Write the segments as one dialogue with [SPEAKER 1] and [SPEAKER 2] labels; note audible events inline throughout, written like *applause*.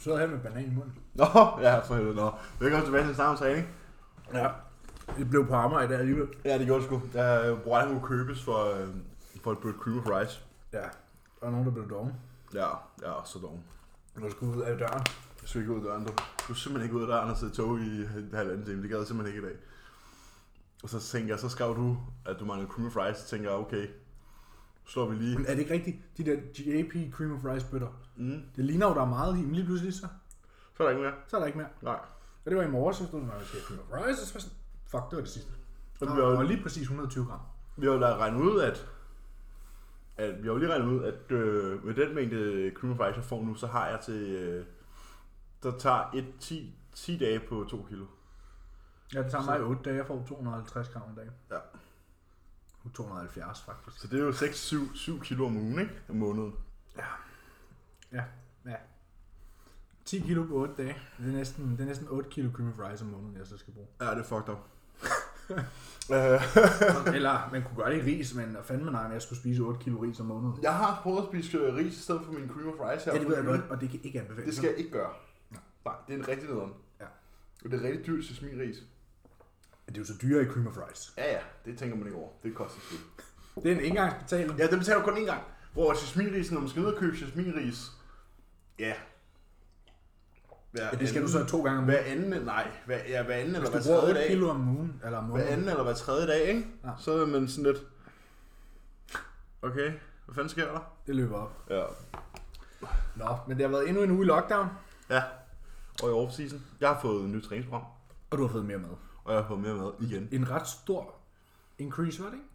[SPEAKER 1] sidder her med banan i munden.
[SPEAKER 2] Nå, *laughs* ja, for helvede, nå. Velkommen tilbage til samme træning.
[SPEAKER 1] Ja. Det blev på Amager i dag alligevel.
[SPEAKER 2] Ja, det gjorde det sgu. Da øh, Brian kunne købes for, øh, for et Bird Cream of Rice.
[SPEAKER 1] Ja. Der er nogen, der blev dogne.
[SPEAKER 2] Ja, ja, så dog.
[SPEAKER 1] Der skulle ud af døren.
[SPEAKER 2] Jeg skulle ikke ud af døren, du. Du skulle simpelthen ikke ud af døren og sidde i tog i en halvanden time. Det gad jeg simpelthen ikke i dag. Og så tænker jeg, så skrev du, at du manglede cream of rice. Så tænker jeg, okay, så slår vi lige.
[SPEAKER 1] Men er det ikke rigtigt? De der JP Cream of Rice bøtter.
[SPEAKER 2] Mm.
[SPEAKER 1] Det ligner jo, der er meget i, men lige pludselig så,
[SPEAKER 2] Så er der ikke mere.
[SPEAKER 1] så er der ikke mere.
[SPEAKER 2] Nej.
[SPEAKER 1] Og det var i morges, så stod der, at jeg Cream of Rice, og så var jeg sådan, fuck, det var det sidste.
[SPEAKER 2] Så vi,
[SPEAKER 1] Der
[SPEAKER 2] har
[SPEAKER 1] var
[SPEAKER 2] jo,
[SPEAKER 1] lige præcis 120 gram.
[SPEAKER 2] vi har jo da regnet ud, at, at vi har jo lige regnet ud, at øh, med den mængde cream of rice, jeg får nu, så har jeg til, øh, der tager et 10, 10 dage på 2 kilo.
[SPEAKER 1] Ja, det tager mig 8 dage, jeg får 250 gram om dagen.
[SPEAKER 2] Ja.
[SPEAKER 1] 270 faktisk.
[SPEAKER 2] Så det er jo 6-7 kilo om ugen, ikke? Om måneden.
[SPEAKER 1] Ja, ja. 10 kilo på 8 dage. Det er næsten, det er næsten 8 kilo cream of rice om måneden, jeg så skal bruge.
[SPEAKER 2] Ja, det er fucked
[SPEAKER 1] *laughs*
[SPEAKER 2] up. Øh,
[SPEAKER 1] Eller man kunne gøre det i ris, men fandme nej, men jeg skulle spise 8 kilo ris om måneden.
[SPEAKER 2] jeg har prøvet at spise øh, ris i stedet for min cream of rice her.
[SPEAKER 1] Ja, det ved jeg godt, og det kan ikke anbefales.
[SPEAKER 2] Det skal jeg ikke gøre. Nej, det er en rigtig nederen.
[SPEAKER 1] Ja.
[SPEAKER 2] Og det er rigtig dyrt sesmin ris.
[SPEAKER 1] Det er jo så dyre i cream of rice.
[SPEAKER 2] Ja, ja, det tænker man ikke over. Det koster sgu.
[SPEAKER 1] Det er en engangsbetaling.
[SPEAKER 2] Ja, den betaler du kun én gang. Hvor sesminrisen, når man skal ned og købe sesminris, ja. Hver
[SPEAKER 1] Ja, det skal du så to gange om ugen.
[SPEAKER 2] Hver anden, nej, hver, ja, hver anden eller
[SPEAKER 1] Hvis
[SPEAKER 2] hver
[SPEAKER 1] du bruger
[SPEAKER 2] tredje
[SPEAKER 1] 8
[SPEAKER 2] dag.
[SPEAKER 1] kilo om ugen, eller om
[SPEAKER 2] Hver
[SPEAKER 1] måneden,
[SPEAKER 2] anden eller hver tredje dag, ikke?
[SPEAKER 1] Ja.
[SPEAKER 2] Så er man sådan lidt... Okay, hvad fanden sker der?
[SPEAKER 1] det løber op.
[SPEAKER 2] Ja.
[SPEAKER 1] Nå, men det har været endnu en uge i lockdown,
[SPEAKER 2] Ja, og i off-season. Jeg har fået en ny træningsprogram,
[SPEAKER 1] og du har fået mere mad.
[SPEAKER 2] og jeg har fået mere mad igen.
[SPEAKER 1] En ret stor increase, var det ikke?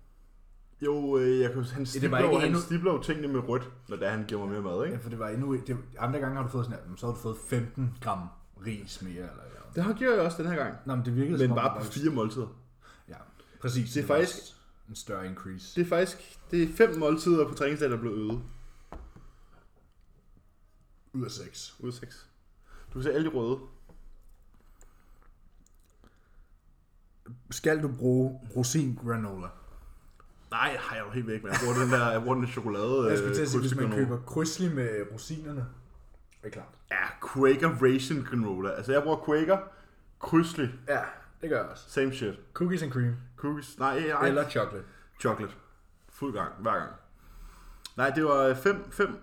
[SPEAKER 2] Jo, øh, jeg kan, han
[SPEAKER 1] var
[SPEAKER 2] stibler, jo,
[SPEAKER 1] ikke
[SPEAKER 2] han
[SPEAKER 1] endnu-
[SPEAKER 2] stibler jo tingene med rødt, når det er, han giver mig mere mad,
[SPEAKER 1] Ja,
[SPEAKER 2] ikke?
[SPEAKER 1] for det var endnu... Det, andre gange har du fået sådan her, "Jamen, så har du fået 15 gram ris mere, eller... eller.
[SPEAKER 2] Det har gjort jeg også den her gang.
[SPEAKER 1] Nå, men det virkede
[SPEAKER 2] Men
[SPEAKER 1] som om,
[SPEAKER 2] bare
[SPEAKER 1] det
[SPEAKER 2] på
[SPEAKER 1] var-
[SPEAKER 2] fire måltider.
[SPEAKER 1] Ja, præcis.
[SPEAKER 2] Det er
[SPEAKER 1] var
[SPEAKER 2] faktisk-
[SPEAKER 1] en større increase.
[SPEAKER 2] Det er faktisk det er fem måltider på træningsdagen, der er blevet øget.
[SPEAKER 1] Ud af 6.
[SPEAKER 2] Ud af seks. Du kan se alle de røde.
[SPEAKER 1] Skal du bruge rosin granola?
[SPEAKER 2] Nej, har jeg jo helt væk, men jeg bruger den der, jeg bruger den der chokolade.
[SPEAKER 1] Jeg skulle til at sige,
[SPEAKER 2] øh,
[SPEAKER 1] hvis man
[SPEAKER 2] krydsegranola.
[SPEAKER 1] køber krydsli med rosinerne. Det er klart.
[SPEAKER 2] Ja, Quaker Raisin Granola. Altså, jeg bruger Quaker, krydsli,
[SPEAKER 1] Ja, det gør jeg også.
[SPEAKER 2] same shit.
[SPEAKER 1] Cookies and cream.
[SPEAKER 2] Cookies, nej, nej.
[SPEAKER 1] Eller chocolate.
[SPEAKER 2] chocolate. Fuld gang, hver gang. Nej, det var øh,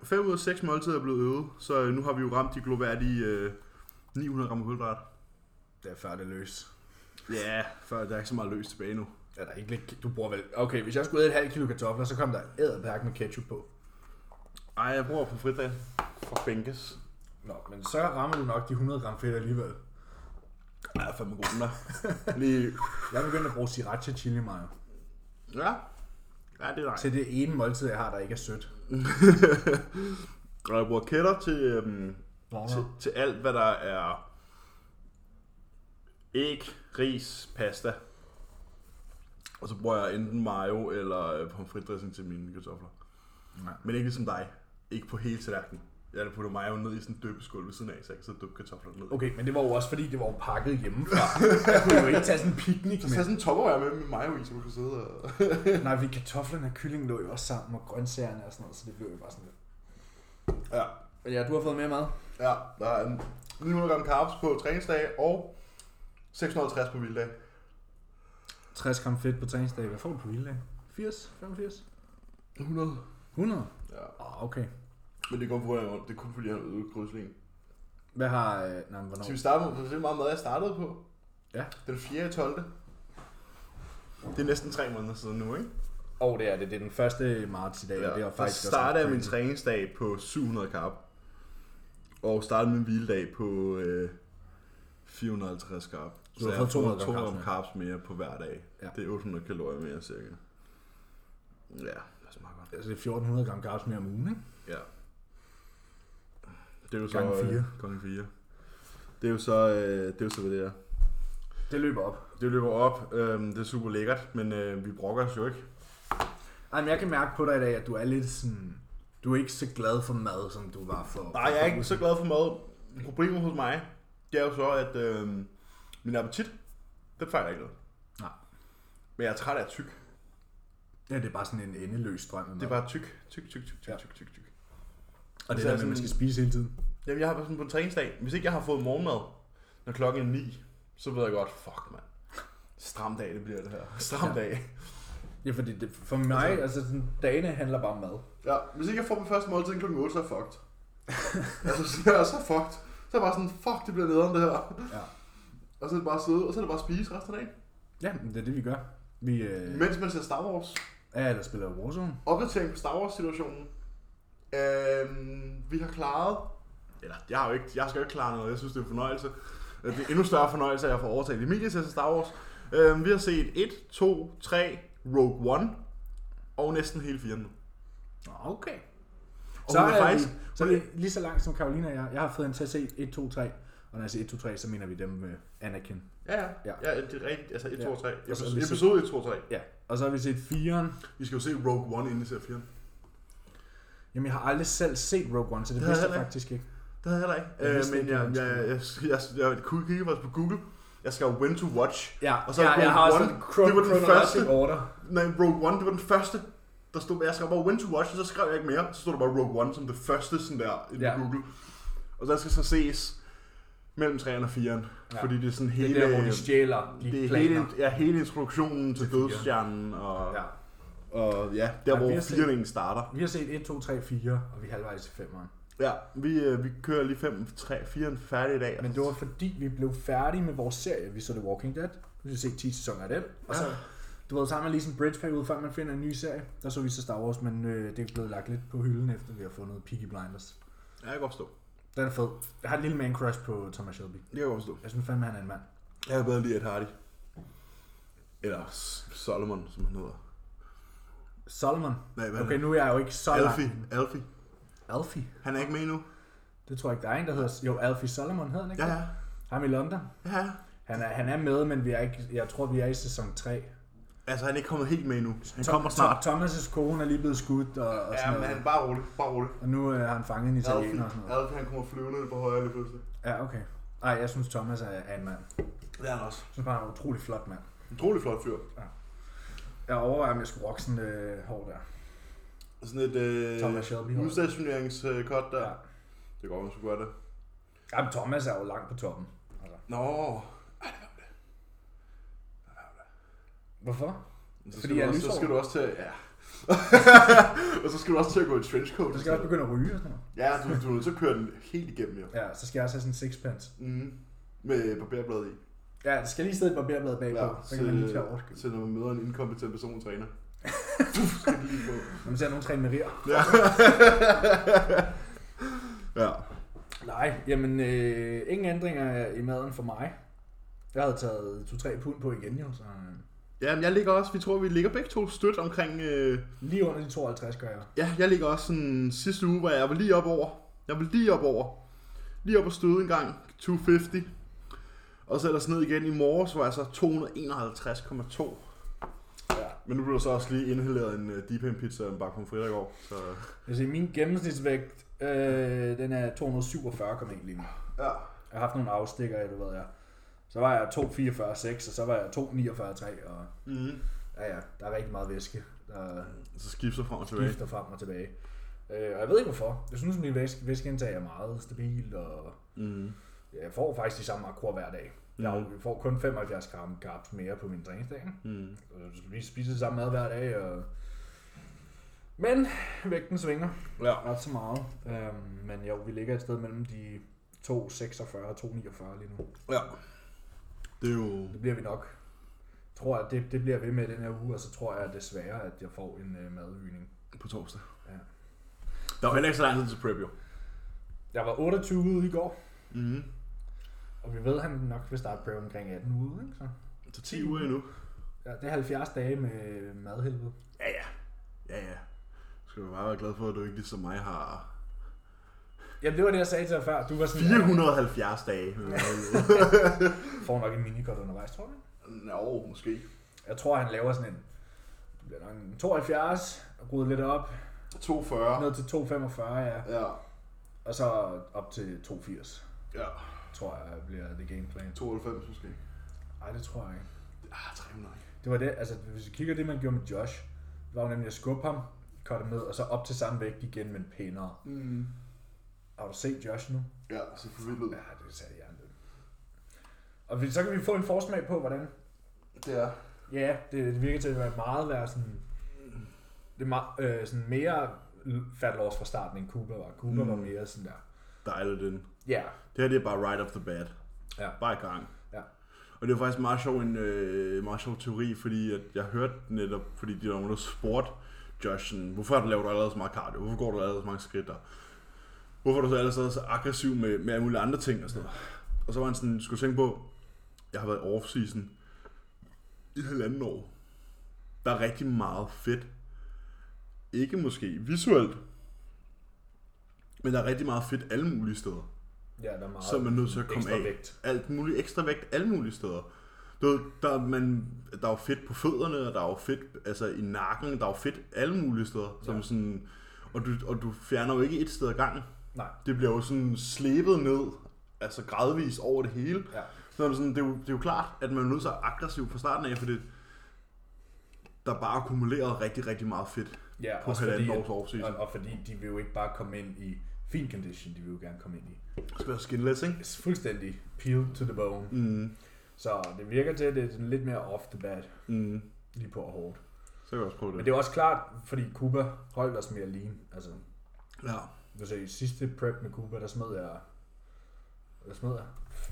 [SPEAKER 2] 5 ud af 6 måltider, der blev øvet, så øh, nu har vi jo ramt de gloværdige øh, 900 gram kulhydrat.
[SPEAKER 1] Det er før det løs.
[SPEAKER 2] Ja, yeah, for der er ikke så meget løs tilbage nu.
[SPEAKER 1] Ja, der er ikke lidt, du bruger vel... Okay, hvis jeg skulle æde et halvt kilo kartofler, så kom der æderpærk med ketchup på.
[SPEAKER 2] Ej, jeg bruger på fridag. For bænkes.
[SPEAKER 1] Nå, men så rammer du nok de 100 gram fedt alligevel.
[SPEAKER 2] Ja, jeg er fandme god den der. Lige...
[SPEAKER 1] Jeg er begyndt at bruge sriracha chili mayo.
[SPEAKER 2] Ja. Ja, det er nice.
[SPEAKER 1] Til det ene måltid, jeg har, der ikke er sødt.
[SPEAKER 2] Og jeg bruger kætter til, øhm, til, til alt, hvad der er æg, ris, pasta. Og så bruger jeg enten mayo eller øh, pomfritdressing til mine kartofler.
[SPEAKER 1] Nej.
[SPEAKER 2] Men ikke ligesom dig. Ikke på hele tallerkenen. Jeg putter mayo ned i sådan en døbeskål ved siden af, så jeg kan sidde og døbe kartoflerne ned.
[SPEAKER 1] Okay, men det var jo også fordi, det var jo pakket *laughs* hjemmefra. Jeg kunne jo ikke tage sådan en picnic med.
[SPEAKER 2] sådan en toppervær med, med mayo i, så du kan sidde og...
[SPEAKER 1] Nej, fordi kartoflerne og kyllingen lå jo også sammen, og grøntsagerne og sådan noget, så det blev jo bare sådan lidt.
[SPEAKER 2] ja,
[SPEAKER 1] Men ja, du har fået mere mad.
[SPEAKER 2] ja. Der er en 900 gram carbs på træningsdag og 650 på vilddag.
[SPEAKER 1] 60 gram fedt på træningsdag. Hvad får du på vilddag? 80? 85?
[SPEAKER 2] 100?
[SPEAKER 1] 100?
[SPEAKER 2] Ja.
[SPEAKER 1] Åh, oh, okay.
[SPEAKER 2] Men det er kun fordi, han- det er kun fordi, han øgede krydslingen.
[SPEAKER 1] Hvad har... Øh, nej, men hvornår?
[SPEAKER 2] Skal vi starte med, hvor det meget mad jeg startede på?
[SPEAKER 1] Ja.
[SPEAKER 2] Den 4. 12. Det er næsten tre måneder siden nu, ikke?
[SPEAKER 1] Åh, oh, det er det. Det er den 1. marts i dag, ja. og det er
[SPEAKER 2] Der
[SPEAKER 1] faktisk også
[SPEAKER 2] startede jeg
[SPEAKER 1] ret
[SPEAKER 2] min
[SPEAKER 1] crazy.
[SPEAKER 2] træningsdag på 700 carb. Og startede min hviledag på øh, 450 carb.
[SPEAKER 1] du har fået 200 gram carbs
[SPEAKER 2] 200 carbs mere på hver dag.
[SPEAKER 1] Ja.
[SPEAKER 2] Det er 800 kalorier mere cirka. Ja, det er så meget godt.
[SPEAKER 1] Altså, det er 1400 gram carbs mere om ugen, ikke?
[SPEAKER 2] Ja. Det er jo så...
[SPEAKER 1] Gange fire.
[SPEAKER 2] Øh, gange 4. Det er jo så, øh, det er jo så, hvad det er.
[SPEAKER 1] Det løber op.
[SPEAKER 2] Det løber op. Øhm, det er super lækkert, men øh, vi brokker os jo ikke.
[SPEAKER 1] Ej, men jeg kan mærke på dig i dag, at du er lidt sådan... Du er ikke så glad for mad, som du var for...
[SPEAKER 2] Nej, jeg er ikke så glad for mad. Problemet hos mig, det er jo så, at øh, min appetit, den fejler ikke noget.
[SPEAKER 1] Nej.
[SPEAKER 2] Men jeg er træt af tyk.
[SPEAKER 1] Ja, det er bare sådan en endeløs strøm af mad.
[SPEAKER 2] Det er bare tyk, tyk, tyk, tyk, tyk,
[SPEAKER 1] Ja.
[SPEAKER 2] tyk, tyk, tyk.
[SPEAKER 1] Og det
[SPEAKER 2] Så
[SPEAKER 1] der
[SPEAKER 2] er
[SPEAKER 1] med, at man skal
[SPEAKER 2] sådan-
[SPEAKER 1] spise hele tiden.
[SPEAKER 2] Jamen, jeg har sådan på en træningsdag. Hvis ikke jeg har fået morgenmad, når klokken er 9, så ved jeg godt, fuck, mand. Stram dag, det bliver det her. Stram
[SPEAKER 1] Ja.
[SPEAKER 2] ja. dag.
[SPEAKER 1] Ja, fordi det, for mig, altså, altså sådan, dagene handler bare om mad.
[SPEAKER 2] Ja, hvis ikke jeg får min første måltid kl. 8, så er jeg fucked. *laughs* altså, så er jeg så fucked. Så er jeg bare sådan, fuck, det bliver nederen det her.
[SPEAKER 1] Ja.
[SPEAKER 2] Og så er det bare at sidde, og så er det bare at spise resten af dagen.
[SPEAKER 1] Ja, men det er det, vi gør. Vi øh,
[SPEAKER 2] Mens man ser Star Wars.
[SPEAKER 1] er der spiller Warzone.
[SPEAKER 2] Opdatering på Star Wars-situationen. Øhm, vi har klaret... Eller, jeg, har jo ikke, jeg skal jo ikke klare noget. Jeg synes, det er en fornøjelse. Det er en endnu større fornøjelse, at jeg får overtaget Emilie til at se Star Wars. Øhm, vi har set 1, 2, 3, Rogue One. Og næsten hele firmen. nu.
[SPEAKER 1] Nå, Okay.
[SPEAKER 2] Og så hun er, faktisk...
[SPEAKER 1] vi, så er vi lige så langt som Karolina og jeg. Jeg har fået en til at se 1, 2, 3. Og når jeg siger 1, 2, 3, så mener vi dem med Anakin.
[SPEAKER 2] Ja, ja.
[SPEAKER 1] Ja.
[SPEAKER 2] ja. ja det er rigtigt. Altså 1, 2 og 3.
[SPEAKER 1] Og så har
[SPEAKER 2] Episode,
[SPEAKER 1] vi set-
[SPEAKER 2] episode 1, 2 og 3.
[SPEAKER 1] Ja. Og så har vi set 4'eren.
[SPEAKER 2] Vi skal jo se Rogue One, inden vi ser 4.
[SPEAKER 1] Jamen, jeg har aldrig selv set Rogue One, så det
[SPEAKER 2] Det har
[SPEAKER 1] vidste jeg
[SPEAKER 2] jeg heller ikke.
[SPEAKER 1] faktisk ikke.
[SPEAKER 2] Det havde jeg heller
[SPEAKER 1] Jeg
[SPEAKER 2] ikke.
[SPEAKER 1] vidste
[SPEAKER 2] Øh, men
[SPEAKER 1] ikke,
[SPEAKER 2] jeg,
[SPEAKER 1] hvordan
[SPEAKER 2] jeg, jeg, jeg, jeg, jeg, jeg kunne kigge faktisk på Google. Jeg skal jo when to watch.
[SPEAKER 1] Ja,
[SPEAKER 2] Og så
[SPEAKER 1] ja,
[SPEAKER 2] Rogue
[SPEAKER 1] jeg har også
[SPEAKER 2] One,
[SPEAKER 1] en chron-
[SPEAKER 2] det var den
[SPEAKER 1] chronological
[SPEAKER 2] første.
[SPEAKER 1] order.
[SPEAKER 2] Nej, Rogue One, det var den første. Der stod, jeg skrev bare when to watch, og så skrev jeg ikke mere. Så stod der bare Rogue One som det første sådan der i
[SPEAKER 1] Ja.
[SPEAKER 2] ja. Google. Og der skal så ses mellem 3'eren og 4'eren.
[SPEAKER 1] Ja.
[SPEAKER 2] Ja. Fordi det er sådan hele...
[SPEAKER 1] Det er der, hvor de stjæler de
[SPEAKER 2] det er
[SPEAKER 1] planer.
[SPEAKER 2] hele, ja, hele introduktionen til,
[SPEAKER 1] Til fireren.
[SPEAKER 2] dødsstjernen, og,
[SPEAKER 1] Ja.
[SPEAKER 2] ja. og ja, der
[SPEAKER 1] Ja,
[SPEAKER 2] hvor
[SPEAKER 1] vi har set-
[SPEAKER 2] 4'eren egentlig starter.
[SPEAKER 1] Vi har set 1, 2, 3, 4, og vi er halvvejs til 5'eren.
[SPEAKER 2] Ja, vi, øh, vi kører lige 5, 3, 4'eren færdig i dag.
[SPEAKER 1] Men det var fordi, vi blev færdige med vores serie. Vi så The Walking Dead. Vi har set 10 sæsoner af den. Og så,
[SPEAKER 2] Ja.
[SPEAKER 1] du ved, så har man lige sådan en bridge-periode, før man finder en ny serie. Der så vi så Star Wars, men øh, det er blevet lagt lidt på hylden, efter vi har fundet Peaky Blinders.
[SPEAKER 2] Ja, jeg kan godt forstå.
[SPEAKER 1] Den er fed. Jeg har et lille man-crush på Thomas Shelby.
[SPEAKER 2] Det kan jeg godt forstå.
[SPEAKER 1] Jeg synes fandme, han er en mand.
[SPEAKER 2] Jeg kan bedre lide Ed Hardy. Eller S- Solomon, som han hedder.
[SPEAKER 1] Solomon.
[SPEAKER 2] Nej, hvad
[SPEAKER 1] Okay,
[SPEAKER 2] okay,
[SPEAKER 1] nu er jeg jo ikke så
[SPEAKER 2] Alfie.
[SPEAKER 1] langt.
[SPEAKER 2] Alfie.
[SPEAKER 1] Alfie.
[SPEAKER 2] Han er ikke med endnu.
[SPEAKER 1] Det tror jeg ikke, der er en, der hedder... Jo, Alfie Solomon hedder han, ikke?
[SPEAKER 2] Ja, ja.
[SPEAKER 1] Ham i London.
[SPEAKER 2] ja. ja.
[SPEAKER 1] Han er, han er med, men vi er ikke, jeg tror, vi er i sæson 3.
[SPEAKER 2] Altså, han er ikke kommet helt med endnu. Han
[SPEAKER 1] Tom-
[SPEAKER 2] kommer snart.
[SPEAKER 1] Tom- Thomas' kone er lige blevet skudt, og, og sådan noget.
[SPEAKER 2] bare rolig. Bare rolig.
[SPEAKER 1] Og nu øh, har han fanget en italiener og sådan noget.
[SPEAKER 2] Alfie, han kommer flyvende på højre lige pludselig.
[SPEAKER 1] Ja, okay. Ej, jeg synes, Thomas er, er en mand. Jeg
[SPEAKER 2] Det er han også.
[SPEAKER 1] synes bare, han er en utrolig flot mand.
[SPEAKER 2] Utrolig flot fyr.
[SPEAKER 1] Jeg overvejer, om jeg skulle rocke sådan øh, hår der.
[SPEAKER 2] Sådan et øh,
[SPEAKER 1] Thomas Shelby.
[SPEAKER 2] udstationeringscut der.
[SPEAKER 1] Ja.
[SPEAKER 2] Ja. Det er godt, man skulle gøre det.
[SPEAKER 1] Jamen, Thomas er jo langt på toppen. Altså.
[SPEAKER 2] Nå.
[SPEAKER 1] Hvorfor?
[SPEAKER 2] Så
[SPEAKER 1] Fordi
[SPEAKER 2] skal, du
[SPEAKER 1] jeg er
[SPEAKER 2] også, så
[SPEAKER 1] lyshåret.
[SPEAKER 2] skal du også til at... Ja. *laughs* og så skal du også til at gå i trenchcoat.
[SPEAKER 1] Så skal jeg også begynde at ryge og sådan noget.
[SPEAKER 2] Ja, du, du er nødt til at køre den helt igennem, jo.
[SPEAKER 1] Ja, så skal jeg også have sådan en sixpence.
[SPEAKER 2] Mm. Med barberblad i.
[SPEAKER 1] Ja, der skal lige sidde et barberblad bagpå, ja, så kan man lige tage overskud.
[SPEAKER 2] så når man møder en inkompetent person *laughs* træner. du skal det lige på.
[SPEAKER 1] Når man ser nogle træne med rier.
[SPEAKER 2] Ja. ja.
[SPEAKER 1] Nej, jamen, øh, ingen ændringer i maden for mig. Jeg havde taget 2-3 pund på igen jo, så øh,
[SPEAKER 2] Jamen, jeg ligger også, vi tror, vi ligger begge to stødt omkring... Øh,
[SPEAKER 1] lige under de 52 gør jeg.
[SPEAKER 2] ja, jeg ligger også sådan sidste uge, hvor jeg var lige op over. Jeg var lige op over. Lige op og støde en gang. 250. Og så ellers ned igen i morges, hvor jeg så 251,2.
[SPEAKER 1] Ja.
[SPEAKER 2] Men nu blev der så også lige indhaleret en uh, deep pan pizza og en bakke pomfritter i går. Så...
[SPEAKER 1] Altså, min gennemsnitsvægt, øh, den er 247,1 lige nu.
[SPEAKER 2] Ja.
[SPEAKER 1] Jeg har haft nogle afstikker, du ved jeg. Så var jeg 244,6, og så var jeg 249,3, og
[SPEAKER 2] Mm.
[SPEAKER 1] ja, ja, der er rigtig meget væske, der
[SPEAKER 2] Så Mm. skifter frem og tilbage.
[SPEAKER 1] skifter frem og tilbage. Øh, og jeg ved ikke hvorfor. Jeg synes, at min væske, væskeindtag er meget stabil, og
[SPEAKER 2] Mm.
[SPEAKER 1] jeg får faktisk de samme akkurat hver dag. Jeg får kun 75 gram carbs mere på min træningsdag. ikke?
[SPEAKER 2] Mm.
[SPEAKER 1] Og så Vi spiser det samme mad hver dag, og... Men vægten svinger
[SPEAKER 2] Ja.
[SPEAKER 1] ret så meget. Øhm, men jo, vi ligger et sted mellem de 2,46 og 2,49 lige nu.
[SPEAKER 2] Ja. Det er jo...
[SPEAKER 1] Det bliver vi nok. Jeg tror, at det, det bliver ved med den her uge, og så tror jeg desværre, at jeg får en øh, madøgning.
[SPEAKER 2] På torsdag.
[SPEAKER 1] Ja.
[SPEAKER 2] Der var heller ikke så lang tid til prep, jo.
[SPEAKER 1] Jeg var 28 ude i går,
[SPEAKER 2] Mm.
[SPEAKER 1] og vi ved, at han nok vil starte prøve omkring 18 uger, ikke? Så,
[SPEAKER 2] Så 10 uger endnu.
[SPEAKER 1] ja, det er 70 dage med øh, madhelvede.
[SPEAKER 2] Ja, ja. Ja, ja. Så skal du bare være glad for, at du ikke ligesom mig har
[SPEAKER 1] Jamen, det var det, jeg sagde til dig før. Du var sådan,
[SPEAKER 2] 470 dage. med mad.
[SPEAKER 1] "Jeg får nok en minikort undervejs, tror du? ikke?"
[SPEAKER 2] *laughs* Nå, måske.
[SPEAKER 1] Jeg tror, han laver sådan en, det bliver nok en 72, rydde lidt op,
[SPEAKER 2] 240.
[SPEAKER 1] ned til 245, ja.
[SPEAKER 2] Ja.
[SPEAKER 1] Og så op til 280,
[SPEAKER 2] Ja.
[SPEAKER 1] tror jeg, bliver det game plan.
[SPEAKER 2] 92 måske.
[SPEAKER 1] Nej, det tror jeg ikke.
[SPEAKER 2] Ah, 300.
[SPEAKER 1] Det var det, altså hvis vi kigger det, man gjorde med Josh, det var jo nemlig at skubbe ham, cutte ham ned, og så op til samme vægt igen, men pænere.
[SPEAKER 2] Mm.
[SPEAKER 1] Har du set Josh nu?
[SPEAKER 2] Ja, så forvildet.
[SPEAKER 1] Ja, det sagde jeg andet. Og vi- så kan vi få en forsmag på, hvordan...
[SPEAKER 2] Det er.
[SPEAKER 1] Ja, det, det virker til at være meget være sådan... Det er meget, øh, sådan mere fat loss fra starten, end Cooper var. Cooper mm. var
[SPEAKER 2] Mm.
[SPEAKER 1] mere sådan der...
[SPEAKER 2] Dejligt den.
[SPEAKER 1] Ja,
[SPEAKER 2] Det her det er bare right off the bat.
[SPEAKER 1] Ja.
[SPEAKER 2] Bare i gang.
[SPEAKER 1] Ja.
[SPEAKER 2] Og det er faktisk meget sjov, en øh, meget sjov teori, fordi at jeg hørte netop, fordi de der var nogen, der spurgte Josh, sådan, hvorfor har du lavet allerede så meget cardio? Hvorfor går du allerede så mange skridt der? Hvorfor er du så allerede så aggressiv med, med alle mulige andre ting og sådan noget? Og så var han sådan, skulle tænke på, jeg har været i off-season i halvanden år. Der er rigtig meget fedt. Ikke måske visuelt, men der er rigtig meget fedt alle mulige steder
[SPEAKER 1] ja der er meget...
[SPEAKER 2] så er man nødt til at komme
[SPEAKER 1] ekstra
[SPEAKER 2] af.
[SPEAKER 1] Vægt.
[SPEAKER 2] Alt muligt ekstra vægt, alle mulige steder. Du ved, der, er man, der er jo fedt på fødderne, og der er jo fedt altså, i nakken, der er jo fedt alle mulige steder. Som
[SPEAKER 1] Ja.
[SPEAKER 2] ja. sådan, og, du, og du fjerner jo ikke et sted ad gangen.
[SPEAKER 1] Nej,
[SPEAKER 2] Det bliver jo sådan slebet ned, altså gradvist over det hele.
[SPEAKER 1] ja.
[SPEAKER 2] Så er det, sådan, det, er jo, det er jo klart, at man er nødt til at være aggressiv fra starten af, fordi der er bare akkumuleret rigtig, rigtig meget fedt
[SPEAKER 1] Ja,
[SPEAKER 2] på
[SPEAKER 1] også fordi,
[SPEAKER 2] halvanden
[SPEAKER 1] at,
[SPEAKER 2] års offseason.
[SPEAKER 1] og, og fordi de vil jo ikke bare komme ind i fin condition, de vil jo gerne komme ind i
[SPEAKER 2] Det skal være skinless, ikke?
[SPEAKER 1] fuldstændig peeled to the bone.
[SPEAKER 2] Mm,
[SPEAKER 1] Så det virker til, at det er sådan lidt mere off the bat,
[SPEAKER 2] mm.
[SPEAKER 1] lige på og hårdt.
[SPEAKER 2] Så kan vi også prøve det.
[SPEAKER 1] Men det er også klart, fordi Cuba holdt os mere lean. Altså,
[SPEAKER 2] Ja.
[SPEAKER 1] du ser i sidste prep med Cuba, der smed jeg, der smed jeg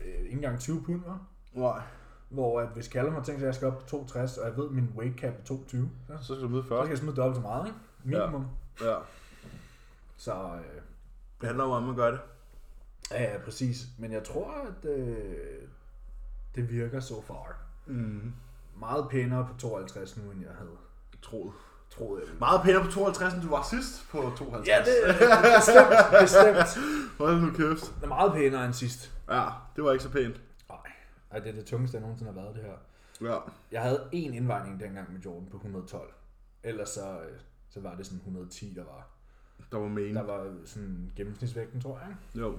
[SPEAKER 1] øh, ikke engang 20 pund, var?
[SPEAKER 2] Nej.
[SPEAKER 1] Hvor at hvis Callum har tænkt sig, at jeg skal op på 62, og jeg ved, at min weight cap er 22, så
[SPEAKER 2] Så skal du møde
[SPEAKER 1] så
[SPEAKER 2] 40.
[SPEAKER 1] skal jeg smide dobbelt så meget, ikke? Minimum. Ja.
[SPEAKER 2] Ja.
[SPEAKER 1] Så øh,
[SPEAKER 2] Det handler jo om at gøre det.
[SPEAKER 1] ja, ja, præcis. Men jeg tror, at øh, det virker so far. Mm-hmm.
[SPEAKER 2] Mm.
[SPEAKER 1] Meget pænere på 52 nu, end jeg havde
[SPEAKER 2] Troet.
[SPEAKER 1] troet, jeg ville.
[SPEAKER 2] Meget pænere på 52, end du var sidst på 52.
[SPEAKER 1] Ja, det er bestemt, bestemt.
[SPEAKER 2] Hold nu kæft.
[SPEAKER 1] Det er meget pænere end sidst.
[SPEAKER 2] Ja, det var ikke så pænt.
[SPEAKER 1] Nej, Ej, det er det tungeste, jeg nogensinde har været det her.
[SPEAKER 2] Ja.
[SPEAKER 1] Jeg havde én indvejning dengang med Jordan på 112. Ellers så, øh, så var det sådan 110, der var.
[SPEAKER 2] Der var mening.
[SPEAKER 1] Der var øh, sådan gennemsnitsvægten, tror jeg. ikke?
[SPEAKER 2] Jo.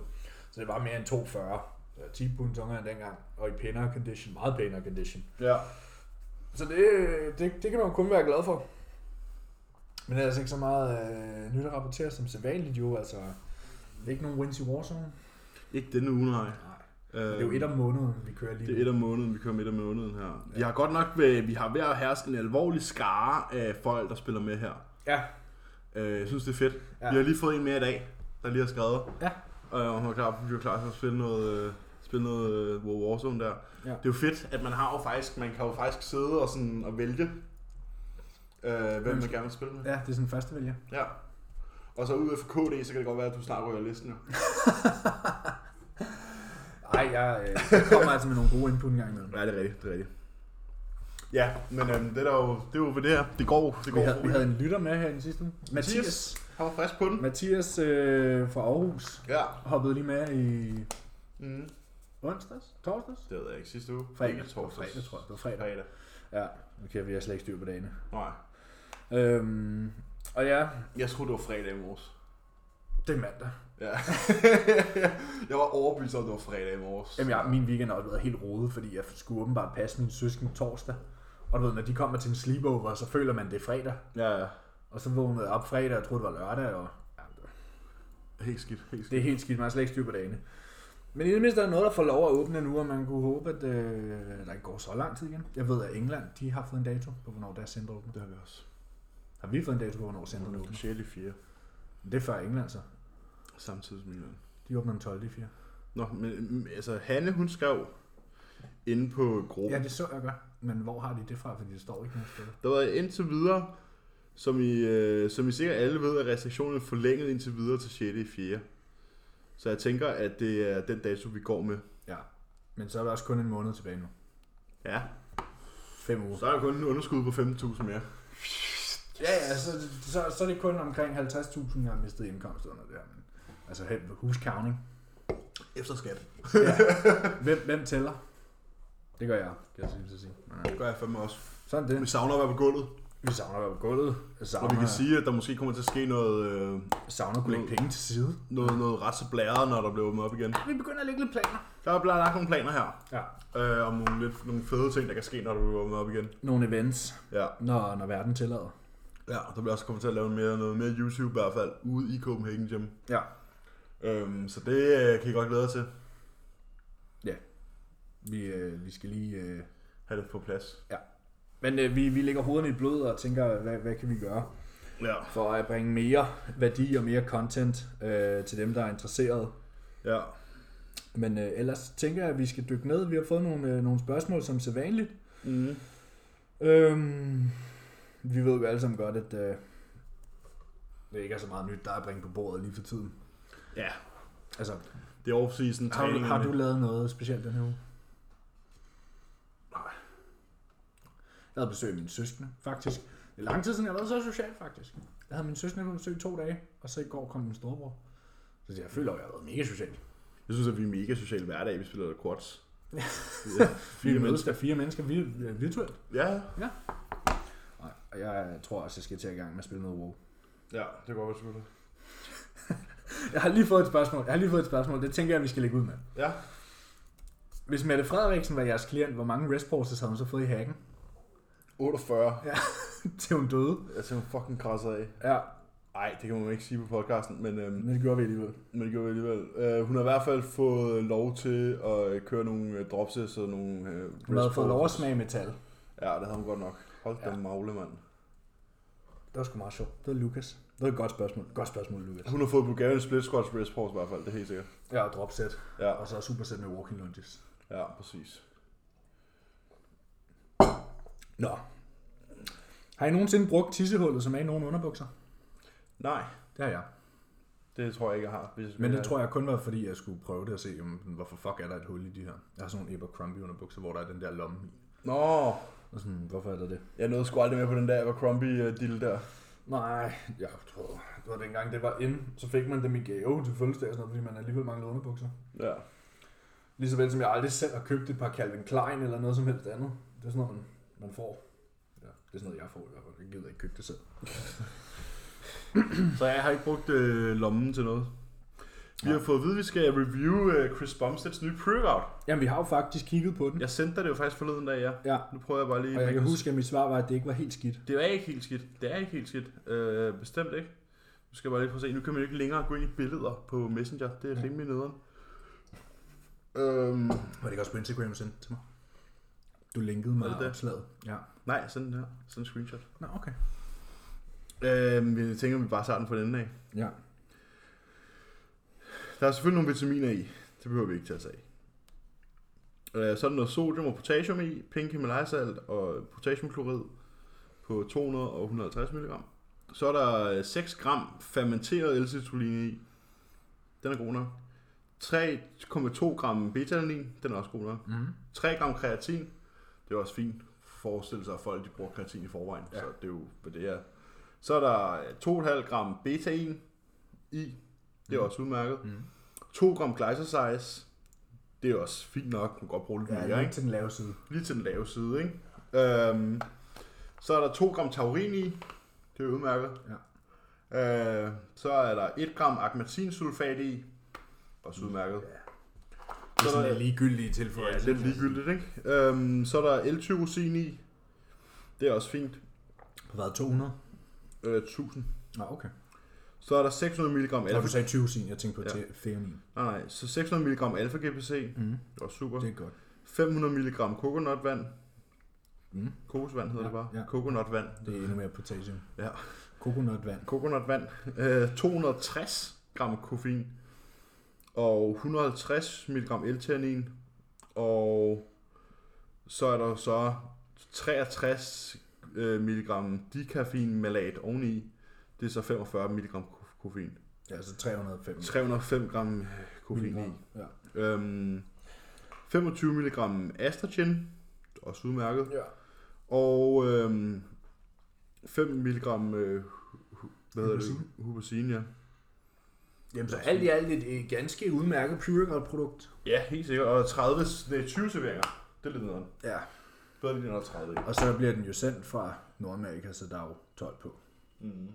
[SPEAKER 1] Så det var mere end 240. Så jeg er 10 pund tungere end dengang. Og i pænere condition. Meget pænere condition.
[SPEAKER 2] Ja.
[SPEAKER 1] Så det, øh, det, det kan man jo kun være glad for. Men der er altså ikke så meget øh, nyt at rapportere som sædvanligt jo. Altså, det er ikke nogen wins i Warzone.
[SPEAKER 2] Ikke denne uge, nej.
[SPEAKER 1] Nej.
[SPEAKER 2] Øh,
[SPEAKER 1] Det er jo et om måneden, vi kører lige
[SPEAKER 2] det
[SPEAKER 1] nu.
[SPEAKER 2] er et om måneden, vi kommer et om måneden her. Vi har godt nok, øh, vi har ved at herske en alvorlig skare af folk, der spiller med her.
[SPEAKER 1] Ja,
[SPEAKER 2] Øh, jeg synes, det er fedt.
[SPEAKER 1] Ja.
[SPEAKER 2] Ja. Vi har lige fået en mere i dag, der lige har skrevet. Øh,
[SPEAKER 1] Ja.
[SPEAKER 2] Og hun var klar, vi var klar til at spille noget, øh, spille noget øh, War- Warzone der.
[SPEAKER 1] Ja.
[SPEAKER 2] Det er jo fedt, at man har jo faktisk, man kan jo faktisk sidde og, sådan, og vælge, øh, hvem man gerne vil spille med.
[SPEAKER 1] ja, det er sådan første vælger.
[SPEAKER 2] Ja. Og så ud for KD, så kan det godt være, at du snart ryger listen. jo.
[SPEAKER 1] Ej, jeg, øh, jeg kommer altså med nogle gode input en gang imellem.
[SPEAKER 2] Ja, det er rigtigt, det er rigtigt. Ja, men øhm, det, er der jo, det er jo ved det her. Det går, det går.
[SPEAKER 1] Vi havde, vi havde en lytter med her i den sidste uge. Mathias.
[SPEAKER 2] Mathias. Han var frisk på den.
[SPEAKER 1] Mathias øh, fra Aarhus
[SPEAKER 2] Ja.
[SPEAKER 1] hoppede lige med i
[SPEAKER 2] Mm.
[SPEAKER 1] onsdags, torsdags?
[SPEAKER 2] Det havde jeg ikke sidste uge.
[SPEAKER 1] Fredag.
[SPEAKER 2] Ikke torsdags.
[SPEAKER 1] Fredag, tror jeg. Det var fredag.
[SPEAKER 2] Fredag.
[SPEAKER 1] Ja, okay, vi har slet ikke styr på dagene.
[SPEAKER 2] Nej.
[SPEAKER 1] Øhm, og ja,
[SPEAKER 2] Jeg troede, det var fredag i morges.
[SPEAKER 1] det er mandag. *laughs*
[SPEAKER 2] Ja. jeg var overbevist om, at det var fredag i morges.
[SPEAKER 1] Jamen, jeg, min weekend har også været helt rodet, fordi jeg skulle åbenbart passe min søsken torsdag. Og du ved, når de kommer til en sleepover, så føler man, det er fredag.
[SPEAKER 2] Ja, ja.
[SPEAKER 1] Og så vågnede jeg op fredag og troede, det var lørdag. Og, ja,
[SPEAKER 2] Helt skidt, helt skidt.
[SPEAKER 1] Det er helt skidt, man har slet ikke styr på dagene. Men i det mindste er der noget, der får lov at åbne nu, og man kunne håbe, at øh, der ikke går så lang tid igen. Jeg ved, at England de har fået en dato på, hvornår deres center åbner.
[SPEAKER 2] Det har vi også.
[SPEAKER 1] Har vi fået en dato på, hvornår centeret
[SPEAKER 2] Den
[SPEAKER 1] åbner?
[SPEAKER 2] 6. i 4.
[SPEAKER 1] Men Det er før England så.
[SPEAKER 2] Samtidig som Milan.
[SPEAKER 1] De åbner den 12. i 4.
[SPEAKER 2] Nå, men men, altså Hanne, hun skrev inde på gruppen.
[SPEAKER 1] Ja, det så jeg godt. Men hvor har de det fra? Fordi det står ikke nogen steder.
[SPEAKER 2] Der var indtil videre, som I, øh, som I sikkert alle ved, er restriktionerne forlænget indtil videre til 6. i 4. Så jeg tænker, at det er den dato, vi går med.
[SPEAKER 1] Ja. Men så er der også kun en måned tilbage nu.
[SPEAKER 2] Ja.
[SPEAKER 1] Fem uger.
[SPEAKER 2] Så er der kun en underskud på 5.000 mere.
[SPEAKER 1] Ja, ja, så, så, så er det kun omkring 50.000, jeg har mistet indkomst under det her. Men, altså, hen- huscounting.
[SPEAKER 2] Efter skat.
[SPEAKER 1] Ja. *laughs* hvem, hvem tæller? Det gør jeg, kan jeg sige. så sige. Men, øh,
[SPEAKER 2] Det gør jeg fandme også.
[SPEAKER 1] Sådan det.
[SPEAKER 2] Vi savner at være på gulvet.
[SPEAKER 1] Vi savner at være på gulvet. Jeg Savner,
[SPEAKER 2] Og vi kan sige, at der måske kommer til at ske noget, øh,
[SPEAKER 1] savner at kunne lægge penge til side.
[SPEAKER 2] noget, noget ret så blæret, når der bliver åbnet op igen.
[SPEAKER 1] Vi begynder at lægge lidt planer.
[SPEAKER 2] Der er blevet lagt nogle planer her,
[SPEAKER 1] Ja.
[SPEAKER 2] øh, om nogle, lidt, nogle fede ting, der kan ske, når der bliver åbnet op igen.
[SPEAKER 1] Nogle events,
[SPEAKER 2] Ja.
[SPEAKER 1] når, når verden tillader.
[SPEAKER 2] Ja, der bliver også kommet til at lave mere, noget mere YouTube i hvert fald, ude i Copenhagen Gym.
[SPEAKER 1] Ja.
[SPEAKER 2] Øhm, så det øh, kan I godt glæde jer til.
[SPEAKER 1] Vi, øh, vi skal lige... Øh...
[SPEAKER 2] Ha' det på plads.
[SPEAKER 1] Men øh, vi, vi lægger hovederne i blod og tænker, hvad, hvad kan vi gøre
[SPEAKER 2] Ja.
[SPEAKER 1] for at bringe mere værdi og mere content øh, til dem, der er interesseret.
[SPEAKER 2] Ja.
[SPEAKER 1] Men øh, ellers tænker jeg, at vi skal dykke ned. Vi har fået nogle, øh, nogle spørgsmål som sædvanligt. Mm-hmm.
[SPEAKER 2] Mm.
[SPEAKER 1] Øhm, vi ved jo alle sammen godt, at øh, det ikke er så meget nyt, der er at bringe på bordet lige for tiden.
[SPEAKER 2] Ja.
[SPEAKER 1] Altså,
[SPEAKER 2] Det er off-season
[SPEAKER 1] har du,
[SPEAKER 2] træning.
[SPEAKER 1] har du lavet noget specielt den her uge?
[SPEAKER 2] Nej.
[SPEAKER 1] Jeg havde besøg af mine søskende, faktisk. Det er lang tid siden, jeg har været så social, faktisk. Jeg havde mine søskende på besøg i to dage, og så i går kom min storebror. Så jeg føler, at jeg har været mega social.
[SPEAKER 2] Jeg synes, at vi er mega sociale hverdag. Vi spiller quads.
[SPEAKER 1] Ja. *laughs*
[SPEAKER 2] ja.
[SPEAKER 1] Vi
[SPEAKER 2] Fire
[SPEAKER 1] mødes
[SPEAKER 2] mennesker.
[SPEAKER 1] af fire mennesker vir- øh, virtuelt.
[SPEAKER 2] Ja.
[SPEAKER 1] Nej, og jeg øh, tror også, jeg skal til i gang med at spille noget WoW.
[SPEAKER 2] Ja, det går godt, selvfølgelig.
[SPEAKER 1] Jeg har lige fået et spørgsmål. Jeg har lige fået et spørgsmål. Det tænker jeg, vi skal lægge ud med.
[SPEAKER 2] Ja.
[SPEAKER 1] Hvis Mette Frederiksen var jeres klient, hvor mange rest pauses havde hun så fået i hacken, *laughs*
[SPEAKER 2] 48.
[SPEAKER 1] til hun døde?
[SPEAKER 2] Jeg tænker, hun fucking krasser af.
[SPEAKER 1] Ja,
[SPEAKER 2] Nej, det kan man jo ikke sige på podcasten, men, øhm,
[SPEAKER 1] men det gjorde vi alligevel.
[SPEAKER 2] men det gjorde vi alligevel. Øh, hun har i hvert fald fået lov til at øh, køre nogle øh, dropsets og nogle... Øh,
[SPEAKER 1] Hun havde fået
[SPEAKER 2] wristwatches.
[SPEAKER 1] lov at smage metal.
[SPEAKER 2] Ja, det havde hun godt nok. Hold da
[SPEAKER 1] Ja.
[SPEAKER 2] magle, mand.
[SPEAKER 1] Det var sgu meget sjovt. Det var Lukas. Det var et godt spørgsmål. Godt spørgsmål, Lukas.
[SPEAKER 2] Hun har fået Bulgarian Split Squats Wrist Pause i hvert fald, det er helt sikkert.
[SPEAKER 1] Ja, og dropset.
[SPEAKER 2] Ja,
[SPEAKER 1] Og så superset med walking lunges.
[SPEAKER 2] ja, præcis.
[SPEAKER 1] Nå. Har I nogensinde brugt tissehullet, som er i nogle underbukser?
[SPEAKER 2] Nej,
[SPEAKER 1] Det har jeg.
[SPEAKER 2] det tror jeg ikke, jeg har. Hvis
[SPEAKER 1] Men det tror jeg kun var, fordi jeg skulle prøve det og se, jamen, hvorfor fuck er der et hul i de her. Jeg har sådan nogle Abercrombie underbukser, hvor der er den der lomme i.
[SPEAKER 2] Nå,
[SPEAKER 1] Og sådan, hvorfor er der det?
[SPEAKER 2] jeg nåede sgu aldrig med på den der Abercrombie-deal der.
[SPEAKER 1] Nej, jeg tror, det var dengang, det var ind, så fik man dem i gave til fødselsdag, og sådan noget, fordi man alligevel manglede underbukser.
[SPEAKER 2] Ja.
[SPEAKER 1] Lige så vel som jeg aldrig selv har købt et par Calvin Klein eller noget som helst andet. Det er sådan noget, man, man får. Ja, det er sådan noget, jeg får i hvert fald. Jeg gider ikke købe det selv.
[SPEAKER 2] Så jeg har ikke brugt øh, lommen til noget. Vi
[SPEAKER 1] Nej.
[SPEAKER 2] har fået at vide, at vi skal review øh, Chris Bumsteds nye pre-workout.
[SPEAKER 1] Jamen, vi har jo faktisk kigget på den.
[SPEAKER 2] Jeg sendte dig det jo faktisk forleden dag, ja.
[SPEAKER 1] Ja,
[SPEAKER 2] Nu prøver jeg bare lige...
[SPEAKER 1] og jeg
[SPEAKER 2] at
[SPEAKER 1] kan
[SPEAKER 2] make-
[SPEAKER 1] huske, at mit svar var, at det ikke var helt skidt.
[SPEAKER 2] Det er ikke helt skidt. Det er ikke helt skidt. Øh, bestemt ikke. Nu skal jeg bare lige prøve at se. Nu kan man jo ikke længere gå ind i billeder på Messenger. Det er
[SPEAKER 1] Ja.
[SPEAKER 2] rimelig nederen. Øhm,
[SPEAKER 1] Var det ikke også på Instagram, du sendte til mig? Du linkede mig
[SPEAKER 2] Var det det?
[SPEAKER 1] opslaget. Ja.
[SPEAKER 2] nej, sådan her. Sådan en screenshot.
[SPEAKER 1] Nå, okay.
[SPEAKER 2] Øhm, vi tænker, vi bare tager den for den af.
[SPEAKER 1] Ja.
[SPEAKER 2] Der er selvfølgelig nogle vitaminer i. Det behøver vi ikke tage os af. Øh, så er der noget sodium og potassium i. Pink Himalaya-salt og potassiumklorid på 200 og 150 mg. Så er der øh, 6 gram fermenteret L-citrulline i. Den er god nok. 3,2 gram beta-alanin. Den er også god nok.
[SPEAKER 1] Mm.
[SPEAKER 2] 3 gram kreatin. Det er også fint. Forestil sig, at folk de bruger kreatin i forvejen. Ja.
[SPEAKER 1] Ja.
[SPEAKER 2] Så det er jo, hvad det er. Så er der øh, 2,5 gram betain i. Det er
[SPEAKER 1] Mhm.
[SPEAKER 2] også udmærket.
[SPEAKER 1] Mm.
[SPEAKER 2] 2 gram glycosize. Det er også fint nok. Man kan godt bruge lidt
[SPEAKER 1] Ja,
[SPEAKER 2] mere,
[SPEAKER 1] lige
[SPEAKER 2] ikke?
[SPEAKER 1] til den lave side.
[SPEAKER 2] Lige til den lave side, ikke? Øhm, så er der 2 gram taurin i. Det er udmærket.
[SPEAKER 1] Ja.
[SPEAKER 2] Øh, så er der 1 gram agmatinsulfat i. Også
[SPEAKER 1] Mhm.
[SPEAKER 2] udmærket.
[SPEAKER 1] Ja. Det er sådan en ligegyldig
[SPEAKER 2] Ja,
[SPEAKER 1] tilføjelse.
[SPEAKER 2] lidt ligegyldigt, ikke? Øhm, så er der L-tyrosin i. Det er også fint.
[SPEAKER 1] Har været 200?
[SPEAKER 2] Øh, 1000.
[SPEAKER 1] Nå, okay.
[SPEAKER 2] Så er der 600 mg
[SPEAKER 1] Når du
[SPEAKER 2] alfa...
[SPEAKER 1] sagde 20 sin, jeg tænkte på
[SPEAKER 2] Ja.
[SPEAKER 1] ja. theanin.
[SPEAKER 2] Nej, nej. Så 600 mg alfa-GPC.
[SPEAKER 1] Mm.
[SPEAKER 2] Det var super.
[SPEAKER 1] Det er godt.
[SPEAKER 2] 500 mg kokonatvand.
[SPEAKER 1] Mm.
[SPEAKER 2] Kokosvand hedder
[SPEAKER 1] Ja,
[SPEAKER 2] det bare.
[SPEAKER 1] ja.
[SPEAKER 2] Kokonatvand.
[SPEAKER 1] Det er endnu mere potassium.
[SPEAKER 2] Ja.
[SPEAKER 1] Kokonatvand.
[SPEAKER 2] Kokonatvand. Øh, 260 gram koffein. Og 150 mg L-ternin. Og så er der så 63 øh, mg dikaffeinmalat oveni. Det er så 45 mg ko- koffein.
[SPEAKER 1] Ja, altså 305.
[SPEAKER 2] 305 gram øh, koffein i.
[SPEAKER 1] milligram. Ja.
[SPEAKER 2] Øhm, 25 mg Astragen. Også udmærket.
[SPEAKER 1] ja.
[SPEAKER 2] Og øhm, 5 mg øh, hu- hvad hedder det?
[SPEAKER 1] Hubersin.
[SPEAKER 2] Hubersin, ja.
[SPEAKER 1] Jamen, så alt i alt et, et ganske udmærket pre produkt.
[SPEAKER 2] Ja, helt sikkert. Og 30, nej, 20 serveringer. Det er lidt nederen.
[SPEAKER 1] Ja.
[SPEAKER 2] Bedre lige når der er 30. i.
[SPEAKER 1] Og så bliver den jo sendt fra Nordamerika, så der er jo 12 på.
[SPEAKER 2] Mm.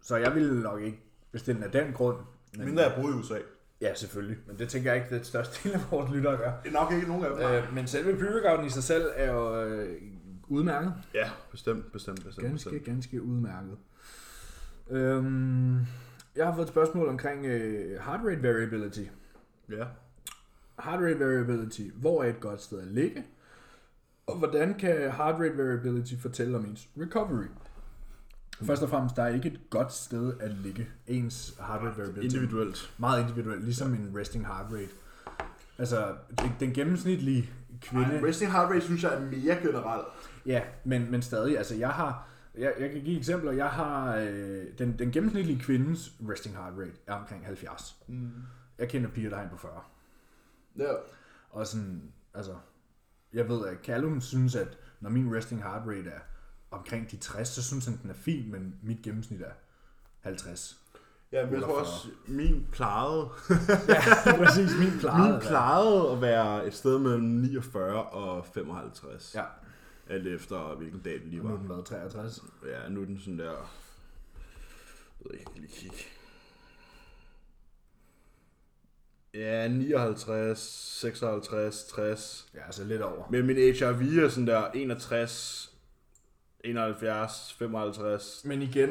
[SPEAKER 1] Så jeg ville nok ikke bestille den af den grund.
[SPEAKER 2] Mindre jeg boede i USA.
[SPEAKER 1] Ja, selvfølgelig. Men det tænker jeg ikke, det er største *laughs* del af vores lyttere gør.
[SPEAKER 2] Det er nok ikke nogen af dem. nej.
[SPEAKER 1] Øh, men selve pyregaven i sig selv er jo øh, udmærket.
[SPEAKER 2] Ja, bestemt, bestemt, bestemt.
[SPEAKER 1] Ganske,
[SPEAKER 2] bestemt.
[SPEAKER 1] ganske udmærket. Øhm, Jeg har fået et spørgsmål omkring øh, heart rate variability.
[SPEAKER 2] Ja.
[SPEAKER 1] Heart rate variability, hvor er et godt sted at ligge? Og hvordan kan heart rate variability fortælle om ens recovery? Først og fremmest, der er ikke et godt sted at ligge. Ens heart rate variability.
[SPEAKER 2] Individuelt.
[SPEAKER 1] Meget individuelt, ligesom en resting heart rate. Altså, den- den gennemsnitlige kvinde...
[SPEAKER 2] Ej, resting heart rate synes jeg er mere generelt.
[SPEAKER 1] Ja, men, men stadig, altså jeg har, jeg, jeg kan give eksempler, jeg har, øh, den, den gennemsnitlige kvindes resting heart rate er omkring 70.
[SPEAKER 2] Mm.
[SPEAKER 1] Jeg kender piger, der er inde på 40.
[SPEAKER 2] Ja.
[SPEAKER 1] Og sådan, altså, jeg ved, at Callum synes, at når min resting heart rate er omkring de 60, så synes han, den er fin, men mit gennemsnit er 50.
[SPEAKER 2] ja, men jeg tror også, min plejede,
[SPEAKER 1] Ja, *laughs* præcis, min klarede.
[SPEAKER 2] min plejede at være et sted mellem 49 og 55.
[SPEAKER 1] Ja,
[SPEAKER 2] Alt efter hvilken dag det lige
[SPEAKER 1] nu har
[SPEAKER 2] var.
[SPEAKER 1] den været 63.
[SPEAKER 2] Ja, nu er den sådan der... Jeg ved ikke, jeg kan lige kigge. Ja, 59, 56, 60.
[SPEAKER 1] Ja, altså lidt over.
[SPEAKER 2] Men min HRV er sådan der 61, 71, 55.
[SPEAKER 1] Men igen,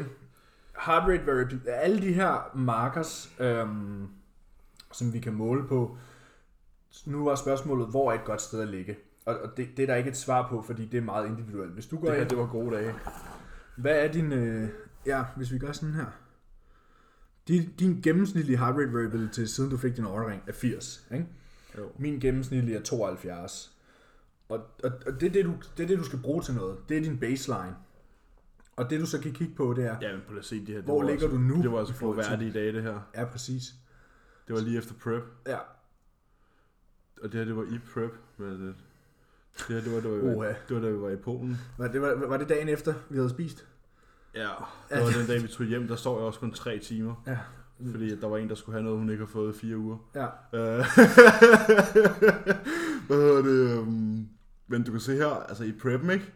[SPEAKER 1] heart rate variability, alle de her markers, øhm, som vi kan måle på, nu var spørgsmålet, hvor er et godt sted at ligge? Og, og det, det er der ikke et svar på, fordi det er meget individuelt. Hvis du går ind,
[SPEAKER 2] var gode dage.
[SPEAKER 1] hvad er din, øh, ja, hvis vi gør sådan her, din, din gennemsnitlige heart rate variability, siden du fik din ordering, er 80, ikke?
[SPEAKER 2] Jo.
[SPEAKER 1] Min gennemsnitlige er 72. Og, og, og det, er det, du, det er det, du skal bruge til noget. Det er din baseline. Og det, du så kan kigge på, det er,
[SPEAKER 2] Ja, men prøv lige at se det her. Det
[SPEAKER 1] Hvor
[SPEAKER 2] var
[SPEAKER 1] ligger
[SPEAKER 2] altså,
[SPEAKER 1] du nu
[SPEAKER 2] Det var
[SPEAKER 1] i
[SPEAKER 2] altså
[SPEAKER 1] forhold til-
[SPEAKER 2] froværdige dage, det her.
[SPEAKER 1] Ja, præcis.
[SPEAKER 2] Det var lige efter prep.
[SPEAKER 1] Ja.
[SPEAKER 2] Og det her, det var i prep. Men det, det her, det var, det var, det var,
[SPEAKER 1] Oha.
[SPEAKER 2] det var da vi var i Polen.
[SPEAKER 1] Var det, var, var det dagen efter, vi havde spist?
[SPEAKER 2] Ja, det var den dag, vi tog hjem. Der sov jeg også kun tre timer.
[SPEAKER 1] Ja.
[SPEAKER 2] Fordi at der var en, der skulle have noget, hun ikke har fået i fire uger.
[SPEAKER 1] Ja.
[SPEAKER 2] *laughs* Øh, Hvad hedder det? øhm, Men du kan se her, altså i preppen, ikke?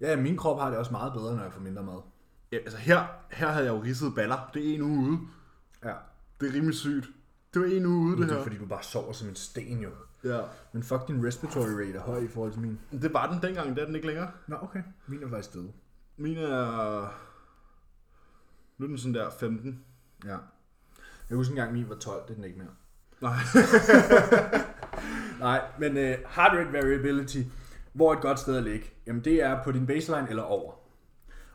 [SPEAKER 1] Ja, min krop har det også meget bedre, når jeg får mindre mad.
[SPEAKER 2] Ja, altså her, her havde jeg jo ridset baller. Det er en uge ude.
[SPEAKER 1] Ja.
[SPEAKER 2] Det er rimelig sygt. Det var en uge ude, det
[SPEAKER 1] Det er
[SPEAKER 2] her.
[SPEAKER 1] fordi, du bare sover som en sten, jo.
[SPEAKER 2] Ja.
[SPEAKER 1] Men fuck, din respiratory rate er høj i forhold til min.
[SPEAKER 2] Det var den dengang, det er den ikke længere.
[SPEAKER 1] Nå, okay. Min er faktisk stedet.
[SPEAKER 2] Min er... Nu er den sådan der 15.
[SPEAKER 1] Ja. Jeg husker engang, min var 12. Det er den ikke mere.
[SPEAKER 2] Nej.
[SPEAKER 1] *laughs* Nej, men uh, heart rate variability, hvor er et godt sted at ligge? Jamen det er på din baseline eller over.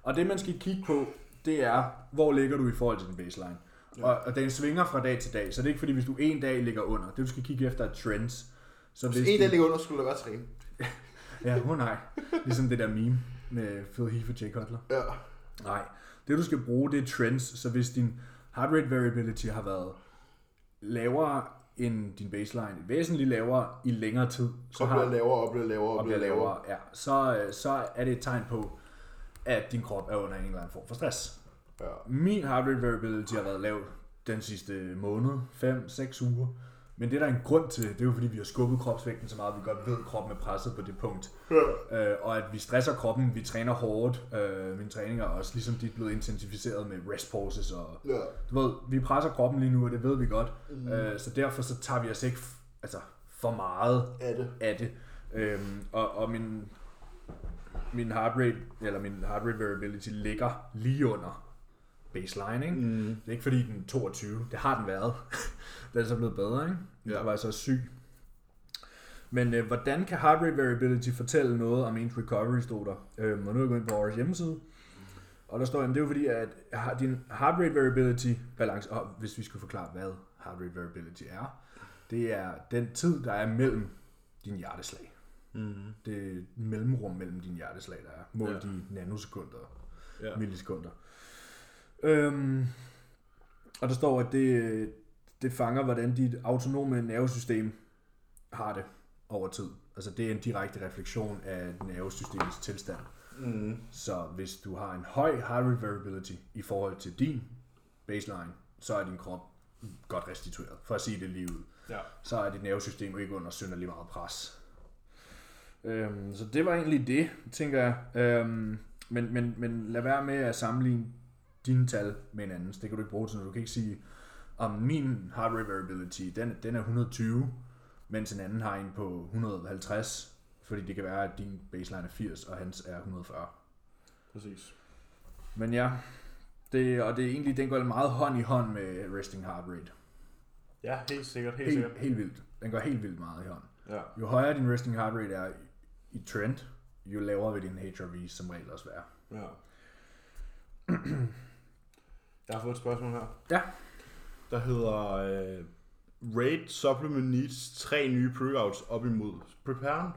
[SPEAKER 1] Og det man skal kigge på, det er, hvor ligger du i forhold til din baseline. Og, og den svinger fra dag til dag, så det er ikke fordi, hvis du en dag ligger under, det du skal kigge efter er trends. Så hvis du-
[SPEAKER 2] ligger under, skulle der være træne.
[SPEAKER 1] Ja, hun nej. Ligesom det der meme med Phil Heath og Jay Cutler.
[SPEAKER 2] Ja.
[SPEAKER 1] Nej, det du skal bruge, det er trends. Så hvis din heart rate variability har været lavere end din baseline, væsentligt lavere i længere tid, så har,
[SPEAKER 2] lavere, og bliver lavere,
[SPEAKER 1] og bliver lavere, ja, så, øh, så er det et tegn på, at din krop er under en eller anden form for stress.
[SPEAKER 2] Ja.
[SPEAKER 1] Min heart rate variability har været lav den sidste måned, 5-6 uger. Men det er der en grund til, det er jo fordi, vi har skubbet kropsvægten så meget, at vi godt ved, at kroppen er presset på det punkt. Øh, og at vi stresser kroppen, vi træner hårdt. Øh, mine træninger er også, ligesom de er blevet intensificeret med rest pauses og
[SPEAKER 2] Ja.
[SPEAKER 1] du ved, vi presser kroppen lige nu, og det ved vi godt. Mm. Øh, så derfor så tager vi os ikke f- altså, for meget
[SPEAKER 2] Af det.
[SPEAKER 1] Af det. Øhm, og, og min, min heart rate, eller min heart rate variability ligger lige under baseline, ikke? Mm. Det er ikke fordi den er 22, det har den været. *laughs* den er så blevet bedre, ikke? Ja.
[SPEAKER 2] Ja.
[SPEAKER 1] Der var jeg så syg. Men øh, hvordan kan heart rate variability fortælle noget om ens recovery, stod der. Øhm, og nu er jeg gået ind på vores hjemmeside. Og der står, at det er jo fordi, at har- din heart rate variability balance, og hvis vi skulle forklare, hvad heart rate variability er, det er den tid, der er mellem din hjerteslag.
[SPEAKER 2] Mm.
[SPEAKER 1] Det mellemrum mellem dine hjerteslag, der er målt
[SPEAKER 2] Ja.
[SPEAKER 1] i nanosekunder,
[SPEAKER 2] Ja.
[SPEAKER 1] millisekunder. Øhm, og der står, at det, det fanger, hvordan dit autonome nervesystem har det over tid. Altså det er en direkte refleksion af nervesystemets tilstand.
[SPEAKER 2] Mm.
[SPEAKER 1] Så hvis du har en høj heart rate variability i forhold til din baseline, så er din krop godt restitueret, for at sige det lige ud.
[SPEAKER 2] Ja.
[SPEAKER 1] Så er dit nervesystem ikke under synderlig meget pres. Øhm, så det var egentlig det, tænker jeg. Øhm, men, men, men lad være med at sammenligne dine tal med hinandens. Det kan du ikke bruge til noget. Du kan ikke sige, om min heart rate variability, den, den er 120, mens en anden har en på 150, fordi det kan være, at din baseline er 80, og hans er 140.
[SPEAKER 2] Præcis.
[SPEAKER 1] Men ja, Det, og det er egentlig, den går meget hånd i hånd med resting heart rate.
[SPEAKER 2] Ja, helt sikkert, helt, helt sikkert.
[SPEAKER 1] Helt, helt vildt. Den går helt vildt meget i hånd.
[SPEAKER 2] Ja.
[SPEAKER 1] Jo højere din resting heart rate er i- i trend, jo lavere vil din HRV som regel også være.
[SPEAKER 2] Ja. Jeg har fået et spørgsmål her.
[SPEAKER 1] Ja.
[SPEAKER 2] Der hedder øh, Raid Supplement Needs tre nye pre-outs op imod Preparen.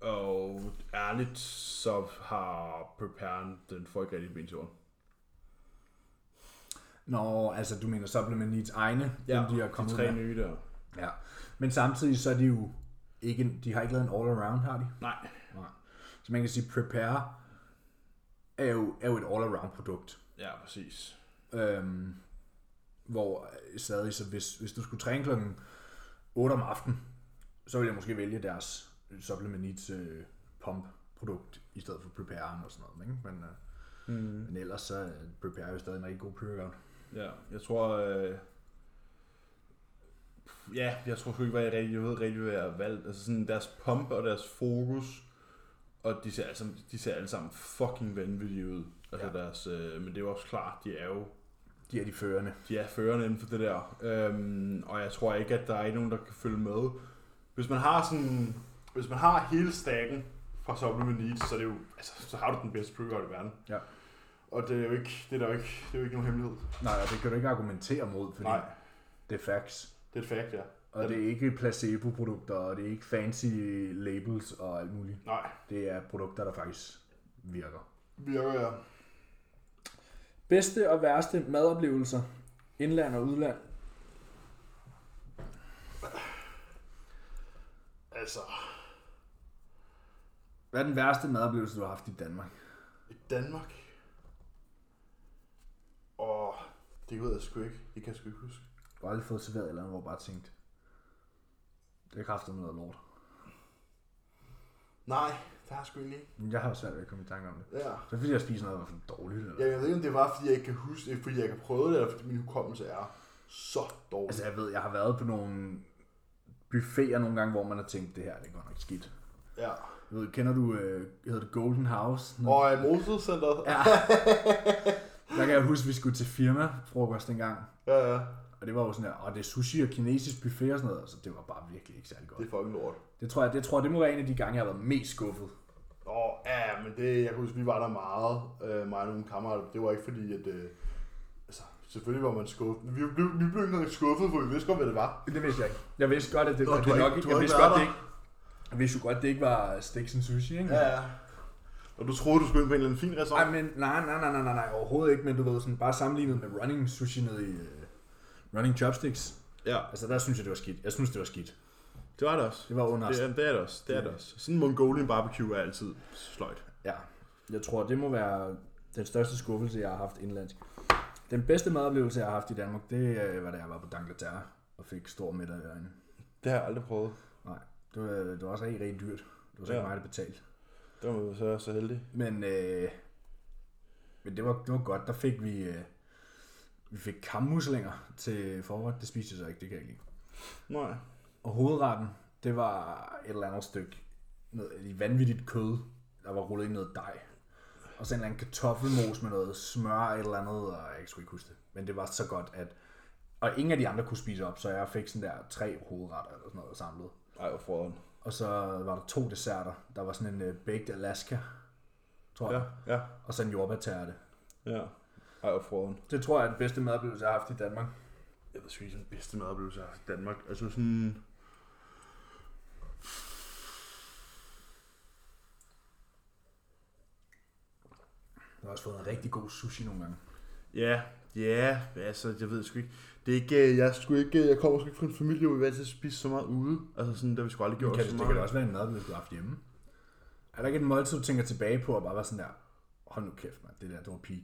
[SPEAKER 2] Og ærligt, så har Preparen, den får ikke rigtig ben til jorden.
[SPEAKER 1] Nå, altså du mener supplement needs egne, ja, dem de er kommet
[SPEAKER 2] de
[SPEAKER 1] ud
[SPEAKER 2] tre
[SPEAKER 1] med.
[SPEAKER 2] nye der.
[SPEAKER 1] Ja. Men samtidig så er de jo ikke, en- de har ikke lavet en all around, har de?
[SPEAKER 2] Nej.
[SPEAKER 1] Nej. Så man kan sige, Prepare er jo, er jo et all around produkt.
[SPEAKER 2] Ja, præcis.
[SPEAKER 1] Øhm, hvor øh, stadig, så hvis, hvis du skulle træne klokken 8 om aftenen, så ville jeg måske vælge deres Supplement Needs øh, pump produkt i stedet for Prepare'en og sådan noget. Ikke? Men, øh,
[SPEAKER 2] Mm.
[SPEAKER 1] men ellers så er Prepare jo stadig en rigtig god pre-workout.
[SPEAKER 2] Ja, jeg tror... Øh... Ja, jeg tror sgu ikke, hvad jeg, rigtig, jeg ved rigtig, hvad jeg har valgt. Altså sådan deres pump og deres fokus, og de ser alle sammen, de ser alle sammen fucking vanvittige ud. Altså
[SPEAKER 1] Ja.
[SPEAKER 2] ja. deres, øh, men det er jo også klart, de er jo
[SPEAKER 1] De er de førende.
[SPEAKER 2] de er førende inden for det der. Øhm, og jeg tror ikke, at der er ikke nogen, der kan følge med. Hvis man har sådan, hvis man har hele stakken fra Supplement Needs, så, er det jo, altså, så har du den bedste pre i verden.
[SPEAKER 1] Ja.
[SPEAKER 2] Og det er jo ikke, det er der jo ikke, det er jo ikke nogen hemmelighed.
[SPEAKER 1] Nej, og det kan du ikke argumentere mod, fordi
[SPEAKER 2] Nej,
[SPEAKER 1] Nej. det er facts.
[SPEAKER 2] det er et fact, ja.
[SPEAKER 1] Og det er ikke placebo-produkter, og det er ikke fancy labels og alt muligt.
[SPEAKER 2] Nej,
[SPEAKER 1] Det er produkter, der faktisk virker.
[SPEAKER 2] virker jeg.
[SPEAKER 1] Bedste og værste madoplevelser, indland og udland.
[SPEAKER 2] Altså,
[SPEAKER 1] Hvad er den værste madoplevelse, du har haft i Danmark?
[SPEAKER 2] i Danmark. Og det ved jeg sgu ikke. Det kan jeg sgu ikke huske.
[SPEAKER 1] Du har aldrig fået serveret et eller andet, hvor jeg bare tænkte, det er kraftigt noget lort.
[SPEAKER 2] Nej, det har jeg sgu egentlig ikke.
[SPEAKER 1] Men jeg har jo svært ved at komme i tanke om det.
[SPEAKER 2] Ja.
[SPEAKER 1] Så er det fordi, jeg spiser noget, der var for dårligt. Eller?
[SPEAKER 2] Ja, Jeg ved ikke, om det var, fordi jeg ikke kan huske det, fordi jeg ikke har prøvet det, eller fordi min hukommelse er så dårlig.
[SPEAKER 1] Altså, jeg ved, jeg har været på nogle buffeter nogle gange, hvor man har tænkt, det her, det går nok skidt.
[SPEAKER 2] Ja.
[SPEAKER 1] Jeg ved, kender du, øh, hedder det Golden House?
[SPEAKER 2] Og i Motorcenteret. Ja.
[SPEAKER 1] Ja. Der kan jeg huske, at vi skulle til firmafrokost en gang.
[SPEAKER 2] ja, ja.
[SPEAKER 1] Og det var jo sådan her, og det er sushi og kinesisk buffet og sådan noget. Så det var bare virkelig ikke særlig
[SPEAKER 2] Det
[SPEAKER 1] godt.
[SPEAKER 2] er fucking lort.
[SPEAKER 1] Det tror jeg, det, tror jeg, det må være en af de gange, jeg har været mest skuffet.
[SPEAKER 2] Åh, ja, men det, jeg kan huske, vi var der meget, øh, mig og nogle kammerater. Det var ikke fordi, at... Øh, altså, selvfølgelig var man skuffet. Vi blev, vi blev ikke engang skuffet, for vi vidste godt, hvad det var.
[SPEAKER 1] Det vidste jeg ikke. Jeg vidste godt, at det,
[SPEAKER 2] Nå,
[SPEAKER 1] Nå,
[SPEAKER 2] du
[SPEAKER 1] det
[SPEAKER 2] har
[SPEAKER 1] nok
[SPEAKER 2] ikke-
[SPEAKER 1] ikke,
[SPEAKER 2] du har
[SPEAKER 1] jeg
[SPEAKER 2] ikke
[SPEAKER 1] vidste
[SPEAKER 2] været
[SPEAKER 1] godt, det
[SPEAKER 2] der.
[SPEAKER 1] ikke. Jeg vidste jo godt, det ikke var steaks and sushi, ikke?
[SPEAKER 2] Ja, ja. Og du troede, du skulle ind på en eller anden fin restaurant?
[SPEAKER 1] Nej, men nej, nej, nej, nej, nej, nej, overhovedet ikke, men du ved, sådan bare sammenlignet med running sushi nede i uh, running chopsticks.
[SPEAKER 2] Ja,
[SPEAKER 1] Altså, der synes jeg, det var skidt. Jeg synes, det var skidt.
[SPEAKER 2] det var det også.
[SPEAKER 1] Det var under.
[SPEAKER 2] Det er, det er det også, det er det også. Sådan en Mongolian barbecue er altid sløjt.
[SPEAKER 1] Ja. Jeg tror, det må være den største skuffelse, jeg har haft indlandsk. Den bedste madoplevelse, jeg har haft i Danmark, det øh, var da jeg var på Dangleterre og fik stor middag i øjnene.
[SPEAKER 2] Det har jeg aldrig prøvet.
[SPEAKER 1] Nej, det var, det var også rigtig, rigtig dyrt. Det var så
[SPEAKER 2] Ja.
[SPEAKER 1] ikke mig, der betalte.
[SPEAKER 2] Det var så, så heldig.
[SPEAKER 1] Men, øh, men det, var, det var godt. Der fik vi, øh, vi fik kammuslinger til forret. Det spiste jeg så ikke, det kan jeg ikke lide.
[SPEAKER 2] Nej.
[SPEAKER 1] Og hovedretten, det var et eller andet stykke noget, et vanvittigt kød, der var rullet i noget dej. Og så en eller anden kartoffelmos med noget smør og et eller andet, og jeg skulle ikke huske det. Men det var så godt, at... Og ingen af de andre kunne spise op, så jeg fik sådan der tre hovedretter eller sådan noget samlet.
[SPEAKER 2] Ej, hvor frøden.
[SPEAKER 1] Og så var der to desserter. Der var sådan en øh, baked Alaska, tror jeg.
[SPEAKER 2] Ja,
[SPEAKER 1] Ja.
[SPEAKER 2] ja,
[SPEAKER 1] Og så en jordbærtærte.
[SPEAKER 2] ja. Ej, hvor frøden.
[SPEAKER 1] Det tror jeg er den bedste madoplevelse, jeg har haft i Danmark.
[SPEAKER 2] Jeg ved sgu ikke, den bedste madoplevelse, jeg har haft i Danmark. Altså sådan...
[SPEAKER 1] Jeg har også fået en rigtig god sushi nogle gange.
[SPEAKER 2] Ja, ja, altså, jeg ved sgu ikke. Det er ikke, øh, jeg, skulle ikke, øh, jeg kommer sgu ikke fra en familie, hvor vi altid spiste så meget ude. Altså sådan, der vi sgu aldrig
[SPEAKER 1] Det
[SPEAKER 2] gjort
[SPEAKER 1] kan,
[SPEAKER 2] så
[SPEAKER 1] det, det
[SPEAKER 2] meget.
[SPEAKER 1] kan da også være en madoplevelse, du har haft hjemme. Er der ikke et måltid, du tænker tilbage på, og bare var sådan der, hold nu kæft, mand, det der, det var peak.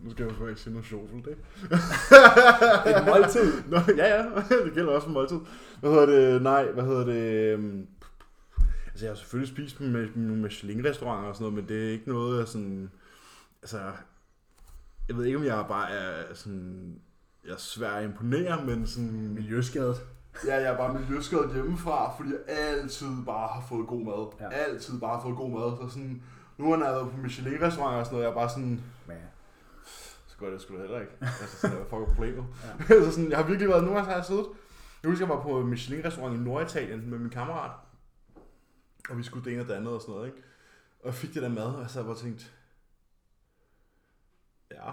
[SPEAKER 2] Nu skal jeg jo ikke sige noget *laughs* sjovt, det.
[SPEAKER 1] Et måltid?
[SPEAKER 2] *laughs* Nå, ja, ja, det gælder også for måltid. Hvad hedder det? Nej, hvad hedder det? Øhm, Altså, jeg har selvfølgelig spist med, med Michelin-restauranter og sådan noget, men det er ikke noget, jeg sådan... Altså, jeg ved ikke, om jeg bare er sådan... Jeg er svær at imponere, men sådan...
[SPEAKER 1] Miljøskadet.
[SPEAKER 2] Ja, jeg er bare miljøskadet hjemmefra, fordi jeg altid bare har fået god mad.
[SPEAKER 1] Ja.
[SPEAKER 2] Altid bare har fået god mad. Så sådan, Nu har jeg været på Michelin-restauranter og sådan noget, jeg er bare sådan,
[SPEAKER 1] Men,
[SPEAKER 2] så godt er det sgu da heller
[SPEAKER 1] *laughs*
[SPEAKER 2] ikke. Altså sådan, hvad fuck er problemet? Ja. *laughs* altså sådan, jeg har virkelig været, nogle gange så har jeg siddet. Jeg husker, jeg var på en Michelin-restaurant i Norditalien med min kammerat. Og vi skulle det ene og det andet og sådan noget, ikke? Og jeg fik det der mad, og jeg sad bare og tænkte,
[SPEAKER 1] *laughs*
[SPEAKER 2] ja,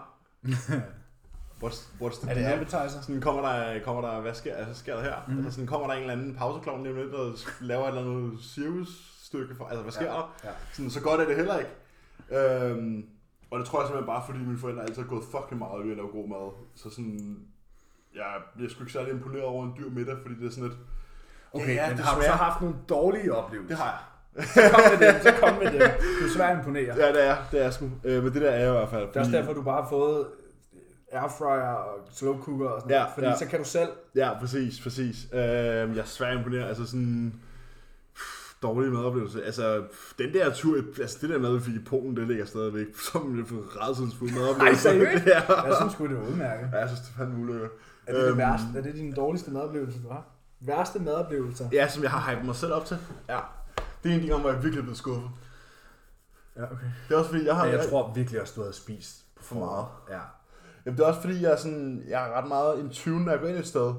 [SPEAKER 2] what's, what's the
[SPEAKER 1] er det
[SPEAKER 2] deal?
[SPEAKER 1] appetizer?
[SPEAKER 2] Sådan kommer der, kommer der, hvad sker, altså, sker der her? Mm.
[SPEAKER 1] Mhm.
[SPEAKER 2] Altså sådan kommer der en eller anden pauseklovn lige om lidt, der laver et eller andet cirkusstykke for, altså hvad sker
[SPEAKER 1] Ja.
[SPEAKER 2] der?
[SPEAKER 1] Ja.
[SPEAKER 2] Sådan, så godt er det heller ikke. Øhm, og det tror jeg simpelthen bare, fordi mine forældre altid har gået fucking meget op i at lave god mad. Så sådan, jeg bliver sgu ikke særlig imponeret over en dyr middag, fordi det er sådan lidt,
[SPEAKER 1] Okay,
[SPEAKER 2] Ja,
[SPEAKER 1] ja, men har du så
[SPEAKER 2] desværre.
[SPEAKER 1] haft nogle dårlige oplevelser?
[SPEAKER 2] det har jeg.
[SPEAKER 1] Så kom med dem, så kom med dem. *laughs* Du er svært imponeret.
[SPEAKER 2] Ja, det er jeg, det er jeg sgu. Øh, men det der er jeg i hvert fald.
[SPEAKER 1] Det er også derfor, du bare har fået øh, airfryer og slow cooker og sådan
[SPEAKER 2] Ja,
[SPEAKER 1] noget, fordi
[SPEAKER 2] ja.
[SPEAKER 1] så kan du selv...
[SPEAKER 2] Ja, præcis, præcis. Øh, jeg er svært imponeret. Altså sådan pff, dårlig madoplevelse. Altså, pff, den der tur, altså det der mad, vi fik i Polen, det ligger stadigvæk *laughs* som en rædselsfuld madoplevelse.
[SPEAKER 1] Ej, seriøst?
[SPEAKER 2] ja.
[SPEAKER 1] Jeg synes sgu, det er udmærket.
[SPEAKER 2] ja, jeg synes, det er fandme ulykker.
[SPEAKER 1] Er det det værste? Er det din dårligste madoplevelse, du har? Værste madoplevelser?
[SPEAKER 2] Ja, som jeg har hypet mig selv op til. Ja. Det er en af de gange, hvor jeg virkelig er blevet skuffet.
[SPEAKER 1] Ja, okay.
[SPEAKER 2] Det er også fordi, jeg har...
[SPEAKER 1] Ja, jeg tror virkelig også, du havde spist
[SPEAKER 2] For meget.
[SPEAKER 1] Ja.
[SPEAKER 2] Jamen, det er også fordi, jeg er, sådan, jeg er ret meget en tyven, når jeg går ind et sted.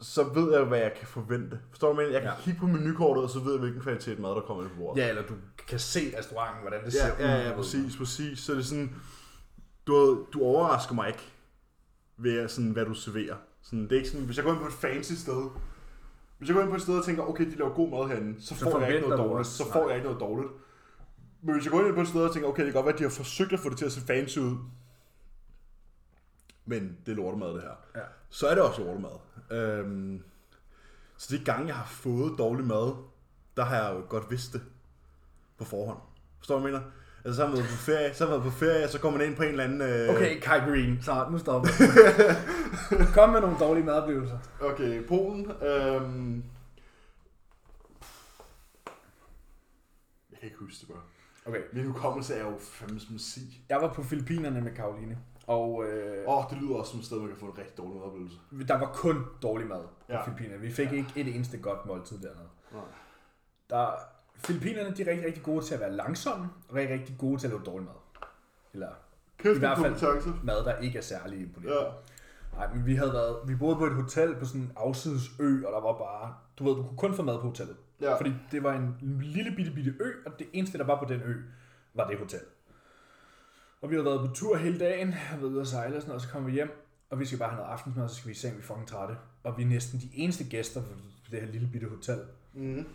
[SPEAKER 2] Så ved jeg, hvad jeg kan forvente. Forstår du, hvad jeg mener? Jeg kan
[SPEAKER 1] Ja.
[SPEAKER 2] ja. kigge på menukortet, og så ved jeg, hvilken kvalitet mad, der kommer ind på bordet.
[SPEAKER 1] Ja, eller du kan se restauranten, hvordan det ser ud.
[SPEAKER 2] Ja, ja, ja, præcis, præcis. Så det er sådan, du, ved, du overrasker mig ikke ved at sådan, hvad du serverer. Sådan, det er ikke sådan, hvis jeg går ind på et fancy sted, hvis jeg går ind på et sted og tænker, okay, de laver god mad herinde, så,
[SPEAKER 1] Så
[SPEAKER 2] får jeg ikke
[SPEAKER 1] forventer
[SPEAKER 2] noget
[SPEAKER 1] du
[SPEAKER 2] dårligt.
[SPEAKER 1] også.
[SPEAKER 2] Så får
[SPEAKER 1] Nej.
[SPEAKER 2] jeg ikke noget dårligt. Men hvis jeg går ind på et sted og tænker, okay, det kan godt være, at de har forsøgt at få det til at se fancy ud, men det er lortemad, det her.
[SPEAKER 1] Ja.
[SPEAKER 2] Så er det også lortemad. Øhm, så de gange, jeg har fået dårlig mad, der har jeg jo godt vidst det på forhånd. Forstår du, hvad jeg mener? Altså, så har man været på ferie, så har man været på ferie, og så kommer man ind på en eller anden... Øh...
[SPEAKER 1] Okay, Kai Green, så nu stopper vi. *laughs* Kom med nogle dårlige madoplevelser.
[SPEAKER 2] Okay, Polen. Øhm... Jeg kan ikke huske det bare.
[SPEAKER 1] Okay.
[SPEAKER 2] Min hukommelse er jo fandme som en si.
[SPEAKER 1] Jeg var på Filippinerne med Karoline, og øh,
[SPEAKER 2] Åh, oh, det lyder også som et sted, man kan få en rigtig dårlig oplevelse.
[SPEAKER 1] der var kun dårlig mad på
[SPEAKER 2] Ja.
[SPEAKER 1] ja. Filippinerne. Vi fik ikke et eneste godt måltid dernede.
[SPEAKER 2] Nej.
[SPEAKER 1] Der, Filippinerne de er rigtig, rigtig gode til at være langsomme, og rigtig, rigtig gode til at lave dårlig mad. Eller
[SPEAKER 2] Kæft,
[SPEAKER 1] I
[SPEAKER 2] I hvert
[SPEAKER 1] hvert fald.
[SPEAKER 2] kompetence.
[SPEAKER 1] mad, der ikke er særlig
[SPEAKER 2] Ja.
[SPEAKER 1] imponerende. Ja. Nej, men vi havde været, vi boede på et hotel på sådan en afsides ø, og der var bare, du ved, du kunne kun få mad på hotellet.
[SPEAKER 2] Ja.
[SPEAKER 1] Fordi det var en lille bitte bitte ø, og det eneste, der var på den ø, var det hotel. Og vi havde været på tur hele dagen, og været ude at sejle og sådan noget, og så kom vi hjem, og vi skal bare have noget aftensmad, og så skal vi i seng, vi er fucking trætte. Og vi er næsten de eneste gæster på det her lille bitte hotel.
[SPEAKER 2] Mm.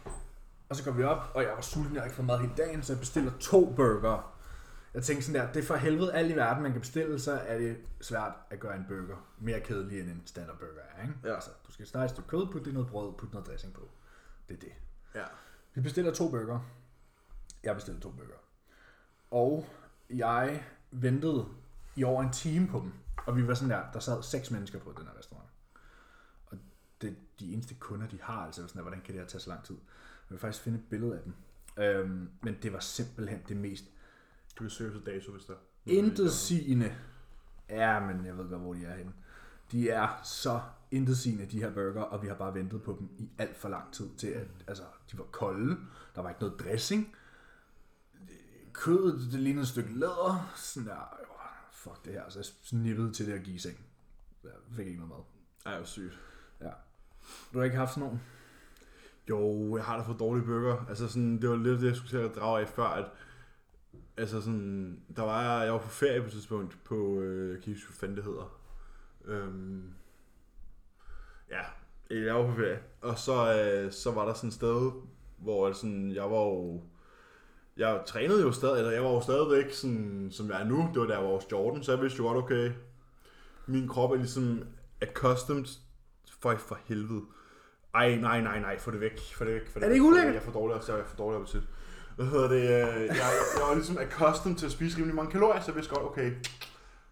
[SPEAKER 1] Og så kom vi op, og jeg var sulten, jeg havde ikke fået mad hele dagen, så jeg bestiller to burger. Jeg tænkte sådan der, det er for helvede alt i verden, man kan bestille, så er det svært at gøre en burger mere kedelig end en standard burger er, ikke?
[SPEAKER 2] Ja.
[SPEAKER 1] Altså, du skal starte et stykke kød, putte det i noget brød, putte noget dressing på. Det er det.
[SPEAKER 2] Ja.
[SPEAKER 1] Vi bestiller to burger. Jeg bestiller to burger. Og jeg ventede i over en time på dem. Og vi var sådan der, der sad seks mennesker på den her restaurant. Og det er de eneste kunder, de har, altså sådan der, hvordan kan det her tage så lang tid? Jeg vil faktisk finde et billede af dem. Øhm, men det var simpelthen det mest
[SPEAKER 2] Du kan søge efter dato, hvis der er.
[SPEAKER 1] intetsigende. Ja, men jeg ved godt, hvor de er henne. De er så intetsigende, de her burger, og vi har bare ventet på dem i alt for lang tid til, at altså, de var kolde, der var ikke noget dressing, kødet, det lignede et stykke læder, sådan der, åh, fuck det her, så jeg snippede til det at give i seng. Jeg fik ikke noget mad.
[SPEAKER 2] Ej, hvor sygt.
[SPEAKER 1] Ja. Du har ikke haft sådan nogen?
[SPEAKER 2] Jo, jeg har da fået dårlige burger. Altså sådan, det var lidt det, jeg skulle til at drage af før, at altså sådan, der var jeg, jeg var på ferie på et tidspunkt på, øh, jeg kan ikke huske, hvad fanden det hedder. Øhm, ja, jeg var på ferie. Og så, øh, så var der sådan et sted, hvor altså, sådan, jeg var jo, jeg trænede jo stadig, eller jeg var jo stadigvæk sådan, som jeg er nu, det var da jeg var hos Jordan, så jeg vidste jo godt, okay, min krop er ligesom accustomed, for, for helvede. Ej, nej, nej, nej, få det væk, få det væk. Få det
[SPEAKER 1] Er det
[SPEAKER 2] væk.
[SPEAKER 1] ikke ulækkert?
[SPEAKER 2] Jeg får dårlig, jeg får dårlig appetit. Hvad hedder det? øh, Jeg, jeg var ligesom accustomed til at spise rimelig mange kalorier, så jeg vidste godt, okay,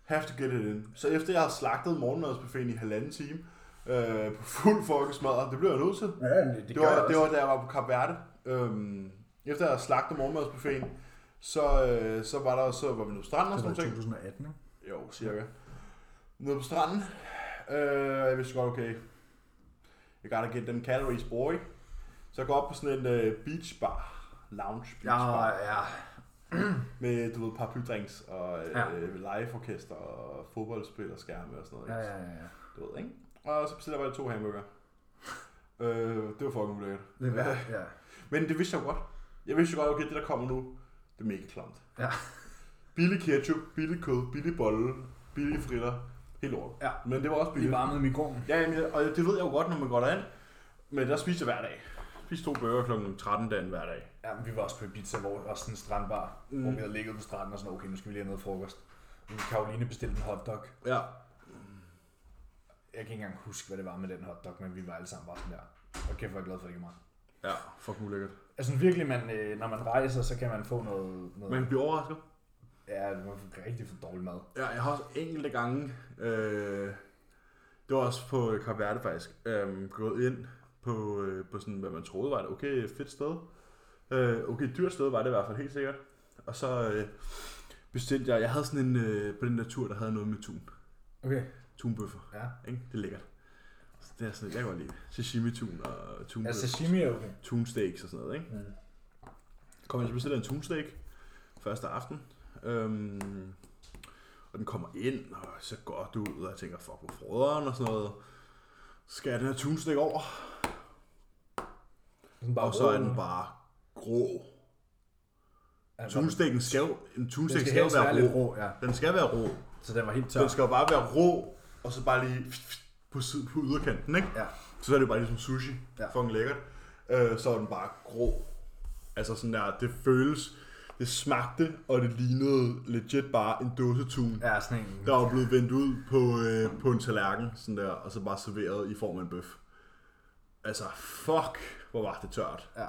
[SPEAKER 2] have to get it in. Så efter jeg har slagtet morgenmadsbuffeten i halvanden time, øh, på fuld fucking smadret, det blev jeg nødt til.
[SPEAKER 1] Ja,
[SPEAKER 2] Det, det, var, det var, da jeg var på Kap Verde. Øhm, efter jeg havde slagtet morgenmadsbuffeten, så, øh, så var der så var vi nede på stranden og
[SPEAKER 1] det var
[SPEAKER 2] sådan
[SPEAKER 1] i
[SPEAKER 2] noget.
[SPEAKER 1] 2018, ikke?
[SPEAKER 2] Jo, cirka. Nede på stranden. Øh, jeg vidste godt, okay, jeg gotta get them calories, boy. Så jeg går op på sådan en øh, beach bar lounge
[SPEAKER 1] Ja,
[SPEAKER 2] beachbar
[SPEAKER 1] ja.
[SPEAKER 2] med, du ved, paraplydrinks og
[SPEAKER 1] Ja.
[SPEAKER 2] øh, liveorkester og fodboldspil og skærme og sådan noget.
[SPEAKER 1] Ja,
[SPEAKER 2] ikke?
[SPEAKER 1] ja, ja, ja.
[SPEAKER 2] Du ved, ikke? Og så bestiller jeg bare to hamburger. *laughs* øh, det var fucking ulækkert.
[SPEAKER 1] Det er værd, ja.
[SPEAKER 2] Men det vidste jeg jo godt. Jeg vidste jo godt, okay, det der kommer nu, det er mega klamt.
[SPEAKER 1] Ja.
[SPEAKER 2] Billig ketchup, billig kød, billig bolle, billige fritter, helt lort.
[SPEAKER 1] Ja.
[SPEAKER 2] Men det var også
[SPEAKER 1] Vi
[SPEAKER 2] billigt.
[SPEAKER 1] varmede i mikroen.
[SPEAKER 2] Ja, jamen, jeg- og det ved jeg jo godt, når man går derind. Men der spiser jeg hver dag. Spiser to bøger kl. 13 dagen hver dag.
[SPEAKER 1] Ja, men vi var også på Ibiza, hvor der var sådan en strandbar, mm. hvor vi havde ligget på stranden og sådan, okay, nu skal vi lige have noget frokost. Men Karoline bestilte en hotdog.
[SPEAKER 2] Ja.
[SPEAKER 1] Jeg kan ikke engang huske, hvad det var med den hotdog, men vi var alle sammen bare sådan der. Og kæft, hvor er jeg glad for, at det ikke er mig.
[SPEAKER 2] Ja, fuck ulækkert.
[SPEAKER 1] Altså virkelig, man, øh, når man rejser, så kan man få noget... noget
[SPEAKER 2] Man bliver overrasket.
[SPEAKER 1] Ja, man får rigtig for dårlig mad.
[SPEAKER 2] Ja, jeg har også enkelte gange, øh, det var også på Kap Verde faktisk, øh, gået ind på, øh, på sådan, hvad man troede var et okay fedt sted. Øh, okay dyrt sted var det i hvert fald helt sikkert. Og så øh, bestilte jeg, jeg havde sådan en, øh, på den der tur, der havde noget med tun.
[SPEAKER 1] Okay.
[SPEAKER 2] Tunbøffer,
[SPEAKER 1] Ja.
[SPEAKER 2] ikke? Det er lækkert. Så det er sådan, jeg kan godt lide det. sashimi-tun og tunbøffer.
[SPEAKER 1] Ja, sashimi er okay.
[SPEAKER 2] tunsteaks og sådan noget, ikke?
[SPEAKER 1] Mm.
[SPEAKER 2] Kom jeg så bestiller en tunsteak første aften. Øhm, og den kommer ind, og så går du ud, og jeg tænker, fuck, hvor froderen og sådan noget. Så skal jeg den her tunsteak over,
[SPEAKER 1] Sådan
[SPEAKER 2] og så er den bare grå.
[SPEAKER 1] Altså,
[SPEAKER 2] Tunsteken skal, jo- en
[SPEAKER 1] den
[SPEAKER 2] tunsteak
[SPEAKER 1] skal
[SPEAKER 2] skal, jo
[SPEAKER 1] helst være
[SPEAKER 2] være
[SPEAKER 1] lidt
[SPEAKER 2] rå.
[SPEAKER 1] rå, ja.
[SPEAKER 2] Den skal være rå.
[SPEAKER 1] Så den var helt
[SPEAKER 2] Den
[SPEAKER 1] tør.
[SPEAKER 2] skal jo bare være rå, og så bare lige på, side, på yderkanten, ikke?
[SPEAKER 1] Ja.
[SPEAKER 2] Så er det jo bare ligesom sushi.
[SPEAKER 1] Ja.
[SPEAKER 2] Ja. Fucking lækkert. Øh, så er den bare grå. Altså sådan der, det føles, det smagte, og det lignede legit bare en dåse tun, ja.
[SPEAKER 1] Ja, sådan en...
[SPEAKER 2] der var blevet vendt ud på, øh, på en tallerken, sådan der, og så bare serveret i form af en bøf. Altså, fuck, hvor var det tørt.
[SPEAKER 1] Ja.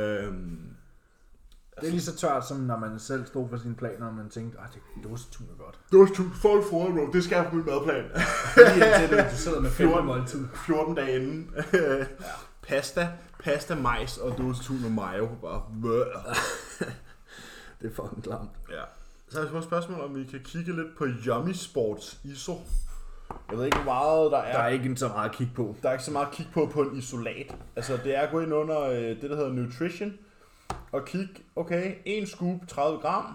[SPEAKER 2] Øhm,
[SPEAKER 1] Det er lige så tørt, som når man selv stod for sine planer, og man tænkte, at det dåsetun er *laughs* godt.
[SPEAKER 2] dåse tun, full froden, bro, det skal jeg på min *laughs* madplan.
[SPEAKER 1] Lige indtil du- du sidder med fem
[SPEAKER 2] 14,
[SPEAKER 1] måltid.
[SPEAKER 2] 14 dage inden. ja. *laughs* Pasta, pasta, majs og dåsetun og mayo. Bare, bøh.
[SPEAKER 1] Det er fucking klamt.
[SPEAKER 2] Ja. Så har jeg et spørgsmål, om vi kan kigge lidt på Yummy Sports ISO. Jeg ved ikke, hvor meget der er.
[SPEAKER 1] Der er ikke så meget at kigge på.
[SPEAKER 2] der er ikke så meget at kigge på på en isolat. Altså, det er at gå ind under øh, det, der hedder Nutrition, og kigge, okay, en scoop, 30 gram.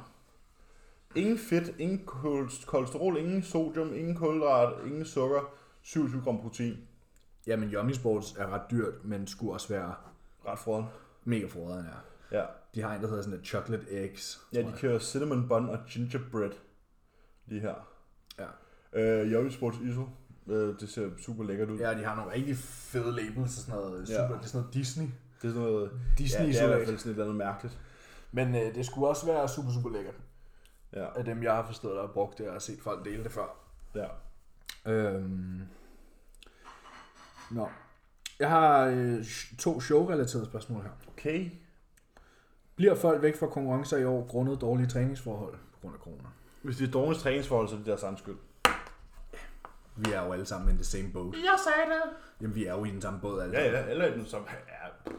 [SPEAKER 2] Ingen fedt, ingen kol- kolesterol, ingen sodium, ingen kulhydrat, ingen sukker, 27 gram protein.
[SPEAKER 1] Jamen, Yummy Sports er ret dyrt, men skulle også være
[SPEAKER 2] Ret foran.
[SPEAKER 1] mega froderen er.
[SPEAKER 2] Ja.
[SPEAKER 1] De har en, der hedder sådan et chocolate eggs.
[SPEAKER 2] Ja, de kører cinnamon bun og gingerbread lige her.
[SPEAKER 1] Ja.
[SPEAKER 2] Øh, Yummy Sports ISO, øh, det ser super lækkert ud.
[SPEAKER 1] ja, de har nogle rigtig fede labels og sådan noget. Super,
[SPEAKER 2] Ja.
[SPEAKER 1] Det er sådan noget Disney.
[SPEAKER 2] Det er sådan noget...
[SPEAKER 1] Disney
[SPEAKER 2] ja, det er i hvert
[SPEAKER 1] isolat.
[SPEAKER 2] fald sådan et eller andet mærkeligt.
[SPEAKER 1] men øh, det skulle også være super, super lækkert.
[SPEAKER 2] Ja,
[SPEAKER 1] Af dem, jeg har forstået, der har brugt det og set folk dele det før.
[SPEAKER 2] ja.
[SPEAKER 1] Øhm. Nå. Jeg har øh, sh- to showrelaterede spørgsmål her.
[SPEAKER 2] Okay.
[SPEAKER 1] Bliver folk væk fra konkurrencer i år grundet dårlige træningsforhold på grund af corona?
[SPEAKER 2] Hvis det er dårligt træningsforhold, så er det deres egen skyld.
[SPEAKER 1] Vi er jo alle sammen in the same boat.
[SPEAKER 2] Jeg sagde det.
[SPEAKER 1] Jamen, vi er jo i den samme båd alle
[SPEAKER 2] Ja,
[SPEAKER 1] sammen.
[SPEAKER 2] ja, eller den som... Ja. Det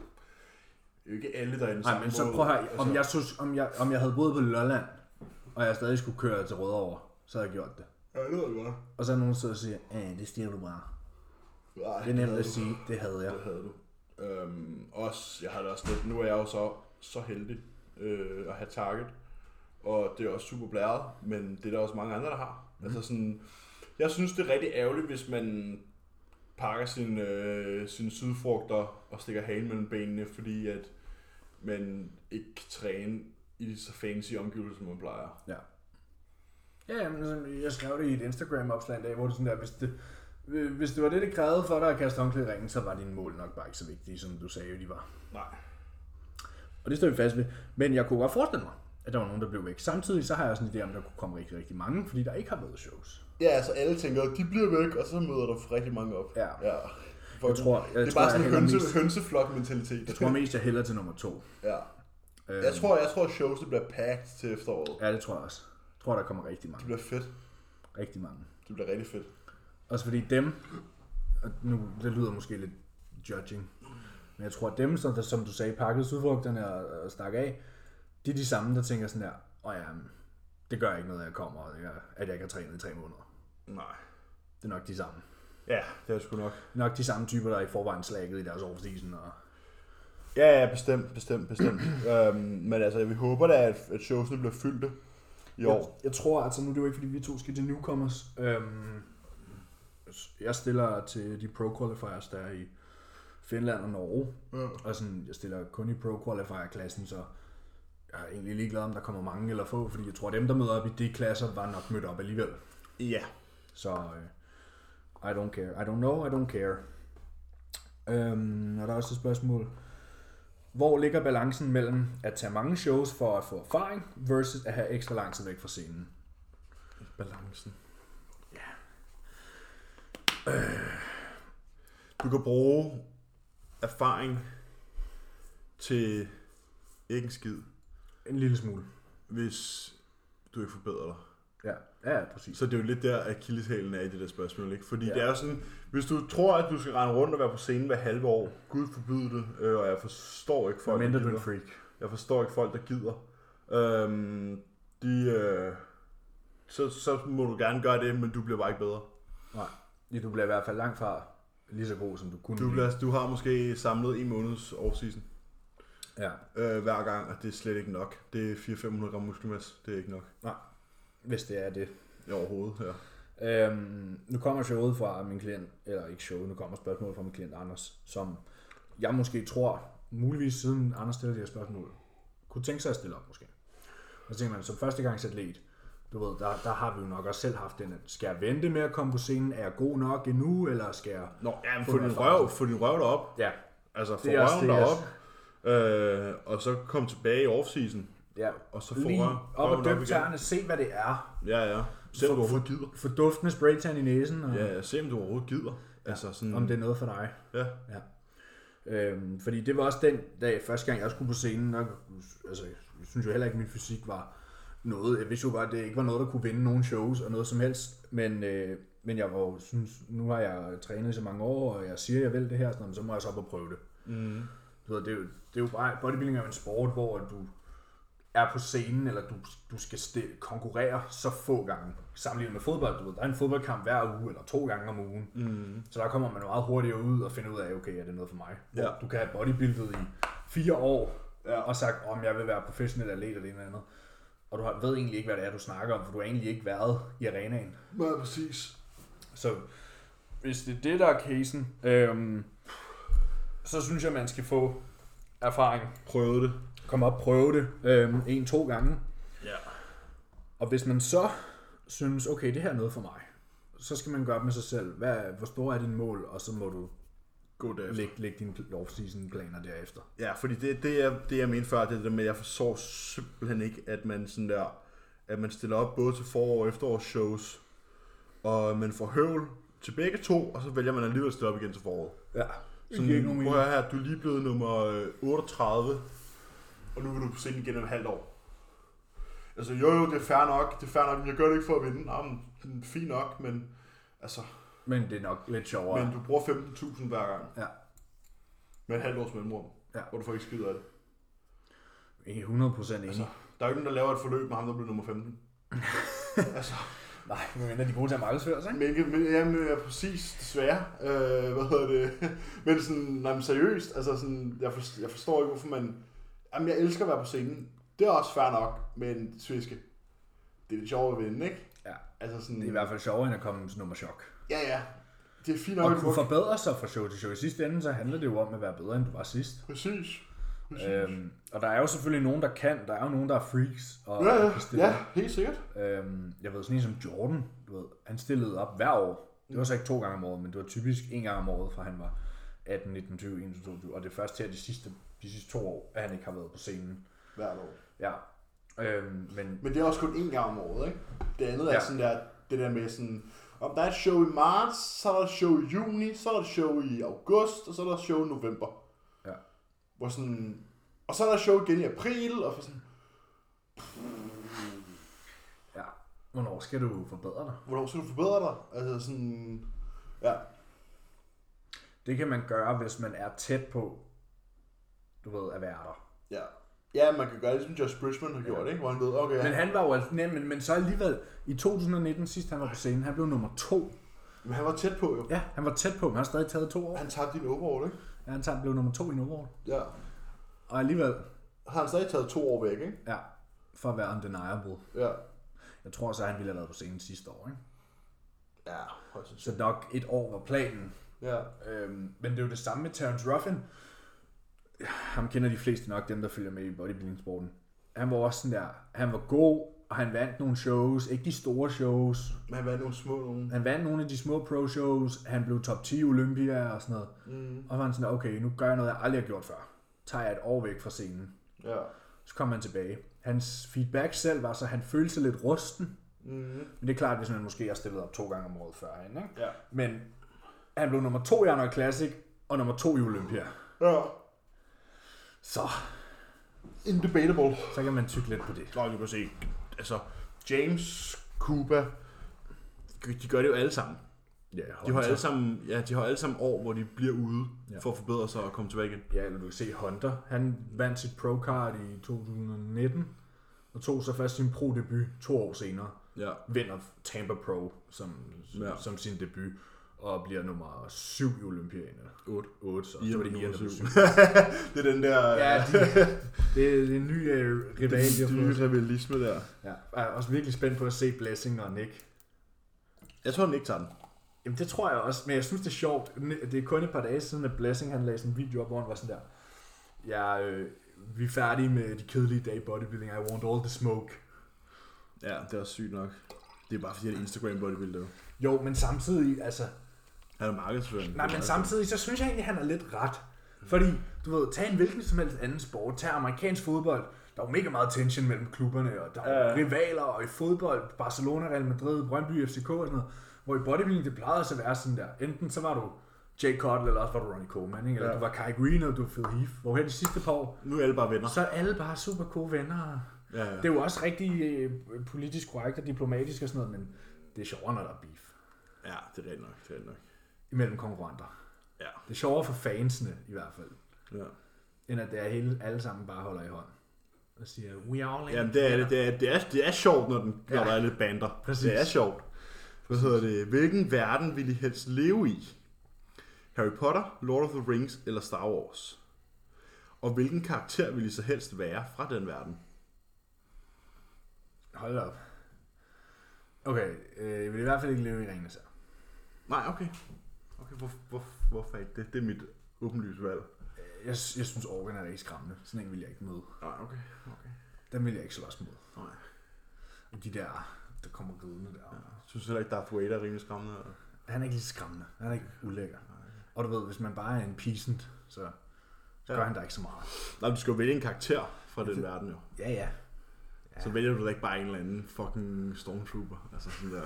[SPEAKER 2] er jo ikke alle, der er i den
[SPEAKER 1] Nej,
[SPEAKER 2] samme
[SPEAKER 1] men så
[SPEAKER 2] båd.
[SPEAKER 1] prøv at høre, om
[SPEAKER 2] Altså,
[SPEAKER 1] jeg, synes, om, jeg, om jeg havde boet på Lolland, og jeg stadig skulle køre til Rødovre, så havde jeg gjort det.
[SPEAKER 2] Ja, det ved jeg godt.
[SPEAKER 1] Og så er nogen sidder og siger, at det stiger du bare.
[SPEAKER 2] Ej,
[SPEAKER 1] Det er nemt
[SPEAKER 2] havde
[SPEAKER 1] at
[SPEAKER 2] du.
[SPEAKER 1] sige, det havde jeg.
[SPEAKER 2] Det havde du. Øhm, også, jeg har det også lidt. Nu er jeg jo så, så heldig øh, at have Target. Og det er også super blæret, men det er der også mange andre, der har. Mm.
[SPEAKER 1] Mhm.
[SPEAKER 2] Altså sådan, jeg synes, det er rigtig ærgerligt, hvis man pakker sine, øh, sine sydfrugter og stikker hagen mellem benene, fordi at man ikke kan træne i så fancy omgivelser, som man plejer.
[SPEAKER 1] Ja. Ja, jamen, altså, jeg skrev det i et Instagram-opslag en dag, hvor det sådan der, hvis det, hvis det var det, det krævede for dig at kaste håndklæde i ringen, så var dine mål nok bare ikke så vigtige, som du sagde, de var.
[SPEAKER 2] Nej.
[SPEAKER 1] Og det står vi fast ved. Men jeg kunne godt forestille mig, at der var nogen, der blev væk. Samtidig så har jeg sådan en idé om, at der kunne komme rigtig, rigtig mange, fordi der ikke har været shows.
[SPEAKER 2] Ja, altså alle tænker, de bliver væk, og så møder der rigtig mange op.
[SPEAKER 1] Ja.
[SPEAKER 2] ja.
[SPEAKER 1] Jeg tror- jeg
[SPEAKER 2] det er
[SPEAKER 1] tror,
[SPEAKER 2] bare
[SPEAKER 1] jeg
[SPEAKER 2] sådan en
[SPEAKER 1] hælder
[SPEAKER 2] hønse,
[SPEAKER 1] mest-
[SPEAKER 2] hønseflok-mentalitet.
[SPEAKER 1] Jeg tror mest, jeg hælder til nummer to.
[SPEAKER 2] Ja.
[SPEAKER 1] Øhm.
[SPEAKER 2] Jeg tror, jeg tror at shows det bliver packed til efteråret.
[SPEAKER 1] Ja, det tror jeg også. Jeg tror, der kommer rigtig
[SPEAKER 2] Det
[SPEAKER 1] mange.
[SPEAKER 2] bliver fedt.
[SPEAKER 1] Rigtig mange.
[SPEAKER 2] Det bliver rigtig fedt.
[SPEAKER 1] Også fordi dem, og nu det lyder måske lidt judging, men jeg tror, at dem, som, som du sagde, pakkede sydfrugterne og, og stak af, det er de samme, der tænker sådan der, åh ja, det gør ikke noget, at jeg kommer, og jeg, at jeg ikke har trænet i tre måneder.
[SPEAKER 2] Nej.
[SPEAKER 1] Det er nok de samme.
[SPEAKER 2] Ja, det er sgu nok.
[SPEAKER 1] Nok de samme typer, der i forvejen slækket i deres overseason. Og...
[SPEAKER 2] Ja, ja, bestemt, bestemt, bestemt. *clears throat* øhm, men altså, vi håber da, at, at showsene bliver fyldte i år.
[SPEAKER 1] Jeg, jeg tror, altså nu er det jo ikke, fordi vi to skal til newcomers. Øhm, jeg stiller til de pro-qualifiers, der er i Finland og Norge.
[SPEAKER 2] Ja.
[SPEAKER 1] Og sådan, jeg stiller kun i pro-qualifier-klassen, så jeg er egentlig ligeglad, om der kommer mange eller få, fordi jeg tror, dem, der møder op i de klasser, var nok mødt op alligevel.
[SPEAKER 2] Ja.
[SPEAKER 1] Så øh, I don't care. I don't know, I don't care. Øhm, og der er også et spørgsmål. Hvor ligger balancen mellem at tage mange shows for at få erfaring, versus at have ekstra lang tid væk fra scenen?
[SPEAKER 2] Balancen. Ja. Øh. Du kan bruge erfaring til ikke en skid,
[SPEAKER 1] En lille smule.
[SPEAKER 2] hvis du ikke forbedrer dig.
[SPEAKER 1] Ja, ja, præcis.
[SPEAKER 2] Så det er jo lidt der, at kildeshælen er i det der spørgsmål, ikke? Fordi
[SPEAKER 1] Ja.
[SPEAKER 2] ja. det er jo sådan, hvis du tror, at du skal rende rundt og være på scenen hver halve år, Gud forbyde det, øh, og jeg forstår ikke folk,
[SPEAKER 1] Mindre
[SPEAKER 2] der
[SPEAKER 1] du er en
[SPEAKER 2] gider.
[SPEAKER 1] freak.
[SPEAKER 2] Jeg forstår ikke folk, der gider. Øhm, de, øh, så, så må du gerne gøre det, men du bliver bare ikke bedre.
[SPEAKER 1] Nej, Ja, du bliver i hvert fald langt fra lige så god, som du kunne
[SPEAKER 2] Du, bliver, du har måske samlet en måneds off-season
[SPEAKER 1] Ja.
[SPEAKER 2] øh, hver gang, og det er slet ikke nok. Det er 400-500 gram muskelmasse, det er ikke nok
[SPEAKER 1] Hvis det er det.
[SPEAKER 2] i overhovedet. Ja.
[SPEAKER 1] Øhm, nu kommer showet fra min klient, eller ikke showet, nu kommer spørgsmålet fra min klient Anders, som jeg måske tror, muligvis siden Anders stiller det her spørgsmål, kunne tænke sig at stille op måske. Og så tænker man, som første gang atlet, du ved, der, der har vi jo nok også selv haft den, at skal jeg vente med at komme på scenen, er jeg god nok endnu, eller skal jeg...
[SPEAKER 2] Nå, ja, men
[SPEAKER 1] få
[SPEAKER 2] få
[SPEAKER 1] noget
[SPEAKER 2] din, røv, få din røv derop.
[SPEAKER 1] Ja,
[SPEAKER 2] Altså, få
[SPEAKER 1] Det er også
[SPEAKER 2] røven
[SPEAKER 1] det, jeg-
[SPEAKER 2] derop, øh, og så kom tilbage i off-season,
[SPEAKER 1] ja.
[SPEAKER 2] og så få
[SPEAKER 1] Lige
[SPEAKER 2] røven,
[SPEAKER 1] op og
[SPEAKER 2] røven
[SPEAKER 1] døb tæerne, se hvad det er.
[SPEAKER 2] Ja, ja. Se, om du overhovedet gider.
[SPEAKER 1] Få duften af spraytan i næsen, og
[SPEAKER 2] Ja, ja. Se, om du overhovedet gider. Altså sådan,
[SPEAKER 1] om det er noget for dig.
[SPEAKER 2] ja.
[SPEAKER 1] Ja. Øhm, fordi det var også den dag, første gang jeg skulle på scenen, og, altså, jeg synes jo heller ikke, at min fysik var noget. Jeg vidste jo godt, at det ikke var noget, der kunne vinde nogen shows og noget som helst. Men, øh, men jeg var jo, synes, nu har jeg trænet i så mange år, og jeg siger, at jeg vil det her, sådan, så må jeg så op og prøve det.
[SPEAKER 2] Mm.
[SPEAKER 1] Du ved, det, er jo, det er jo bare, bodybuilding er jo en sport, hvor du er på scenen, eller du, du skal sti- konkurrere så få gange. Sammenlignet med fodbold, du ved, der er en fodboldkamp hver uge, eller to gange om ugen.
[SPEAKER 2] Mm.
[SPEAKER 1] Så der kommer man meget hurtigere ud og finder ud af, okay, er det noget for mig? Hvor
[SPEAKER 2] Ja.
[SPEAKER 1] Du kan have bodybuildet i fire år, ja. og sagt, om jeg vil være professionel atlet eller det ene eller andet. Og du har- ved egentlig ikke, hvad det er, du snakker om, for du har egentlig ikke været i arenaen.
[SPEAKER 2] Ja, præcis.
[SPEAKER 1] Så hvis det er det, der er casen, øhm, så synes jeg, man skal få erfaring.
[SPEAKER 2] Prøvede det.
[SPEAKER 1] Kom op, prøve det øhm, en-to gange.
[SPEAKER 2] Ja.
[SPEAKER 1] Og hvis man så synes, okay, det her er noget for mig, så skal man gøre op med sig selv. Hvad, hvor store er dine mål? Og så må du
[SPEAKER 2] God dag.
[SPEAKER 1] læg, læg dine pl- off-season planer derefter.
[SPEAKER 2] Ja, fordi det, det, er, det jeg mente før, det er det der med, at jeg forstår simpelthen ikke, at man sådan der, at man stiller op både til forår og efterårs shows, og man får høvl til begge to, og så vælger man alligevel at stille op igen til foråret.
[SPEAKER 1] Ja.
[SPEAKER 2] Sådan, prøv at høre her, du er lige blevet nummer øh, 38, og nu vil du på scenen igen om et halvt år. Altså jo, jo, det er fair nok, det er fair nok, men jeg gør det ikke for at vinde. Nå, men, fint nok, men, altså,
[SPEAKER 1] Men det er nok lidt sjovere.
[SPEAKER 2] men du bruger 15.000 hver gang
[SPEAKER 1] Ja.
[SPEAKER 2] med et halvt års mellemrum,
[SPEAKER 1] Ja.
[SPEAKER 2] hvor du får ikke skid af det.
[SPEAKER 1] Ikke 100% enig.
[SPEAKER 2] Altså,
[SPEAKER 1] Altså.
[SPEAKER 2] der er jo ikke nogen, der laver et forløb med ham, der blev nummer 15. altså,
[SPEAKER 1] Nej, men er de gode til at markedsføre sig, ikke?
[SPEAKER 2] men, ikke- men ja, men, ja, præcis, desværre. Øh, hvad hedder det? *laughs* men sådan, nej, men seriøst, altså sådan, jeg, forstår, jeg forstår ikke, hvorfor man... Jamen, jeg elsker at være på scenen. Det er også fair nok, men sviske, det er lidt sjovt at vinde, ikke?
[SPEAKER 1] Ja.
[SPEAKER 2] Altså sådan,
[SPEAKER 1] Det er i hvert fald sjovere, end at komme som nummer chok.
[SPEAKER 2] ja, ja. Det er fint
[SPEAKER 1] Og
[SPEAKER 2] nok. at
[SPEAKER 1] kunne
[SPEAKER 2] få-
[SPEAKER 1] forbedre sig fra show til show. I sidste ende, så handler det jo om at være bedre, end du var sidst.
[SPEAKER 2] Præcis. Præcis.
[SPEAKER 1] Øhm, og der er jo selvfølgelig nogen, der kan. Der er jo nogen, der er freaks. Og
[SPEAKER 2] ja, ja,
[SPEAKER 1] kan stille
[SPEAKER 2] ja,
[SPEAKER 1] op.
[SPEAKER 2] helt sikkert.
[SPEAKER 1] Øhm, jeg ved, sådan en som Jordan, du ved, han stillede op hver år. Det var så ikke to gange om året, men det var typisk en gang om året, fra han var 18, 19, 20, 21, 22. Og det er først her de sidste, de sidste to år, at han ikke har været på scenen.
[SPEAKER 2] Hvert år.
[SPEAKER 1] Ja. Øhm, men
[SPEAKER 2] Men det er også kun én gang om året, ikke? Det andet er
[SPEAKER 1] Ja.
[SPEAKER 2] ja. sådan der, det der med sådan, om der er et show i marts, så er der et show i juni, så er der et show i august, og så er der et show i november.
[SPEAKER 1] Ja.
[SPEAKER 2] Hvor sådan, og så er der et show igen i april, og for sådan,
[SPEAKER 1] Ja. Hvornår skal du forbedre dig?
[SPEAKER 2] hvornår skal du forbedre dig? Altså sådan, ja,
[SPEAKER 1] Det kan man gøre, hvis man er tæt på, du ved, at være der.
[SPEAKER 2] ja. Ja, man kan gøre det, som Josh Bridgman har gjort, ikke? Hvor han ved, okay,
[SPEAKER 1] Men
[SPEAKER 2] men,
[SPEAKER 1] han var jo altså, nej, men, men så alligevel, i 2019, sidst han var på scenen, han blev nummer to.
[SPEAKER 2] men han var tæt på jo.
[SPEAKER 1] Ja, han var tæt på, men han har stadig taget to år.
[SPEAKER 2] Han tabte din overall, ikke?
[SPEAKER 1] Ja, han tager, blev nummer to i Nordvård.
[SPEAKER 2] Ja.
[SPEAKER 1] Og alligevel,
[SPEAKER 2] Har han stadig taget to år væk, ikke?
[SPEAKER 1] ja, for at være undeniable.
[SPEAKER 2] Ja.
[SPEAKER 1] Jeg tror så, han ville have været på scenen sidste år, ikke?
[SPEAKER 2] Ja, højst sandsynligt.
[SPEAKER 1] Så nok et år var planen.
[SPEAKER 2] Ja.
[SPEAKER 1] Øhm, men det er jo det samme med Terence Ruffin. Ham kender de fleste nok, dem der følger med i bodybuilding-sporten. Han var også sådan der, han var god, og han vandt nogle shows, ikke de store shows.
[SPEAKER 2] Men han vandt nogle små nogle.
[SPEAKER 1] Han vandt nogle af de små pro-shows, han blev top 10 i Olympia og sådan noget.
[SPEAKER 2] Mm.
[SPEAKER 1] Og var han sådan, der, okay, nu gør jeg noget, jeg aldrig har gjort før. Tager jeg et år væk fra scenen.
[SPEAKER 2] Ja.
[SPEAKER 1] Så kom han tilbage. Hans feedback selv var så, at han følte sig lidt rusten.
[SPEAKER 2] Mm.
[SPEAKER 1] Men det er klart, hvis man måske har stillet op to gange om året før. Ikke?
[SPEAKER 2] Ja.
[SPEAKER 1] Men han blev nummer to i Arnold Classic, og nummer to i Olympia.
[SPEAKER 2] Ja.
[SPEAKER 1] Så,
[SPEAKER 2] Indebatable.
[SPEAKER 1] så kan man tykke lidt på det.
[SPEAKER 2] Nå, du kan se, altså, James, Cuba, de gør det jo alle sammen.
[SPEAKER 1] Ja,
[SPEAKER 2] De har alle sammen, ja, de har alle sammen år, hvor de bliver ude
[SPEAKER 1] Ja.
[SPEAKER 2] ja. for at forbedre sig og komme tilbage igen.
[SPEAKER 1] Ja, eller du kan se Hunter. Han vandt sit pro-card i 2019, og tog så først sin pro-debut to år senere.
[SPEAKER 2] Ja.
[SPEAKER 1] Vinder Tampa Pro som, ja.
[SPEAKER 2] Ja.
[SPEAKER 1] som sin debut, og bliver nummer 7 i Olympierne. 8. 8, så,
[SPEAKER 2] I
[SPEAKER 1] så
[SPEAKER 2] er
[SPEAKER 1] var det
[SPEAKER 2] nummer
[SPEAKER 1] Ian, der blev
[SPEAKER 2] syv.
[SPEAKER 1] syv.
[SPEAKER 2] *laughs* Det er den der øh,
[SPEAKER 1] Ja, de, *laughs* det, det er en ny uh, rival, de har fået.
[SPEAKER 2] rivalisme der.
[SPEAKER 1] Ja. Jeg er også virkelig spændt på at se Blessing og Nick.
[SPEAKER 2] Jeg tror, den ikke tager den.
[SPEAKER 1] Jamen det tror jeg også, men jeg synes det er sjovt. Det er kun et par dage siden, at Blessing han lagde sådan en video op, hvor han var sådan der. Ja, øh, vi er færdige med de kedelige dage i bodybuilding. I want all the smoke.
[SPEAKER 2] Ja, det er også sygt nok. Det er bare fordi, han er Instagram bodybuilder.
[SPEAKER 1] Jo, men samtidig, altså...
[SPEAKER 2] Han er markedsføring.
[SPEAKER 1] Nej, men samtidig, så synes jeg egentlig, han er lidt ret. Fordi, du ved, tag en hvilken som helst anden sport, tag amerikansk fodbold, der er jo mega meget tension mellem klubberne, og der er
[SPEAKER 2] Ja.
[SPEAKER 1] jo rivaler, og i fodbold, Barcelona, Real Madrid, Brøndby, FCK og sådan noget, hvor i bodybuilding, det plejede også at være sådan der, enten så var du Jay Cutler, eller også var du Ronnie Coleman, ikke? eller
[SPEAKER 2] Ja.
[SPEAKER 1] du var Kai Green, eller du var Phil Heath, hvor her de sidste par år,
[SPEAKER 2] Nu er alle bare venner.
[SPEAKER 1] så er alle bare super gode venner.
[SPEAKER 2] Ja, ja.
[SPEAKER 1] Det er jo også rigtig øh, politisk korrekt og diplomatisk og sådan noget, men det er sjovere, når der er beef
[SPEAKER 2] ja, det er rigtigt nok. Det er rigtigt nok.
[SPEAKER 1] imellem konkurrenter.
[SPEAKER 2] Ja.
[SPEAKER 1] Det er sjovere for fansene i hvert fald,
[SPEAKER 2] ja.
[SPEAKER 1] end at det er hele, alle sammen bare holder i hånd og siger, we are all in.
[SPEAKER 2] Jamen, det er det. Det er, det er, det er sjovt, når, den, når
[SPEAKER 1] Ja.
[SPEAKER 2] der er lidt bander.
[SPEAKER 1] Præcis.
[SPEAKER 2] Det er sjovt. Hvad hedder det? Hvilken verden vil I helst leve i? Harry Potter, Lord of the Rings eller Star Wars? Og hvilken karakter vil I så helst være fra den verden?
[SPEAKER 1] Hold da op. Okay, øh, jeg vil i hvert fald ikke leve i altså. ringene så.
[SPEAKER 2] Nej, okay. Okay, hvor, hvor, hvorfor ikke det? Det er mit åbenlyse valg.
[SPEAKER 1] Jeg, jeg synes, Organ er rigtig skræmmende. Sådan en vil jeg ikke møde.
[SPEAKER 2] Nej, okay. okay.
[SPEAKER 1] Den vil jeg ikke slås mod.
[SPEAKER 2] Nej.
[SPEAKER 1] Og De der, der kommer ridende der. Ja.
[SPEAKER 2] Jeg synes heller ikke, Darth Vader er rimelig skræmmende. eller?
[SPEAKER 1] Han er ikke lige så skræmmende. Han er ikke ulækker. Og du ved, hvis man bare er en peasant, så, så
[SPEAKER 2] Ja.
[SPEAKER 1] gør han der ikke så meget.
[SPEAKER 2] Nej, du skal jo vælge en karakter fra den verden, jo.
[SPEAKER 1] Ja, ja.
[SPEAKER 2] Ja. Så vælger du da ikke bare en eller anden fucking stormtrooper. Altså sådan der.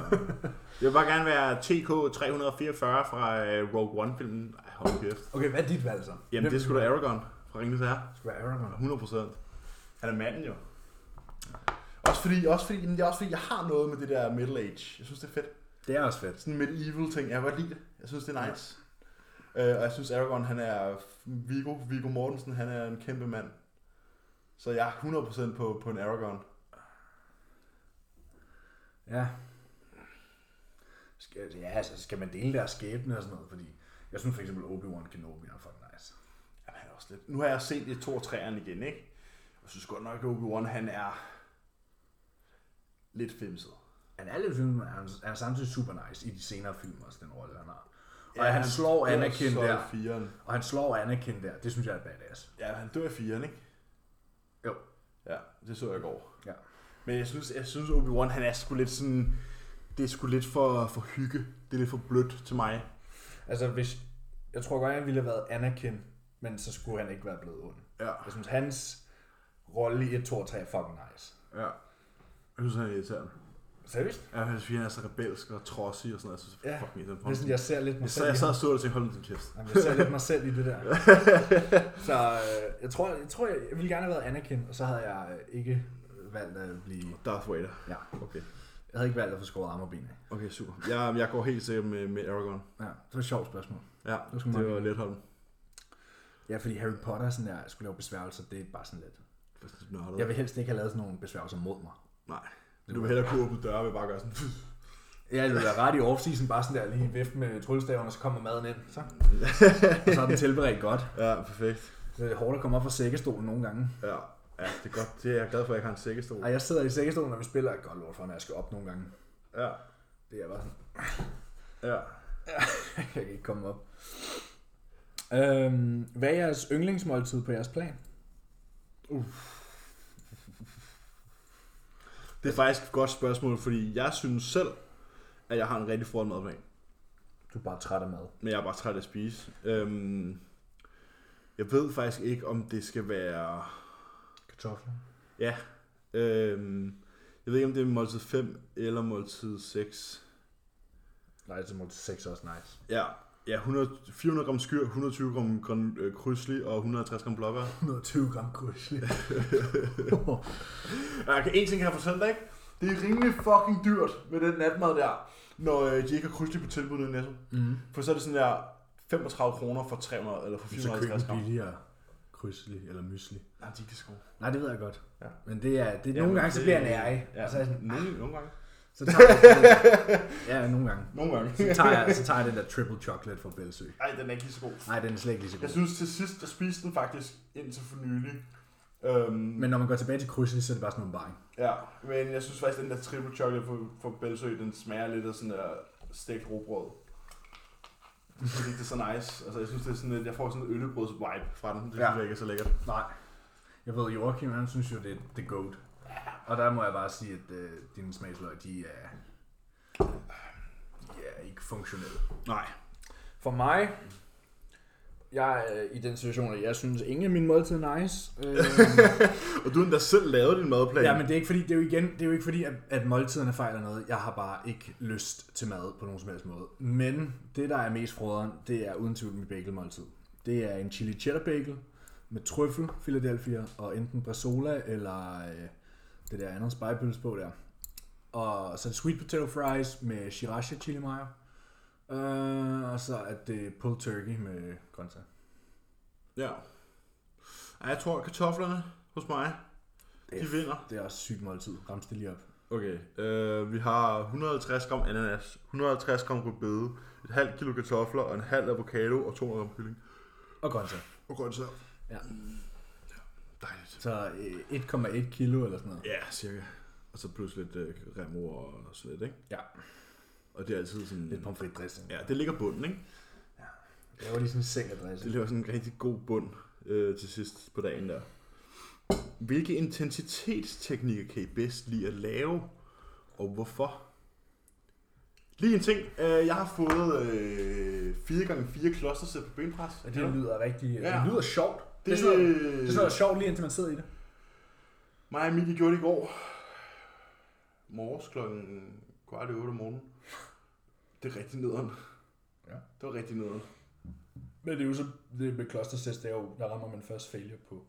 [SPEAKER 2] jeg vil bare gerne være TK-344 fra øh, Rogue One-filmen. Ej, hold kæft.
[SPEAKER 1] Okay, hvad er dit valg så?
[SPEAKER 2] Jamen, det er sgu da Aragorn fra Ringens Herre.
[SPEAKER 1] Det skulle være Aragorn.
[SPEAKER 2] 100%. Han er manden jo. Også fordi, også fordi, jamen, det er også fordi, jeg har noget med det der middle age. Jeg synes, det er fedt.
[SPEAKER 1] Det er også fedt.
[SPEAKER 2] Sådan en medieval ting. Jeg kan godt lide det. Jeg synes, det er nice. Øh, og jeg synes, Aragorn, han er Viggo, Viggo Mortensen, han er en kæmpe mand. Så jeg er 100% på, på en Aragorn.
[SPEAKER 1] Ja. Skal, ja, altså, skal man dele deres skæbne og sådan noget, fordi jeg synes for eksempel Obi-Wan Kenobi er fucking nice.
[SPEAKER 2] Jamen, han er også lidt... Nu har jeg set de to og træerne igen, ikke? Jeg synes godt nok, at Obi-Wan, han er lidt femset.
[SPEAKER 1] Han er lidt film, han er samtidig super nice i de senere film også, den rolle han har. Og
[SPEAKER 2] Ja,
[SPEAKER 1] ja, han slår
[SPEAKER 2] dør
[SPEAKER 1] Anakin
[SPEAKER 2] så i
[SPEAKER 1] der,
[SPEAKER 2] Firen.
[SPEAKER 1] og han slår Anakin der, det synes jeg er badass.
[SPEAKER 2] Ja, han dør i firen, ikke?
[SPEAKER 1] Jo,
[SPEAKER 2] Ja, det så jeg i går.
[SPEAKER 1] ja.
[SPEAKER 2] Men jeg synes, jeg synes Obi-Wan, han er sgu lidt sådan... Det er sgu lidt for, for hygge. Det er lidt for blødt til mig.
[SPEAKER 1] Altså, hvis, jeg tror godt, han ville have været Anakin, men så skulle han ikke være blevet ond.
[SPEAKER 2] Ja,
[SPEAKER 1] Jeg synes, hans rolle i 1, 2 og 3 er fucking nice.
[SPEAKER 2] ja. Jeg synes, han er irriterende.
[SPEAKER 1] Seriøst?
[SPEAKER 2] Ja, jeg synes, han er så rebelsk og trodsig og sådan noget. Jeg synes,
[SPEAKER 1] Ja,
[SPEAKER 2] fuck me,
[SPEAKER 1] Det er sådan, jeg ser lidt mig
[SPEAKER 2] jeg,
[SPEAKER 1] selv.
[SPEAKER 2] sad, jeg
[SPEAKER 1] i
[SPEAKER 2] sad
[SPEAKER 1] ham.
[SPEAKER 2] og stod og tænkte, hold nu din kæft.
[SPEAKER 1] Jamen, jeg ser lidt mig selv i
[SPEAKER 2] *laughs*
[SPEAKER 1] det der. Så øh, jeg tror, jeg, tror, jeg, jeg ville gerne have været Anakin, og så havde jeg øh, ikke valgt at blive...
[SPEAKER 2] Darth Vader.
[SPEAKER 1] Ja,
[SPEAKER 2] Okay.
[SPEAKER 1] jeg havde ikke valgt at få skåret arme og ben af.
[SPEAKER 2] Okay, super. Jeg, jeg går helt sikkert med, med Aragorn.
[SPEAKER 1] Ja, det var et sjovt spørgsmål.
[SPEAKER 2] Ja,
[SPEAKER 1] var
[SPEAKER 2] det
[SPEAKER 1] sgu meget
[SPEAKER 2] var let hold.
[SPEAKER 1] Ja, fordi Harry Potter sådan der, skulle lave besværgelser, det er bare sådan lidt.
[SPEAKER 2] Nørdet.
[SPEAKER 1] Jeg vil helst ikke have lavet sådan nogle besværgelser mod mig.
[SPEAKER 2] Nej. Du vil hellere kunne åbne døre ved bare at gøre sådan.
[SPEAKER 1] Ja, det ville være ret i off-season, bare sådan der lige vifte med tryllestaverne, og så kommer maden ind. Så, og så er den tilberedt godt.
[SPEAKER 2] *laughs* ja, perfekt.
[SPEAKER 1] Det er hårdt at komme op fra sækkestolen nogle gange.
[SPEAKER 2] Ja, ja det er godt. Det er jeg glad for, at jeg har en sækkestol.
[SPEAKER 1] Ej, jeg sidder i sækkestolen, når vi spiller. Jeg kan godt lort for, når jeg skal op nogle gange.
[SPEAKER 2] Ja,
[SPEAKER 1] Det er bare sådan,
[SPEAKER 2] ja.
[SPEAKER 1] *laughs* jeg kan ikke komme op. Øhm, hvad er jeres yndlingsmåltid på jeres plan?
[SPEAKER 2] Det er faktisk et godt spørgsmål, fordi jeg synes selv, at jeg har en rigtig frød madplan.
[SPEAKER 1] Du er bare træt af mad.
[SPEAKER 2] Men jeg er bare træt af at spise. Øhm, jeg ved faktisk ikke, om det skal være...
[SPEAKER 1] Kartofler.
[SPEAKER 2] Ja. Øhm, jeg ved ikke, om det er måltid 5 eller måltid 6.
[SPEAKER 1] Nej, til måltid 6 er også nice.
[SPEAKER 2] Ja, ja 100, 400 gram skyr, 120 gram grøn, øh, krydsli og 150 gram blokker.
[SPEAKER 1] 120 gram krydsli.
[SPEAKER 2] Jeg kan en ting her for søndag, ikke? Det er rimelig fucking dyrt med den natmad der, når øh, de ikke har krydsli på tilbud nede i Netto.
[SPEAKER 1] mm.
[SPEAKER 2] For så er det sådan der 35 kroner for 300 eller for
[SPEAKER 1] Så køb
[SPEAKER 2] 450
[SPEAKER 1] en
[SPEAKER 2] gram.
[SPEAKER 1] billigere krydsli eller mysli.
[SPEAKER 2] Nej, de er ikke så gode.
[SPEAKER 1] Nej, det ved jeg godt.
[SPEAKER 2] Ja.
[SPEAKER 1] Men det er, det, ja,
[SPEAKER 2] Ja,
[SPEAKER 1] nogle
[SPEAKER 2] men
[SPEAKER 1] gange, så
[SPEAKER 2] det-
[SPEAKER 1] bliver jeg nærig.
[SPEAKER 2] Ja,
[SPEAKER 1] Ja. Så, er jeg sådan,
[SPEAKER 2] Altså, nogle, nogle gange.
[SPEAKER 1] så tager jeg Ja, nogle gange.
[SPEAKER 2] Nogle gange.
[SPEAKER 1] Så tager, jeg, så tager jeg den der triple chocolate fra Bellsø.
[SPEAKER 2] *laughs* Ej, den er ikke lige så god.
[SPEAKER 1] Nej, den er slet ikke lige så
[SPEAKER 2] Jeg
[SPEAKER 1] god.
[SPEAKER 2] synes til sidst, jeg spiste den faktisk indtil for nylig. Øhm, men.
[SPEAKER 1] Men når man går tilbage til krydsli, så er det bare sådan en baring.
[SPEAKER 2] Ja, men jeg synes faktisk, at den der triple chocolate for, for Belsø, den smager lidt af sådan der stegt robrød. Jeg synes ikke, det er så nice. Altså, jeg synes, det er sådan, at jeg får sådan en øllebrøds vibe fra den. Det synes
[SPEAKER 1] Ja.
[SPEAKER 2] jeg ikke er så lækkert.
[SPEAKER 1] Nej. Jeg ved, Joachim, han synes jo, det er the goat. Og der må jeg bare sige, at øh, dine smagsløg, de er, de er ikke funktionelle.
[SPEAKER 2] Nej.
[SPEAKER 1] For mig, jeg er i den situation, at jeg synes, ingen af mine måltider er nice. Øh, *laughs*
[SPEAKER 2] Og du har endda selv lavet din madplan.
[SPEAKER 1] ja, men det er ikke fordi, det er jo igen, det er jo ikke fordi at, at måltiderne fejler noget. Jeg har bare ikke lyst til mad på nogen som helst måde. Men det, der er mest frøderen, det er uden tvivl mit bagelmåltid. Det er en chili cheddar bagel med trøffel, Philadelphia, og enten bresola eller øh, det der andet spejpøls på der. Og så er det sweet potato fries med sriracha chili mayo. Øh, og så er det pulled turkey med grøntsager.
[SPEAKER 2] ja. Ej, jeg tror, at kartoflerne hos mig, de
[SPEAKER 1] F.
[SPEAKER 2] vinder.
[SPEAKER 1] Det er også sygt måltid. Rams det lige op.
[SPEAKER 2] Okay, øh, vi har 150 gram ananas, 150 gram rødbede, et halvt kilo kartofler og en halv avocado og 200 gram kylling.
[SPEAKER 1] Og grøntsager.
[SPEAKER 2] Og grøntsager.
[SPEAKER 1] Ja.
[SPEAKER 2] Dejligt.
[SPEAKER 1] Så øh, 1,1 kilo eller sådan noget.
[SPEAKER 2] Ja, cirka. Og så plus lidt øh, remo og sådan lidt, ikke?
[SPEAKER 1] Ja.
[SPEAKER 2] Og det er altid sådan...
[SPEAKER 1] Lidt pomfrit dressing.
[SPEAKER 2] Ja, det ligger bunden, ikke?
[SPEAKER 1] Det var lige sådan en seng
[SPEAKER 2] Det ligger sådan en rigtig god bund øh, til sidst på dagen der. Hvilke intensitetsteknikker kan I bedst lide at lave, og hvorfor? Lige en ting. Øh, jeg har fået øh, 4x4 klostersæt på benpres.
[SPEAKER 1] Og det lyder rigtig...
[SPEAKER 2] Ja.
[SPEAKER 1] Ja. Det lyder sjovt. Det, det, er sådan, noget- det er sådan noget
[SPEAKER 2] det,
[SPEAKER 1] sjovt lige indtil man sidder i det.
[SPEAKER 2] øh, mig og Emilie gjorde det i går. Morges klokken kvart i 8 om morgenen. Det er rigtig nederen.
[SPEAKER 1] Ja.
[SPEAKER 2] Det var rigtig nederen.
[SPEAKER 1] Men det er jo så... Det med klostertest, det er jo... Der rammer man først failure på.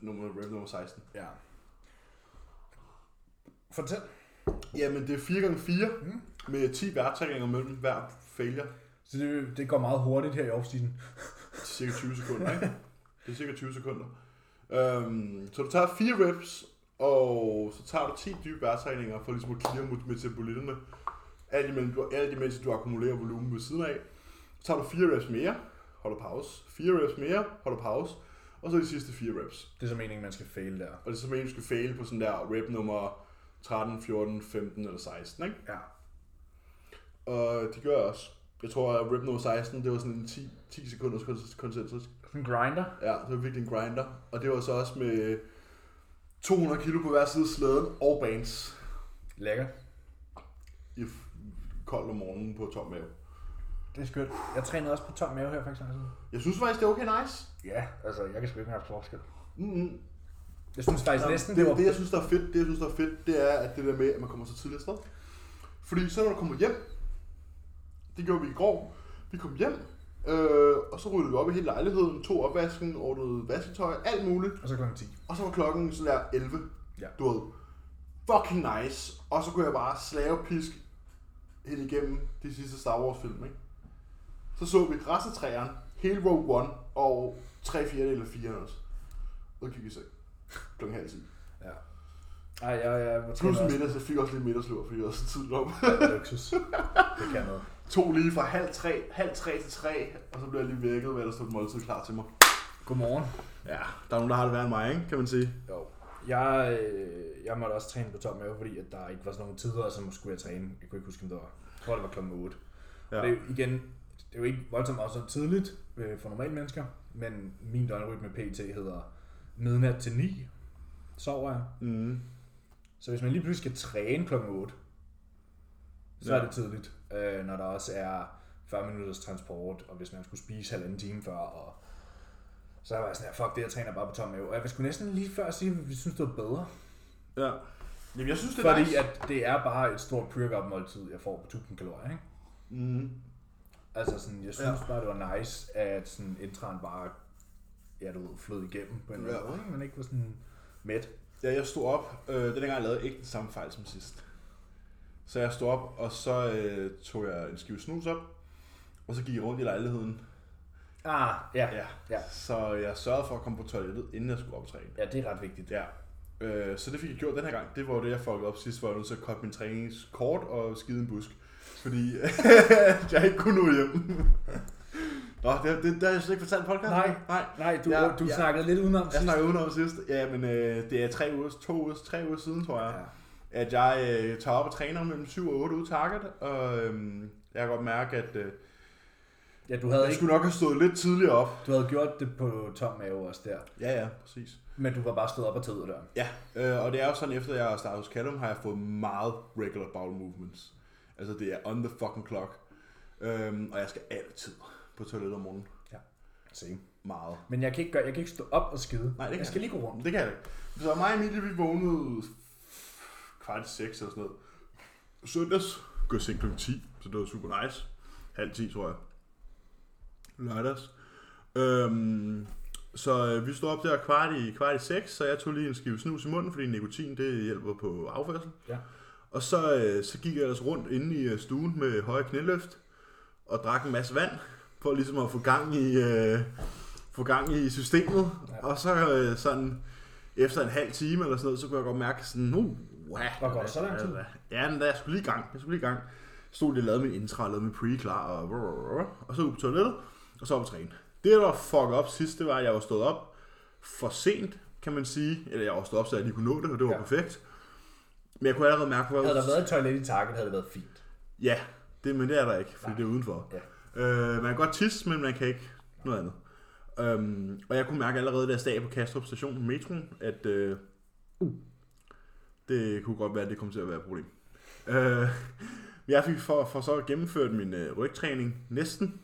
[SPEAKER 2] Nummer, rep nummer 16.
[SPEAKER 1] Ja. Fortæl.
[SPEAKER 2] Jamen, det er 4x4
[SPEAKER 1] Mm.
[SPEAKER 2] med 10 værtrækninger mellem hver failure.
[SPEAKER 1] Så det, det går meget hurtigt her i off-season.
[SPEAKER 2] Det er cirka 20 sekunder, ikke? Det er cirka 20 sekunder. Øhm, så du tager 4 reps, og så tager du 10 dybe værtrækninger for ligesom at clear mod metabolitterne. Alt imens, du, alt imens du akkumulerer volumen ved siden af. Så tager du 4 reps mere, holder pause. 4 reps mere, holder pause. Og så de sidste 4 reps.
[SPEAKER 1] Det er så meningen, man skal fail der.
[SPEAKER 2] Og det er så meningen, du skal fail på sådan der rep nummer 13, 14, 15 eller 16, ikke?
[SPEAKER 1] Ja.
[SPEAKER 2] Og det gør jeg også. Jeg tror, at rip nummer 16, det var sådan en 10, 10 sekunders kons- konsensus.
[SPEAKER 1] Sådan en grinder.
[SPEAKER 2] Ja, det var virkelig en grinder. Og det var så også med 200 kilo på hver side af slæden og bands
[SPEAKER 1] Lækker.
[SPEAKER 2] i f- kold om morgenen på tom mave.
[SPEAKER 1] Det er skønt. Jeg trænede også på tom mave her faktisk.
[SPEAKER 2] Jeg synes faktisk, det er okay nice.
[SPEAKER 1] Ja, altså jeg kan sgu ikke have forskel.
[SPEAKER 2] Mm-hmm.
[SPEAKER 1] Jeg synes faktisk
[SPEAKER 2] Jamen,
[SPEAKER 1] næsten,
[SPEAKER 2] det, det, jeg synes, der er fedt, det, jeg synes, der er fedt, det er, at det der med, at man kommer så tidligt afsted. Fordi så når du kommer hjem, det gjorde vi i går, vi kom hjem, øh, og så ryddede vi op i hele lejligheden, tog opvasken, ordnede vasketøj, alt muligt.
[SPEAKER 1] Og så klokken 10.
[SPEAKER 2] Og så var klokken sådan der 11.
[SPEAKER 1] Ja.
[SPEAKER 2] Du ved, fucking nice. Og så kunne jeg bare slavepisk helt igennem de sidste Star Wars film, ikke? Så så vi resten af træerne, hele Rogue One og 3 4 eller 4 også. Og så gik vi i seng. Klokken halv 10.
[SPEAKER 1] Ja. Ej, jeg, jeg var
[SPEAKER 2] Plus middag, så fik jeg også lidt middagslur, fordi jeg var så tidligt op. *laughs*
[SPEAKER 1] luksus. Det kan noget.
[SPEAKER 2] to lige fra halv tre, halv tre til tre, og så blev jeg lige vækket, hvad der stod et måltid klar til mig.
[SPEAKER 1] Godmorgen.
[SPEAKER 2] Ja, der er nogen, der har det værre end mig, ikke? kan man sige.
[SPEAKER 1] Jo. Jeg, øh, jeg måtte også træne på tom mave, fordi at der ikke var sådan nogle tider, så måske skulle jeg træne. Jeg kunne ikke huske, om det var. Jeg tror, det var klokken 8. Ja.
[SPEAKER 2] Ja.
[SPEAKER 1] Det er jo igen, det er jo ikke voldsomt meget så tidligt øh, for normale mennesker, men min døgnrytme PT hedder midnat til 9, sover jeg.
[SPEAKER 2] Mm.
[SPEAKER 1] Så hvis man lige pludselig skal træne klokken 8, så
[SPEAKER 2] Ja.
[SPEAKER 1] er det tidligt, øh, når der også er 40 minutters transport, og hvis man skulle spise halvanden time før, og så var jeg sådan her, fuck det, jeg træner bare på tom mave. Og jeg skulle næsten lige før sige, at vi synes, det var bedre.
[SPEAKER 2] Ja. Jamen, jeg synes, det er
[SPEAKER 1] Fordi
[SPEAKER 2] nice.
[SPEAKER 1] at det er bare et stort pre-workout-måltid, jeg får på 1000 kalorier, ikke?
[SPEAKER 2] Mm.
[SPEAKER 1] Altså sådan, jeg synes ja. bare, det var nice, at sådan intraen bare, ja du ved, flød igennem på en eller anden
[SPEAKER 2] Ja.
[SPEAKER 1] måde, ikke? Man ikke var sådan mæt.
[SPEAKER 2] Ja, jeg stod op. Øh, den her gang lavede jeg ikke den samme fejl som sidst. Så jeg stod op, og så øh, tog jeg en skive snus op. Og så gik jeg rundt i lejligheden.
[SPEAKER 1] Ah, ja. ja.
[SPEAKER 2] Ja.
[SPEAKER 1] Ja.
[SPEAKER 2] Så jeg sørgede for at komme på toilettet, inden jeg skulle op og træne.
[SPEAKER 1] Ja, det er ret vigtigt.
[SPEAKER 2] Ja. Øh, så det fik jeg gjort den her gang. Det var jo det, jeg fuckede op sidst, hvor jeg var nødt til at koppe min træningskort og skide en busk. Fordi *laughs* jeg ikke kunne nå hjem. Nå, det, det, det har jeg slet ikke fortalt i podcasten.
[SPEAKER 1] Nej.
[SPEAKER 2] Nej.
[SPEAKER 1] Nej, du,
[SPEAKER 2] Ja,
[SPEAKER 1] ja, du
[SPEAKER 2] ja.
[SPEAKER 1] ja. snakkede lidt udenom
[SPEAKER 2] Jeg
[SPEAKER 1] sidst.
[SPEAKER 2] snakkede udenom sidst. Ja, men øh, det er tre uger, to uger, tre uger siden, tror jeg.
[SPEAKER 1] Ja.
[SPEAKER 2] At jeg øh, tager op og træner mellem 7 og 8 ude i Target. Og øh, jeg kan godt mærke, at øh,
[SPEAKER 1] Ja, du havde,
[SPEAKER 2] jeg
[SPEAKER 1] ikke,
[SPEAKER 2] skulle nok have stået lidt tidligere op.
[SPEAKER 1] du havde gjort det på tom mave også der,
[SPEAKER 2] Ja, ja, præcis.
[SPEAKER 1] men du var bare stået op og taget ud af døren.
[SPEAKER 2] Ja, øh, og det er jo sådan, efter jeg startede hos Callum, har jeg fået meget regular bowel movements. Altså, det er on the fucking clock. Øhm, og jeg skal altid på toilettet om morgenen.
[SPEAKER 1] Same.
[SPEAKER 2] Meget.
[SPEAKER 1] Men jeg kan ikke, gøre, jeg kan ikke stå op og skide.
[SPEAKER 2] Nej, det kan
[SPEAKER 1] jeg skal
[SPEAKER 2] jeg
[SPEAKER 1] lige gå rundt.
[SPEAKER 2] Det kan jeg ikke. Så mig og Emilie, vi vågnede kvart i seks eller sådan noget. Søndags går jeg i seng kl. 10, så det var super nice. Halv 10, tror jeg. Lørdags. Øhm, så øh, vi stod op der kvart i, kvart i 6, så jeg tog lige en skive snus i munden, fordi nikotin det hjælper på afførsel.
[SPEAKER 1] Ja.
[SPEAKER 2] Og så, øh, så gik jeg ellers rundt inde i øh, stuen med høje knæløft og drak en masse vand, for ligesom at få gang i, øh, få gang i systemet.
[SPEAKER 1] Ja.
[SPEAKER 2] Ja. Og så øh, sådan, efter en halv time eller sådan noget, så kunne jeg godt mærke sådan, uh, wow,
[SPEAKER 1] Hvor går der så lang tid?
[SPEAKER 2] Ja, men da jeg skulle lige i gang, jeg skulle lige i gang, stod lige og lavede min intra, lavede min pre klar, og, og så ud på toilettet, og så op og træne. Det, der fuck op sidst, det var, at jeg var stået op for sent, kan man sige. Eller jeg var stået op, så jeg lige kunne nå det, og det var
[SPEAKER 1] Ja.
[SPEAKER 2] ja. perfekt. Men jeg kunne allerede mærke, hvor jeg
[SPEAKER 1] Havde
[SPEAKER 2] var-
[SPEAKER 1] der været et toilet i Target, havde det været fint.
[SPEAKER 2] Ja, det, men det er der ikke, fordi det er udenfor.
[SPEAKER 1] Ja.
[SPEAKER 2] Øh, man kan godt tisse, men man kan ikke noget andet. Øhm, og jeg kunne mærke allerede, da jeg stod på Kastrup station med metroen, at øh, uh, det kunne godt være, at det kom til at være et problem. Øh, men jeg fik for, for så gennemført min øh, rygtræning næsten.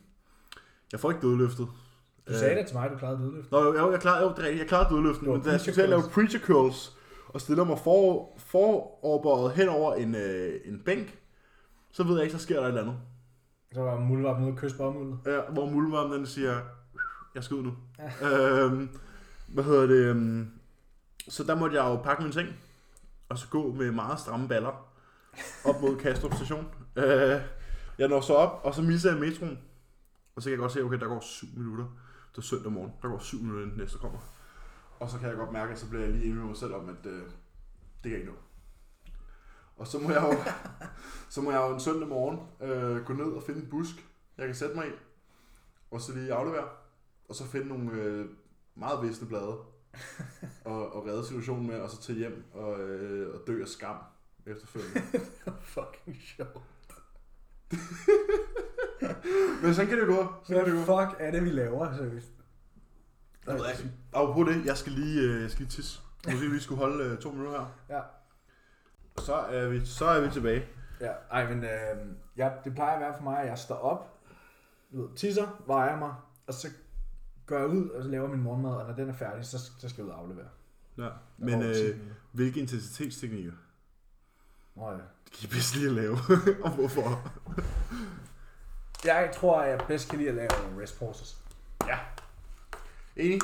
[SPEAKER 2] Jeg får ikke dødløftet.
[SPEAKER 1] Du
[SPEAKER 2] Øh.
[SPEAKER 1] sagde det til mig, du klarede dødløft.
[SPEAKER 2] Nå, jo, jo, jeg klarede, jo, det er rigtigt, jeg klarede dødløften,
[SPEAKER 1] Det var
[SPEAKER 2] men da jeg
[SPEAKER 1] preacher
[SPEAKER 2] skulle til at lave
[SPEAKER 1] curls.
[SPEAKER 2] preacher curls, og stiller mig for, foroverbøjet hen over en, øh, en bænk, så ved jeg ikke, så sker der et eller andet.
[SPEAKER 1] Så var muldvarpen ude og kysse
[SPEAKER 2] *laughs*
[SPEAKER 1] bomuldet.
[SPEAKER 2] Ja, hvor muldvarmen den siger, jeg skal ud nu. øhm, hvad hedder det? øhm, Så der måtte jeg jo pakke min ting, og så gå med meget stramme baller op mod Kastrup station. Øh, jeg når så op, og så misser jeg metroen. Og så kan jeg godt se, okay, der går 7 minutter. Det er søndag morgen. Der går 7 minutter, inden den næste kommer. Og så kan jeg godt mærke, at så bliver jeg lige enig med mig selv om, at øh, det kan jeg ikke nå. Og så må jeg jo, *laughs* så må jeg jo en søndag morgen øh, gå ned og finde en busk, jeg kan sætte mig i, og så lige aflevere, og så finde nogle øh, meget visne *laughs* blade, og, og redde situationen med, og så tage hjem og, øh, og dø af skam efterfølgende. *laughs*
[SPEAKER 1] Fucking sjovt.
[SPEAKER 2] Men sådan kan det gå. Sådan
[SPEAKER 1] Hvad
[SPEAKER 2] kan det gå.
[SPEAKER 1] fuck er det, vi laver, seriøst?
[SPEAKER 2] Jeg ved ikke. Apropos det, jeg skal lige, øh, jeg skal lige tisse. Måske vi skulle holde øh, to minutter her.
[SPEAKER 1] Ja.
[SPEAKER 2] Så er vi, så er vi tilbage.
[SPEAKER 1] Ja, ej, men øh, ja, det plejer at være for mig, at jeg står op, du ved, tisser, vejer mig, og så går jeg ud og så laver min morgenmad, og når den er færdig, så, så skal jeg ud og aflevere.
[SPEAKER 2] Ja.
[SPEAKER 1] Der
[SPEAKER 2] Men
[SPEAKER 1] går ti
[SPEAKER 2] øh,
[SPEAKER 1] minutter.
[SPEAKER 2] hvilke intensitetsteknikker
[SPEAKER 1] Nå, ja.
[SPEAKER 2] kan I bedst lige at lave? *laughs* og hvorfor?
[SPEAKER 1] Jeg tror, at jeg bedst kan lide at lave rest pauses.
[SPEAKER 2] Ja. Enig?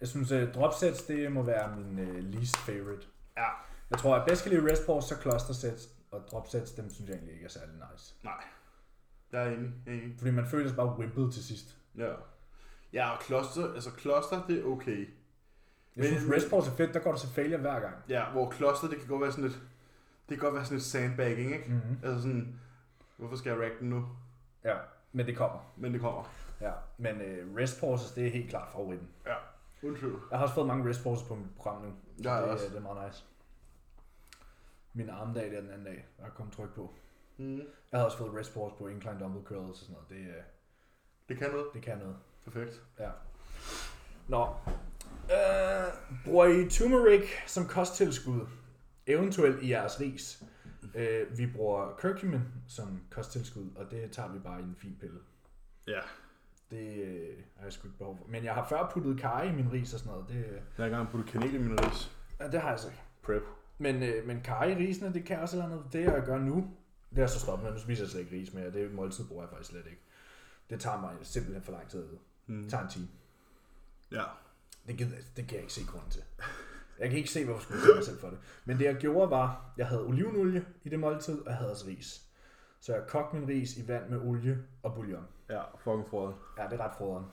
[SPEAKER 1] Jeg synes, at dropsets, det må være min øh, least favorite.
[SPEAKER 2] Ja.
[SPEAKER 1] Jeg tror, at jeg bedst kan lide rest pauses, så cluster sets, og dropsets, dem synes jeg egentlig ikke er særlig nice.
[SPEAKER 2] Nej. Jeg er enig. Jeg er enig.
[SPEAKER 1] Fordi man føler sig bare wimpet til sidst.
[SPEAKER 2] Ja. Ja, og kloster, altså kloster, det er okay.
[SPEAKER 1] Jeg
[SPEAKER 2] Men-
[SPEAKER 1] synes, rest pauses er fedt, der går du til failure hver gang.
[SPEAKER 2] Ja, hvor kloster, det kan godt være sådan lidt, det kan godt være sådan lidt sandbagging, ikke?
[SPEAKER 1] Mm-hmm.
[SPEAKER 2] Altså sådan, hvorfor skal jeg rack den nu?
[SPEAKER 1] Ja. Men det kommer.
[SPEAKER 2] Men det kommer.
[SPEAKER 1] Ja. Men øh, rest pauses, det er helt klart favoritten.
[SPEAKER 2] Ja. Undskyld.
[SPEAKER 1] Jeg har også fået mange rest pauses på mit program nu. så
[SPEAKER 2] Jeg har
[SPEAKER 1] det,
[SPEAKER 2] også.
[SPEAKER 1] det er meget nice. Min armdag der den anden dag, der kom tryk på.
[SPEAKER 2] Mm.
[SPEAKER 1] Jeg havde også fået rest pause på incline dumbbell curls og sådan noget. Det, øh,
[SPEAKER 2] Det kan noget.
[SPEAKER 1] det kan noget.
[SPEAKER 2] Perfekt.
[SPEAKER 1] Ja. Nå. Øh, bruger I turmeric som kosttilskud? Eventuelt i jeres ris. Øh, vi bruger curcumin som kosttilskud, og det tager vi bare i en fin pille.
[SPEAKER 2] Ja.
[SPEAKER 1] Det øh, har jeg sgu ikke behov for. Men jeg har før puttet karry i min ris og sådan noget. Det, øh,
[SPEAKER 2] Jeg har engang puttet kanel i min ris.
[SPEAKER 1] ja, det har jeg så ikke.
[SPEAKER 2] Prep.
[SPEAKER 1] Men, øh, men karry i risene, det kan også et eller andet. Det jeg gør nu, det er jeg så stoppet med. Nu spiser jeg slet ikke ris mere. Det måltid bruger jeg faktisk slet ikke. Det tager mig simpelthen for lang tid. at æde.
[SPEAKER 2] Mm.
[SPEAKER 1] Det tager en time.
[SPEAKER 2] Ja.
[SPEAKER 1] Det, gider, jeg- det kan jeg ikke se grunden til. Jeg kan ikke se, hvorfor skulle jeg gøre mig selv for det. Men det jeg gjorde var, jeg havde olivenolie i det måltid, og jeg havde også ris. Så jeg kogte min ris i vand med olie og bouillon.
[SPEAKER 2] Ja, fucking frød.
[SPEAKER 1] Ja, det er ret froderen.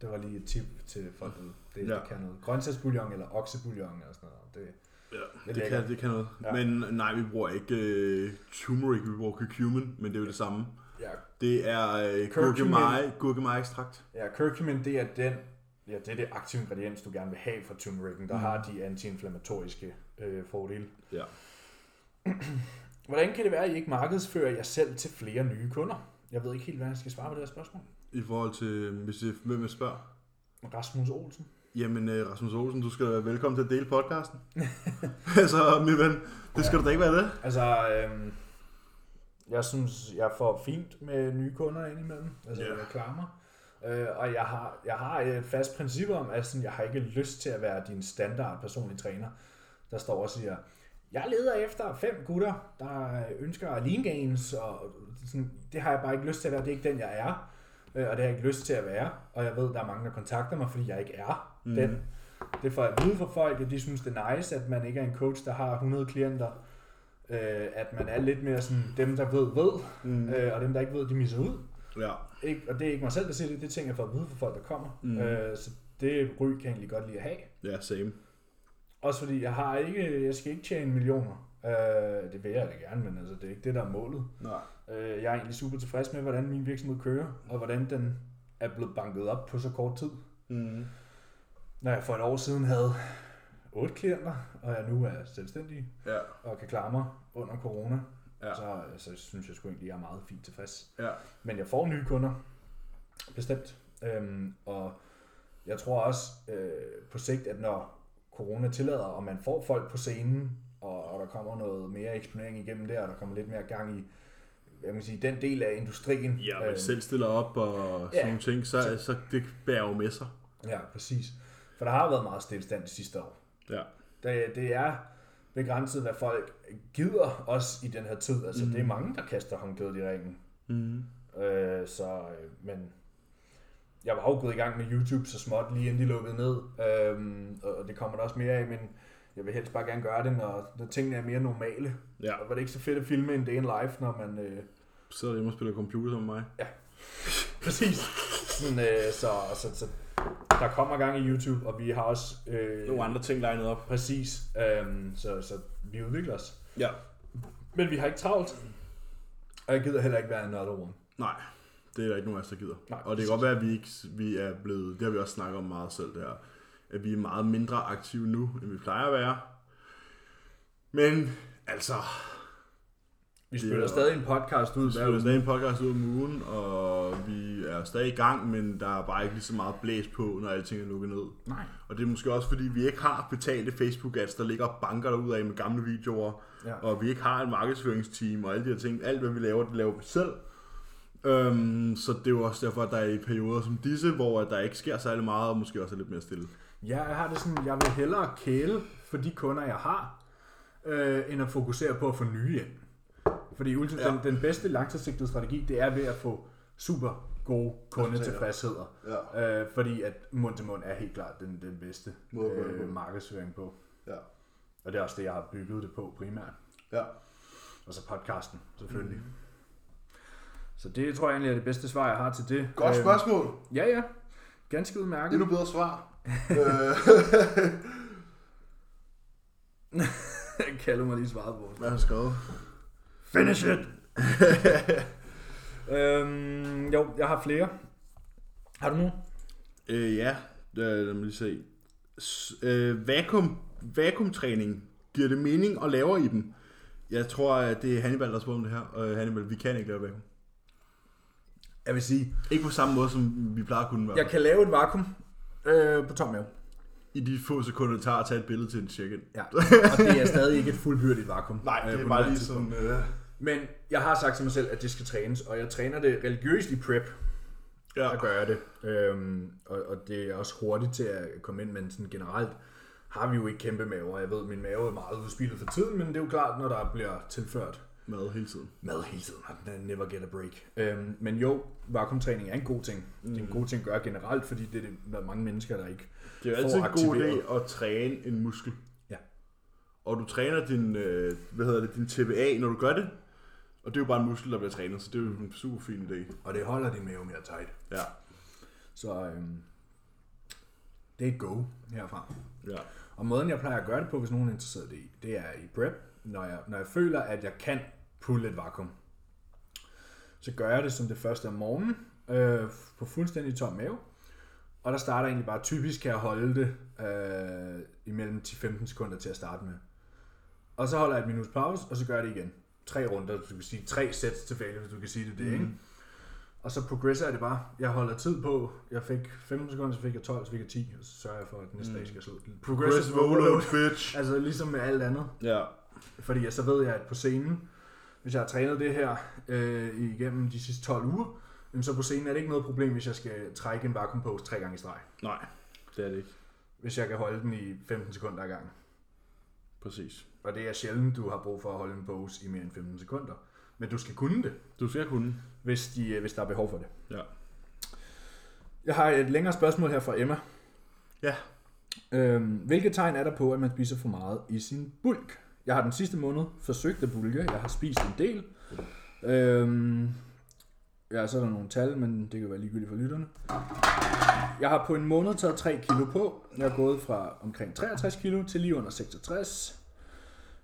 [SPEAKER 1] Det var lige et tip til folk derude. Det, ja.
[SPEAKER 2] Ja.
[SPEAKER 1] det kan noget. Grøntsagsbouillon eller oksebouillon eller sådan noget. Det,
[SPEAKER 2] Ja,
[SPEAKER 1] Det
[SPEAKER 2] det,
[SPEAKER 1] lækkert.
[SPEAKER 2] kan, det kan noget.
[SPEAKER 1] Ja.
[SPEAKER 2] Ja. Men nej, vi bruger ikke øh, turmeric, vi bruger curcumin, men det er jo det samme.
[SPEAKER 1] ja,
[SPEAKER 2] Det er øh,
[SPEAKER 1] Curcumin.
[SPEAKER 2] gurkemeje, gurkemeje ekstrakt.
[SPEAKER 1] ja, curcumin, det er den Ja, det er det aktive ingrediens, du gerne vil have fra turmericen, der mm.
[SPEAKER 2] Mhm.
[SPEAKER 1] har de antiinflammatoriske øh, fordele.
[SPEAKER 2] Ja.
[SPEAKER 1] Hvordan kan det være, at I ikke markedsfører jer selv til flere nye kunder? Jeg ved ikke helt, hvad jeg skal svare på det her spørgsmål.
[SPEAKER 2] I forhold til, øh, hvis det, hvem jeg spørger.
[SPEAKER 1] Rasmus Olsen.
[SPEAKER 2] Jamen, øh, Rasmus Olsen, du skal være velkommen til at dele podcasten. *laughs* altså, min ven, det skal du da ikke være det.
[SPEAKER 1] Altså, øhm, jeg synes, jeg får fint med nye kunder indimellem, altså
[SPEAKER 2] Ja.
[SPEAKER 1] yeah. reklamer. Øh, og jeg har, jeg har et fast princip om, at sådan, jeg har ikke lyst til at være din standard personlige træner, der står og siger, jeg leder efter fem gutter, der ønsker lean gains, og sådan, det har jeg bare ikke lyst til at være, det er ikke den, jeg er, øh, og det har jeg ikke lyst til at være, og jeg ved, der er mange, der kontakter mig, fordi jeg ikke er mm. den. Det får jeg at vide fra folk, at de synes, det er nice, at man ikke er en coach, der har 100 klienter, øh, at man er lidt mere sådan, dem der ved, ved,
[SPEAKER 2] Mm.
[SPEAKER 1] øh, og dem der ikke ved, de misser ud.
[SPEAKER 2] Ja.
[SPEAKER 1] Ikke, og det er ikke mig selv, der siger det, det er ting, jeg får at vide fra folk, der kommer. Mm.
[SPEAKER 2] Mm.
[SPEAKER 1] Øh, så det ry kan jeg egentlig godt lide at have.
[SPEAKER 2] ja, same.
[SPEAKER 1] Også fordi jeg har ikke, jeg skal ikke tjene millioner. Øh, det vil jeg da gerne, men altså, det er ikke det, der er målet.
[SPEAKER 2] Nej.
[SPEAKER 1] Øh, jeg er egentlig super tilfreds med, hvordan min virksomhed kører, og hvordan den er blevet banket op på så kort tid.
[SPEAKER 2] Mm.
[SPEAKER 1] Når jeg for et år siden havde otte klienter, og jeg nu er selvstændig
[SPEAKER 2] Ja,
[SPEAKER 1] og kan klare mig under corona, ja.
[SPEAKER 2] Ja.
[SPEAKER 1] så, øh, så synes jeg sgu egentlig, jeg er meget fint tilfreds.
[SPEAKER 2] ja.
[SPEAKER 1] Men jeg får nye kunder, bestemt. Øhm, og jeg tror også øh, på sigt, at når corona tillader, og man får folk på scenen, og, og der kommer noget mere eksponering igennem der, og der kommer lidt mere gang i hvad man kan sige, den del af industrien. Øhm,
[SPEAKER 2] Ja, man selv stiller op og sådan
[SPEAKER 1] ja.
[SPEAKER 2] ja. nogle ting, så, så det bærer jo med sig.
[SPEAKER 1] Ja, præcis. For der har været meget stillestand de sidste år.
[SPEAKER 2] Ja.
[SPEAKER 1] Det, det er begrænset, hvad folk gider os i den her tid. Altså, mm. det er mange, der kaster håndklædet i ringen.
[SPEAKER 2] Mm.
[SPEAKER 1] Øh, så, øh, men jeg var jo gået i gang med YouTube så småt, lige inden de lukkede ned, øhm, og og det kommer der også mere af, men jeg vil helst bare gerne gøre det, når, når tingene er mere normale.
[SPEAKER 2] Ja,
[SPEAKER 1] Og var det ikke så fedt at filme en day in life, når man... Øh,
[SPEAKER 2] *laughs* så sidder hjemme og spiller computer som mig.
[SPEAKER 1] præcis. Sådan, øh, så, så, så der kommer gang i YouTube, og vi har også... Øh,
[SPEAKER 2] andre ting legnet op.
[SPEAKER 1] præcis. Øh, så, så vi udvikler os.
[SPEAKER 2] Ja.
[SPEAKER 1] Men vi har ikke travlt. Og jeg gider heller ikke være another one.
[SPEAKER 2] Nej, det er der ikke nogen af os, der gider.
[SPEAKER 1] Nej,
[SPEAKER 2] Nej, og det
[SPEAKER 1] præcis.
[SPEAKER 2] kan godt være, at vi, ikke, vi er blevet, det har vi også snakket om meget selv, det her, at vi er meget mindre aktive nu, end vi plejer at være. Men altså,
[SPEAKER 1] Vi
[SPEAKER 2] Det er
[SPEAKER 1] spiller
[SPEAKER 2] jo-
[SPEAKER 1] stadig en podcast ud
[SPEAKER 2] vi
[SPEAKER 1] hver uge.
[SPEAKER 2] spiller stadig en podcast ud om ugen, og vi er stadig i gang, men der er bare ikke lige så meget blæs på, når alting er lukket ned.
[SPEAKER 1] Nej.
[SPEAKER 2] Og det er måske også, fordi vi ikke har betalte Facebook-ads, der ligger og banker derude af med gamle videoer,
[SPEAKER 1] Ja.
[SPEAKER 2] og vi ikke har en markedsføringsteam og alle de her ting. Alt, hvad vi laver, det laver vi selv. Øhm, så det er jo også derfor, at der er i perioder som disse, hvor at der ikke sker særlig meget, og måske også er lidt mere stille.
[SPEAKER 1] Ja, jeg har det sådan, jeg vil hellere kæle for de kunder, jeg har, øh, end at fokusere på at få nye ind. Fordi ultim- ja. den, den bedste langsigtede strategi, det er ved at få super gode kundetilfredsheder. Ja. Øh, fordi at mund til mund er helt klart den, den bedste
[SPEAKER 2] Måde at gøre det
[SPEAKER 1] øh,
[SPEAKER 2] på.
[SPEAKER 1] markedsføring på.
[SPEAKER 2] Ja.
[SPEAKER 1] Og det er også det, jeg har bygget det på primært.
[SPEAKER 2] Ja.
[SPEAKER 1] Og så podcasten, selvfølgelig.
[SPEAKER 2] Mhm.
[SPEAKER 1] Mm. Så det tror jeg egentlig er det bedste svar, jeg har til det. Øhm,
[SPEAKER 2] spørgsmål.
[SPEAKER 1] Ja, ja. Ganske udmærket. *laughs*
[SPEAKER 2] bedre *laughs* svar. øh,
[SPEAKER 1] Kalder mig lige svaret på.
[SPEAKER 2] hvad har jeg skrevet?
[SPEAKER 1] Finish it! *laughs* Øhm, jo, jeg har flere. Har du nogen?
[SPEAKER 2] Øh, ja, øh, lad mig lige se. S- øh, vakuum, vakuumtræning. Giver det mening og laver i dem? Jeg tror, at det er Hannibal, der spørger om det her. Og Hannibal, vi kan ikke lave vakuum.
[SPEAKER 1] Jeg vil sige,
[SPEAKER 2] Ikke på samme måde, som vi plejer at kunne være.
[SPEAKER 1] jeg kan lave et vakuum øh, på tom mave.
[SPEAKER 2] I de få sekunder, det tager at tage et billede til en check-in. Øh,
[SPEAKER 1] Ja. Og det er stadig ikke et fuldbyrdigt vakuum.
[SPEAKER 2] *laughs* Nej, det
[SPEAKER 1] på
[SPEAKER 2] er bare
[SPEAKER 1] nuværende
[SPEAKER 2] lige sådan... Øh,
[SPEAKER 1] Men jeg har sagt til mig selv, at det skal trænes, og jeg træner det religiøst i prep,
[SPEAKER 2] ja.
[SPEAKER 1] at gøre det. Øhm, og, og det er også hurtigt til at komme ind, men sådan generelt har vi jo ikke kæmpe maver. Jeg ved, min mave er meget udspillet for tiden, men det er jo klart, når der bliver tilført
[SPEAKER 2] Mad hele tiden.
[SPEAKER 1] mad hele tiden, og den er never get a break. Øhm, men jo, vakuumtræning er en god ting. Mm. Det er en god ting at gøre generelt, fordi det er det, der er mange mennesker, der ikke
[SPEAKER 2] Det er jo
[SPEAKER 1] får
[SPEAKER 2] altid en god
[SPEAKER 1] aktiveret.
[SPEAKER 2] idé at træne en muskel.
[SPEAKER 1] Ja.
[SPEAKER 2] Og du træner din, øh, hvad hedder det, din TBA, når du gør det. Og det er jo bare en muskel, der bliver trænet, så det er jo en super fin idé.
[SPEAKER 1] Og det holder din mave mere tight.
[SPEAKER 2] Ja.
[SPEAKER 1] Så øhm, det er et go herfra.
[SPEAKER 2] ja.
[SPEAKER 1] Og måden, jeg plejer at gøre det på, hvis nogen er interesseret i det, det er i prep. Når jeg, når jeg føler, at jeg kan pulle et vakuum, så gør jeg det som det første om morgenen, øh, på fuldstændig tom mave. Og der starter jeg egentlig bare, typisk kan jeg holde det øh, imellem 10-15 sekunder til at starte med. Og så holder jeg et minut pause, og så gør jeg det igen. Tre runder, du kan sige tre sæt til failure, hvis du kan sige det, det mm. ikke? Og så progresser jeg det bare. Jeg holder tid på. Jeg fik 15 sekunder, så fik jeg 12, så fik jeg 10, og så sørger jeg for, at næste dag skal jeg slå.
[SPEAKER 2] Mm. Progressive overload, bitch.
[SPEAKER 1] Altså ligesom med alt andet.
[SPEAKER 2] Ja.
[SPEAKER 1] Fordi jeg, så ved jeg, at på scenen, hvis jeg har trænet det her øh, igennem de sidste 12 uger, jamen, så på scenen er det ikke noget problem, hvis jeg skal trække en vakuumpose tre gange i streg.
[SPEAKER 2] Nej, det er det ikke.
[SPEAKER 1] Hvis jeg kan holde den i 15 sekunder ad gangen.
[SPEAKER 2] Præcis.
[SPEAKER 1] Og det er sjældent, du har brug for at holde en pose i mere end 15 sekunder. Men du skal kunne det,
[SPEAKER 2] Du skal kunne.
[SPEAKER 1] hvis, de, øh, hvis der er behov for det.
[SPEAKER 2] Ja.
[SPEAKER 1] Jeg har et længere spørgsmål her fra Emma.
[SPEAKER 2] Ja.
[SPEAKER 1] Øhm, hvilke tegn er der på, at man spiser for meget i sin bulk? Jeg har den sidste måned forsøgt at bulke. Jeg har spist en del. Øhm, ja, så er der nogle tal, men det kan være ligegyldigt for lytterne. Jeg har på en måned taget 3 kilo på. Jeg er gået fra omkring 63 kilo til lige under 66.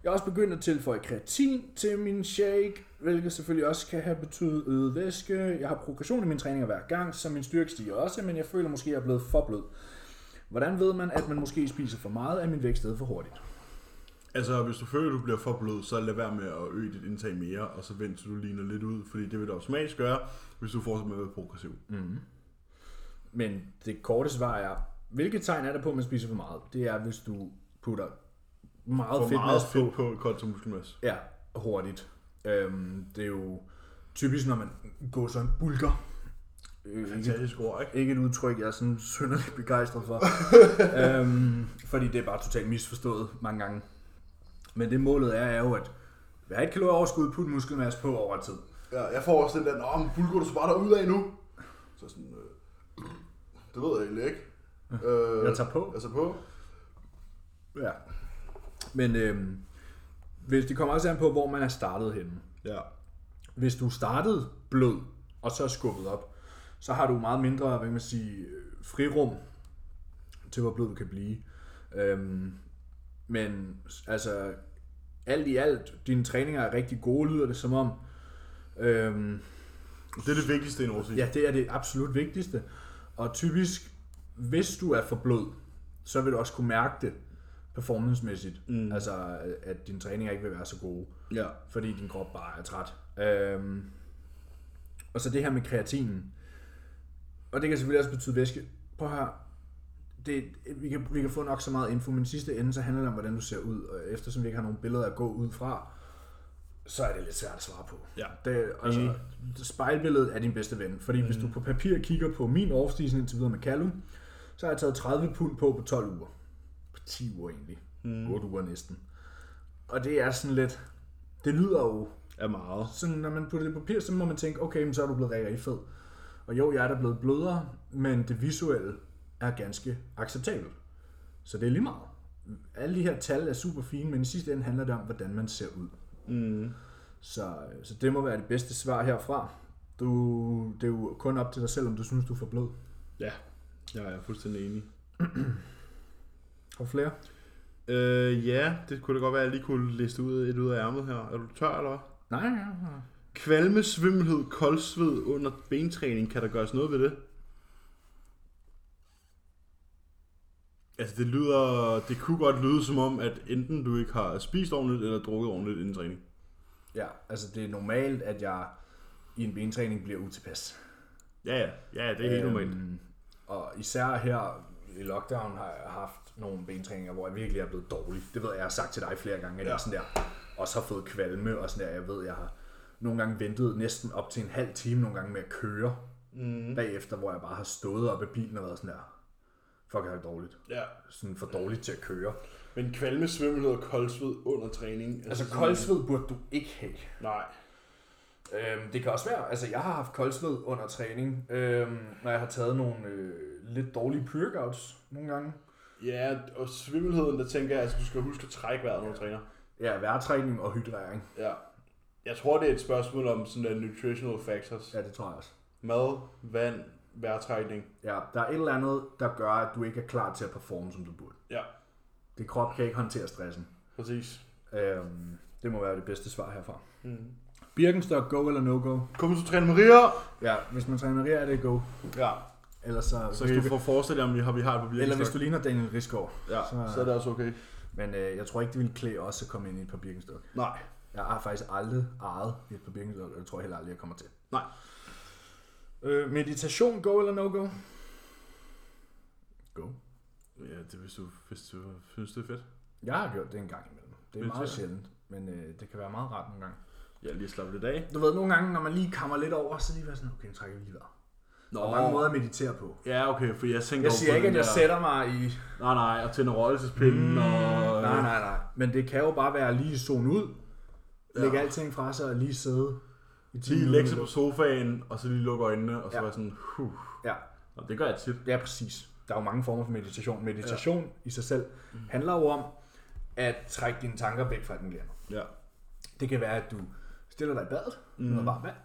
[SPEAKER 1] Jeg er også begyndt at tilføje kreatin til min shake, hvilket selvfølgelig også kan have betydet øget væske. Jeg har progression i mine træninger hver gang, så min styrke stiger også, men jeg føler måske, at jeg er blevet for blød. Hvordan ved man, at man måske spiser for meget af min vægt stedet for hurtigt?
[SPEAKER 2] Altså, hvis du føler, du bliver for blød, så lad være med at øge dit indtag mere, og så vent, til du ligner lidt ud, fordi det vil det automatisk gøre, hvis du fortsætter med at være progressiv.
[SPEAKER 1] Men det korte svar er, hvilke tegn er der på, at man spiser for meget? Det er, hvis du putter meget
[SPEAKER 2] For
[SPEAKER 1] fedt
[SPEAKER 2] meget
[SPEAKER 1] på.
[SPEAKER 2] fedt på kontra muskelmasse.
[SPEAKER 1] Ja, hurtigt. Øhm, det er jo typisk, når man går sådan bulker. Øh, ikke
[SPEAKER 2] Fantastisk ord, ikke?
[SPEAKER 1] ikke et udtryk, jeg er sådan synderligt begejstret
[SPEAKER 2] *laughs*
[SPEAKER 1] for. øhm, fordi det er bare totalt misforstået mange gange. Men det målet er, er jo at være et kalorieoverskud, putte muskelmasse på over tid.
[SPEAKER 2] Ja, jeg får også den der, om bulgur, du så bare derud af nu. Så sådan, øh, det ved jeg egentlig ikke. Øh,
[SPEAKER 1] Jeg tager på.
[SPEAKER 2] Jeg tager på.
[SPEAKER 1] Ja. Men øhm, hvis det kommer også an på, hvor man er startet henne.
[SPEAKER 2] Ja.
[SPEAKER 1] Hvis du startede blød, og så er skubbet op, så har du meget mindre, hvad kan man sige, øh, frirum til, hvor blød du kan blive. Øhm, men altså, alt i alt, dine træninger er rigtig gode, lyder det som om. Øhm,
[SPEAKER 2] Det er det vigtigste i en oversigt.
[SPEAKER 1] Ja, det er det absolut vigtigste. Og typisk, hvis du er for blød, så vil du også kunne mærke det performancemæssigt. Mm. Altså, at dine træninger ikke vil være så gode,
[SPEAKER 2] ja.
[SPEAKER 1] fordi din krop bare er træt. Øhm, og så det her med kreatinen. Og det kan selvfølgelig også betyde væske. Prøv her. Det, vi, kan, vi kan få nok så meget info, men i sidste ende, så handler det om, hvordan du ser ud. Og eftersom vi ikke har nogen billeder at gå ud fra, så er det lidt svært at svare på.
[SPEAKER 2] Ja.
[SPEAKER 1] Det, altså,
[SPEAKER 2] Enig. Mhm.
[SPEAKER 1] spejlbilledet er din bedste ven. Fordi mm. hvis du på papir kigger på min overstigning indtil videre med Callum, så har jeg taget 30 pund på på 12 uger. På 10 uger egentlig.
[SPEAKER 2] Mhm.
[SPEAKER 1] Mm. 8 uger næsten. Og det er sådan lidt... Det lyder jo
[SPEAKER 2] Er meget.
[SPEAKER 1] sådan, når man putter det på papir, så må man tænke, okay, men så er du blevet rigtig, rigtig fed. Og jo, jeg er da blevet blødere, men det visuelle er ganske acceptabelt. Så det er lige meget. Alle de her tal er super fine, men i sidste ende handler det om, hvordan man ser ud.
[SPEAKER 2] Mm.
[SPEAKER 1] Så, øh, så det må være det bedste svar herfra. Du, det er jo kun op til dig selv, om du synes, du er for blød.
[SPEAKER 2] Ja. Jeg er fuldstændig enig.
[SPEAKER 1] Og flere?
[SPEAKER 2] Øh, ja, det kunne da godt være, at jeg lige kunne liste ud et ud af ærmet her. Er du tør, eller hvad?
[SPEAKER 1] Nej, ja, ja.
[SPEAKER 2] Kvalme, svimmelhed, koldsved under bentræning, kan der gøres noget ved det? Altså det lyder, det kunne godt lyde som om, at enten du ikke har spist ordentligt, eller drukket ordentligt inden træning.
[SPEAKER 1] Ja, altså det er normalt, at jeg i en bentræning bliver utilpas.
[SPEAKER 2] Ja, ja, ja, det er helt normalt.
[SPEAKER 1] Øhm, Og især her i lockdown har jeg haft nogle bentræninger, hvor jeg virkelig er blevet dårlig. Det ved jeg, jeg har sagt til dig flere gange, at ja.
[SPEAKER 2] Ja.
[SPEAKER 1] jeg sådan der også har fået kvalme og sådan der. Jeg ved, jeg har nogle gange ventet næsten op til en halv time nogle gange med at køre
[SPEAKER 2] Mhm.
[SPEAKER 1] mm. bagefter, hvor jeg bare har stået op i bilen og været sådan der, fuck, jeg er dårligt.
[SPEAKER 2] Ja.
[SPEAKER 1] Sådan for dårligt til at køre.
[SPEAKER 2] Men kvalme, svimmelhed og koldsved under træning.
[SPEAKER 1] Altså koldsved burde du ikke have.
[SPEAKER 2] Nej.
[SPEAKER 1] Øhm, det kan også være, altså jeg har haft koldsved under træning, øhm, når jeg har taget nogle øh, lidt dårlige pyrkouts nogle gange.
[SPEAKER 2] Ja, og svimmelheden, der tænker jeg, at du skal huske at trække vejret, når du træner.
[SPEAKER 1] Ja, vejrtrækning og hydrering.
[SPEAKER 2] Ja. Jeg tror, det er et spørgsmål om sådan der nutritional factors.
[SPEAKER 1] Ja, det tror jeg også.
[SPEAKER 2] Mad, vand, vejrtrækning.
[SPEAKER 1] Ja, der er et eller andet, der gør, at du ikke er klar til at performe, som du burde.
[SPEAKER 2] Ja,
[SPEAKER 1] Det krop kan ikke håndtere stressen.
[SPEAKER 2] præcis.
[SPEAKER 1] Øhm, det må være det bedste svar herfra.
[SPEAKER 2] Mm.
[SPEAKER 1] Birkenstock, go eller no go?
[SPEAKER 2] Kom så træne Maria!
[SPEAKER 1] Ja, hvis man træner er det go.
[SPEAKER 2] Ja,
[SPEAKER 1] Ellers så,
[SPEAKER 2] så
[SPEAKER 1] hvis
[SPEAKER 2] kan
[SPEAKER 1] du,
[SPEAKER 2] I få forestillet, om vi har, vi har et problem.
[SPEAKER 1] eller hvis du ligner Daniel Rigsgaard.
[SPEAKER 2] Ja,
[SPEAKER 1] så-
[SPEAKER 2] så, så er det også okay.
[SPEAKER 1] Men øh, jeg tror ikke, det ville klæde os at komme ind i et par Birkenstock.
[SPEAKER 2] Nej.
[SPEAKER 1] Jeg har faktisk aldrig ejet et par Birkenstock, og det tror jeg heller aldrig, jeg kommer til.
[SPEAKER 2] Nej.
[SPEAKER 1] Øh, meditation, go eller no go? Go.
[SPEAKER 2] Ja, det er, hvis du, hvis du synes, det er fedt.
[SPEAKER 1] Jeg har gjort det en gang imellem. Det er
[SPEAKER 2] Meditere.
[SPEAKER 1] meget sjældent, men øh, det kan være meget rart nogle gange.
[SPEAKER 2] Ja, lige slappe lidt af.
[SPEAKER 1] Du ved, nogle gange, når man lige kammer lidt over, så lige være sådan, okay, nu trækker vi lige vejret.
[SPEAKER 2] Nå,
[SPEAKER 1] Der er mange måder at meditere på.
[SPEAKER 2] Ja, okay, for jeg tænker
[SPEAKER 1] Jeg
[SPEAKER 2] jo
[SPEAKER 1] siger
[SPEAKER 2] på
[SPEAKER 1] ikke,
[SPEAKER 2] den
[SPEAKER 1] at jeg
[SPEAKER 2] der-
[SPEAKER 1] sætter mig i...
[SPEAKER 2] Nej, nej, og tænder røgelsespinden mm, og...
[SPEAKER 1] Nej, nej, nej. Men det kan jo bare være lige zone ud, lægge
[SPEAKER 2] Ja.
[SPEAKER 1] alting fra sig og lige sidde i 10
[SPEAKER 2] Lige lægge sig på
[SPEAKER 1] minutter.
[SPEAKER 2] sofaen, og så lige lukke øjnene, og så
[SPEAKER 1] Ja.
[SPEAKER 2] ja. være sådan, huh.
[SPEAKER 1] Ja,
[SPEAKER 2] Nå, det gør jeg tit.
[SPEAKER 1] Ja, præcis. Der er jo mange former for meditation. Meditation ja. i sig selv
[SPEAKER 2] Mm.
[SPEAKER 1] handler jo om at trække dine tanker væk fra alt muligt andet.
[SPEAKER 2] Ja.
[SPEAKER 1] Det kan være, at du stiller dig i badet mm. med noget varmt vand,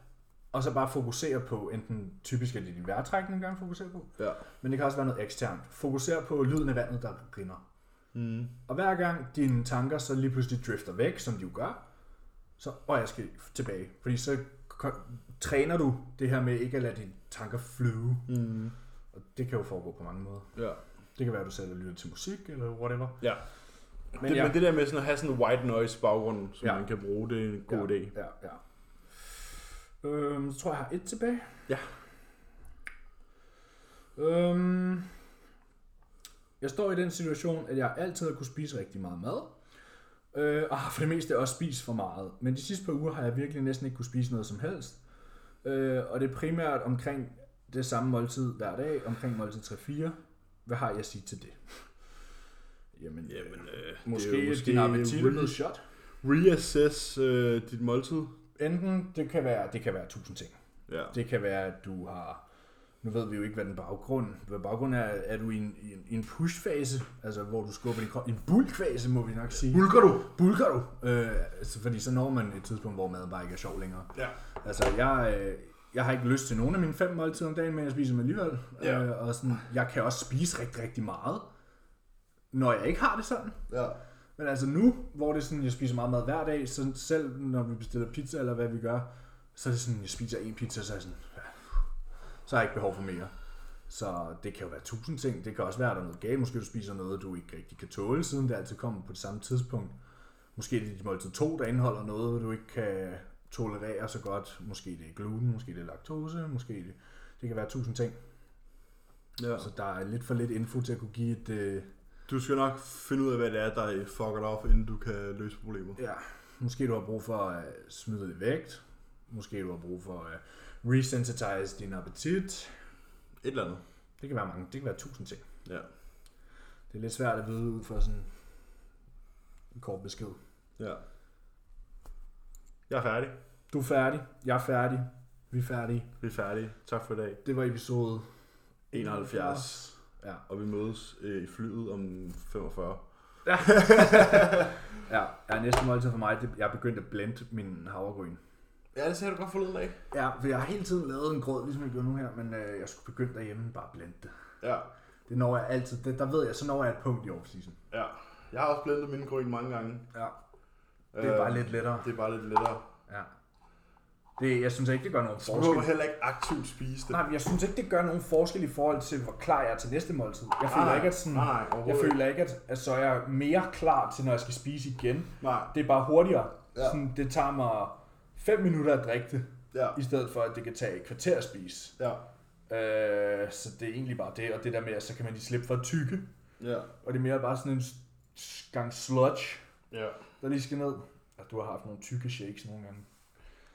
[SPEAKER 1] og så bare fokuserer på, enten typisk er det din vejrtrækning, du gerne fokuserer på,
[SPEAKER 2] Ja.
[SPEAKER 1] men det kan også være noget eksternt. Fokuser på lyden af vandet, der rinner.
[SPEAKER 2] Mm.
[SPEAKER 1] Og hver gang dine tanker så lige pludselig drifter væk, som de jo gør, så, og jeg skal tilbage, fordi så ko- træner du det her med ikke at lade dine tanker flyve.
[SPEAKER 2] Mm.
[SPEAKER 1] Og det kan jo foregå på mange måder.
[SPEAKER 2] Ja.
[SPEAKER 1] Det kan være, at du selv lytter til musik, eller whatever.
[SPEAKER 2] ja. Men,
[SPEAKER 1] ja.
[SPEAKER 2] det, ja. men det der med sådan at have sådan en white noise baggrund, som
[SPEAKER 1] Ja.
[SPEAKER 2] ja. man kan bruge, det er en god
[SPEAKER 1] ja,
[SPEAKER 2] idé.
[SPEAKER 1] Ja, ja. Øhm, så tror jeg, jeg har et tilbage.
[SPEAKER 2] Ja.
[SPEAKER 1] Øhm, jeg står i den situation, at jeg altid har kunnet spise rigtig meget mad. Øh, og har for det meste også spist for meget. Men de sidste par uger har jeg virkelig næsten ikke kunne spise noget som helst. Øh, og det er primært omkring det samme måltid hver dag, omkring måltid 3-4. Hvad har jeg at sige til det? Jamen, øh,
[SPEAKER 2] Jamen, øh,
[SPEAKER 1] måske,
[SPEAKER 2] det er
[SPEAKER 1] det
[SPEAKER 2] jo
[SPEAKER 1] måske din appetit er
[SPEAKER 2] re-
[SPEAKER 1] blevet shot.
[SPEAKER 2] reassess øh, dit måltid.
[SPEAKER 1] Enten det kan være, det kan være tusind ting.
[SPEAKER 2] Ja.
[SPEAKER 1] Det kan være, at du har... Nu ved vi jo ikke, hvad den baggrund... Hvad baggrunden er, er du i en, i en, i en push-fase, altså hvor du skubber din krop... En bulk-fase, må vi nok sige.
[SPEAKER 2] Bulker du?
[SPEAKER 1] Bulker du? Øh, altså, fordi så når man et tidspunkt, hvor maden bare ikke er sjov længere.
[SPEAKER 2] Ja.
[SPEAKER 1] Altså, jeg, øh, jeg har ikke lyst til nogen af mine fem måltider om dagen, men jeg spiser dem alligevel.
[SPEAKER 2] Ja.
[SPEAKER 1] Øh, og sådan, jeg kan også spise rigtig, rigtig meget, når jeg ikke har det sådan.
[SPEAKER 2] Ja.
[SPEAKER 1] Men altså nu, hvor det er sådan, jeg spiser meget mad hver dag, så selv når vi bestiller pizza eller hvad vi gør, så er det sådan, jeg spiser en pizza, så er jeg sådan, ja, så har jeg ikke behov for mere. Så det kan jo være tusind ting. Det kan også være, at der er noget galt. Måske du spiser noget, du ikke rigtig kan tåle, siden det altid kommer på det samme tidspunkt. Måske er det dit måltid 2, der indeholder noget, du ikke kan tolerere så godt. Måske det er gluten, måske det er laktose, måske det, det kan være tusind ting.
[SPEAKER 2] ja.
[SPEAKER 1] Så der er lidt for lidt info til at kunne give et... Øh,
[SPEAKER 2] Du skal nok finde ud af, hvad det er, der fucker dig op, inden du kan løse problemer.
[SPEAKER 1] Ja, måske du har brug for at øh, smide lidt vægt. Måske du har brug for at resensitize din appetit.
[SPEAKER 2] Et eller andet.
[SPEAKER 1] Det kan være mange, det kan være tusind ting.
[SPEAKER 2] Ja.
[SPEAKER 1] Det er lidt svært at vide ud fra sådan en kort besked.
[SPEAKER 2] Ja. Jeg er færdig.
[SPEAKER 1] Du er færdig, jeg er færdig, vi er færdige.
[SPEAKER 2] Vi er færdige. Tak for i dag.
[SPEAKER 1] Det var episode
[SPEAKER 2] 71.
[SPEAKER 1] Ja.
[SPEAKER 2] Og vi mødes øh, i flyet om 45.
[SPEAKER 1] Ja, ja næste måltid for mig, det, jeg er begyndt at blende min havregryn.
[SPEAKER 2] Ja, det sagde du godt forleden af.
[SPEAKER 1] Ja, for jeg har hele tiden lavet en grød, ligesom jeg gør nu her, men øh, jeg skulle begynde derhjemme bare at blende det.
[SPEAKER 2] Ja.
[SPEAKER 1] Det når jeg altid, det, der ved jeg, så når jeg et punkt i off-season.
[SPEAKER 2] Ja. Jeg har også blendet mine grøn mange gange.
[SPEAKER 1] Ja, det er bare
[SPEAKER 2] Øh,
[SPEAKER 1] lidt lettere.
[SPEAKER 2] Det er bare lidt lettere.
[SPEAKER 1] Ja. Det, jeg synes ikke, det gør nogen
[SPEAKER 2] Så må
[SPEAKER 1] forskel.
[SPEAKER 2] du heller ikke aktivt spise det.
[SPEAKER 1] Nej, men jeg synes ikke, det gør nogen forskel i forhold til, hvor klar jeg er til næste måltid. Jeg føler
[SPEAKER 2] nej.
[SPEAKER 1] ikke, at, sådan,
[SPEAKER 2] Nej, nej, overhovedet
[SPEAKER 1] jeg føler ikke, at, at så er jeg mere klar til, når jeg skal spise igen.
[SPEAKER 2] Nej.
[SPEAKER 1] Det er bare hurtigere.
[SPEAKER 2] Ja.
[SPEAKER 1] Ja. Sådan, det tager mig 5 minutter at drikke det,
[SPEAKER 2] Ja.
[SPEAKER 1] i stedet for, at det kan tage et kvarter at spise.
[SPEAKER 2] Ja.
[SPEAKER 1] Øh, så det er egentlig bare det, og det der med, at så kan man lige slippe for at tykke.
[SPEAKER 2] Ja.
[SPEAKER 1] Og det er mere bare sådan en s- s- gang sludge,
[SPEAKER 2] Ja.
[SPEAKER 1] der lige skal ned. Og du har haft nogle tykke shakes nogle gange.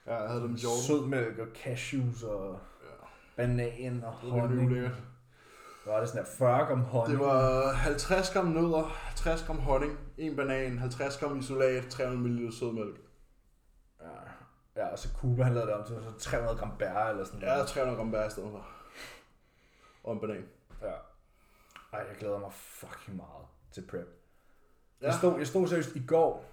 [SPEAKER 2] Ja, jeg havde det med Jordan.
[SPEAKER 1] Sødmælk og cashews og
[SPEAKER 2] Ja.
[SPEAKER 1] banan og
[SPEAKER 2] Det var nemlig
[SPEAKER 1] honning.
[SPEAKER 2] ulækkert.
[SPEAKER 1] Der var det sådan der 40 gram honning.
[SPEAKER 2] Det var 50 gram nødder, 50 gram honning, en banan, 50 gram isolat, 300 ml sødmælk.
[SPEAKER 1] Ja, ja og så Cuba, han lavede det om til så 300 gram bær eller sådan
[SPEAKER 2] Ja,
[SPEAKER 1] noget.
[SPEAKER 2] 300 gram bær i stedet for. Og en banan.
[SPEAKER 1] Ja. Ej, jeg glæder mig fucking meget til prep. Ja.
[SPEAKER 2] Ja.
[SPEAKER 1] Jeg, stod, jeg stod seriøst i går,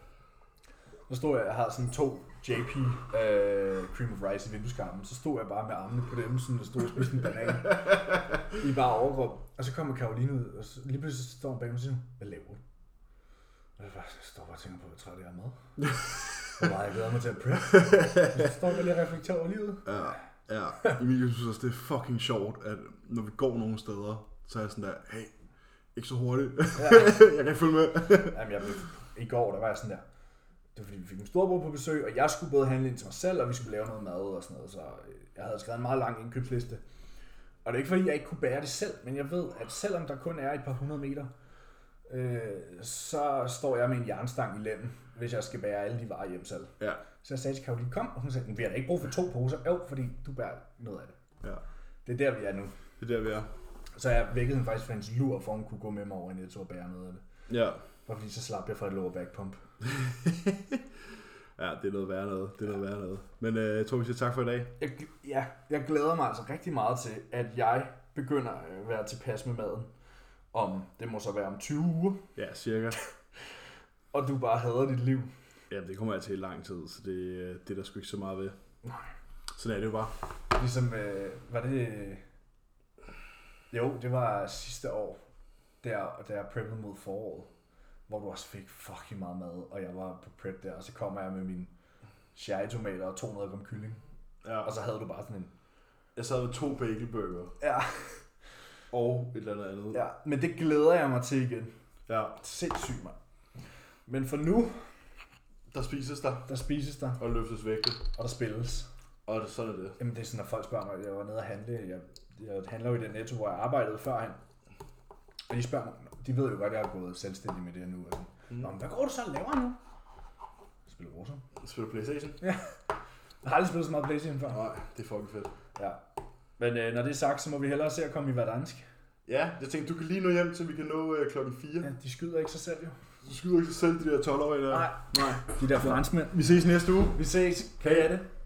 [SPEAKER 1] der stod jeg, jeg havde sådan to JP øh, Cream of Rice i vindueskarmen, så stod jeg bare med armene på dem, sådan og stod og spiste en banan i bare overkrop. Og så kommer Karoline ud, og så, lige pludselig så står hun bag mig og siger, hvad laver du? Og jeg, bare, jeg står bare og tænker på, hvor træt jeg er med. Hvor meget jeg glæder mig til at prep. Og så står jeg bare lige og reflekterer over livet.
[SPEAKER 2] Ja, *laughs* ja. Emilie synes også, det er fucking sjovt, at når vi går nogle steder, så er jeg sådan der, hey, ikke så hurtigt. *laughs* Ja. jeg kan ikke følge med.
[SPEAKER 1] Jamen, jeg, I går, der var jeg sådan der, det var fordi, vi fik min storebror på besøg, og jeg skulle både handle ind til mig selv, og vi skulle lave noget mad og sådan noget, så øh, jeg havde skrevet en meget lang indkøbsliste. Og det er ikke fordi, jeg ikke kunne bære det selv, men jeg ved, at selvom der kun er et par hundrede meter, øh, så står jeg med en jernstang i lemmen, hvis jeg skal bære alle de varer hjem selv.
[SPEAKER 2] ja.
[SPEAKER 1] Så jeg sagde til Karoline, kom, og hun sagde, "Men vi har da ikke brug for to poser. Jo, fordi du bærer noget af det.
[SPEAKER 2] ja.
[SPEAKER 1] Det er der, vi er nu.
[SPEAKER 2] Det er der, vi er.
[SPEAKER 1] Så jeg vækkede hende faktisk fra hendes lur, for hun kunne gå med mig over i Netto og bære noget af det.
[SPEAKER 2] Ja.
[SPEAKER 1] Bare fordi så slap jeg fra et lower back pump.
[SPEAKER 2] Ja, det er noget værre noget. Det er noget værre noget. Men øh, jeg tror, vi siger tak for i dag.
[SPEAKER 1] Jeg, gl- ja, jeg glæder mig altså rigtig meget til, at jeg begynder at være tilpas med maden. Om, det må så være om 20 uger,
[SPEAKER 2] Ja, cirka.
[SPEAKER 1] og du bare hader dit liv.
[SPEAKER 2] Ja, det kommer jeg til i lang tid, så det, øh, det er der sgu ikke så meget ved.
[SPEAKER 1] Nej.
[SPEAKER 2] Sådan er det jo bare.
[SPEAKER 1] Ligesom, øh, var det... Jo, det var sidste år, der, da jeg preppede mod foråret, hvor du også fik fucking meget mad, og jeg var på prep der, og så kommer jeg med mine cherrytomater og 200 gram kylling,
[SPEAKER 2] Ja.
[SPEAKER 1] og så havde du bare sådan en...
[SPEAKER 2] Jeg sad med to bagelburger
[SPEAKER 1] Ja,
[SPEAKER 2] og et eller andet andet.
[SPEAKER 1] ja. men det glæder jeg mig til igen.
[SPEAKER 2] ja.
[SPEAKER 1] Sindssygt, mand. Men for nu,
[SPEAKER 2] Der spises der
[SPEAKER 1] der spises der.
[SPEAKER 2] og løftes vægte.
[SPEAKER 1] Og der spilles.
[SPEAKER 2] Og det, sådan er det.
[SPEAKER 1] Jamen det er sådan, at folk spørger mig, jeg var nede og handle, jeg, jeg handler jo i den netto, hvor jeg arbejdede førhen. Og de spørger mig, de ved jo godt, at jeg er gået selvstændig med det her nu. Og sådan, Nå, men hvad går du så og laver nu? Jeg spiller Warzone.
[SPEAKER 2] Spiller Playstation?
[SPEAKER 1] Jeg har aldrig spillet så meget Playstation før.
[SPEAKER 2] Nej, det er fucking fedt.
[SPEAKER 1] Ja. Men øh, når det er sagt, så må vi hellere se at komme i hverdansk.
[SPEAKER 2] Ja, jeg tænkte, du kan lige nå hjem, så vi kan nå øh, klokken 4.
[SPEAKER 1] Ja, de skyder ikke sig selv jo.
[SPEAKER 2] Du skyder ikke selv de der 12 år der.
[SPEAKER 1] Nej.
[SPEAKER 2] Nej.
[SPEAKER 1] De der franskmænd.
[SPEAKER 2] Vi ses næste uge.
[SPEAKER 1] Vi ses. Kan I have det?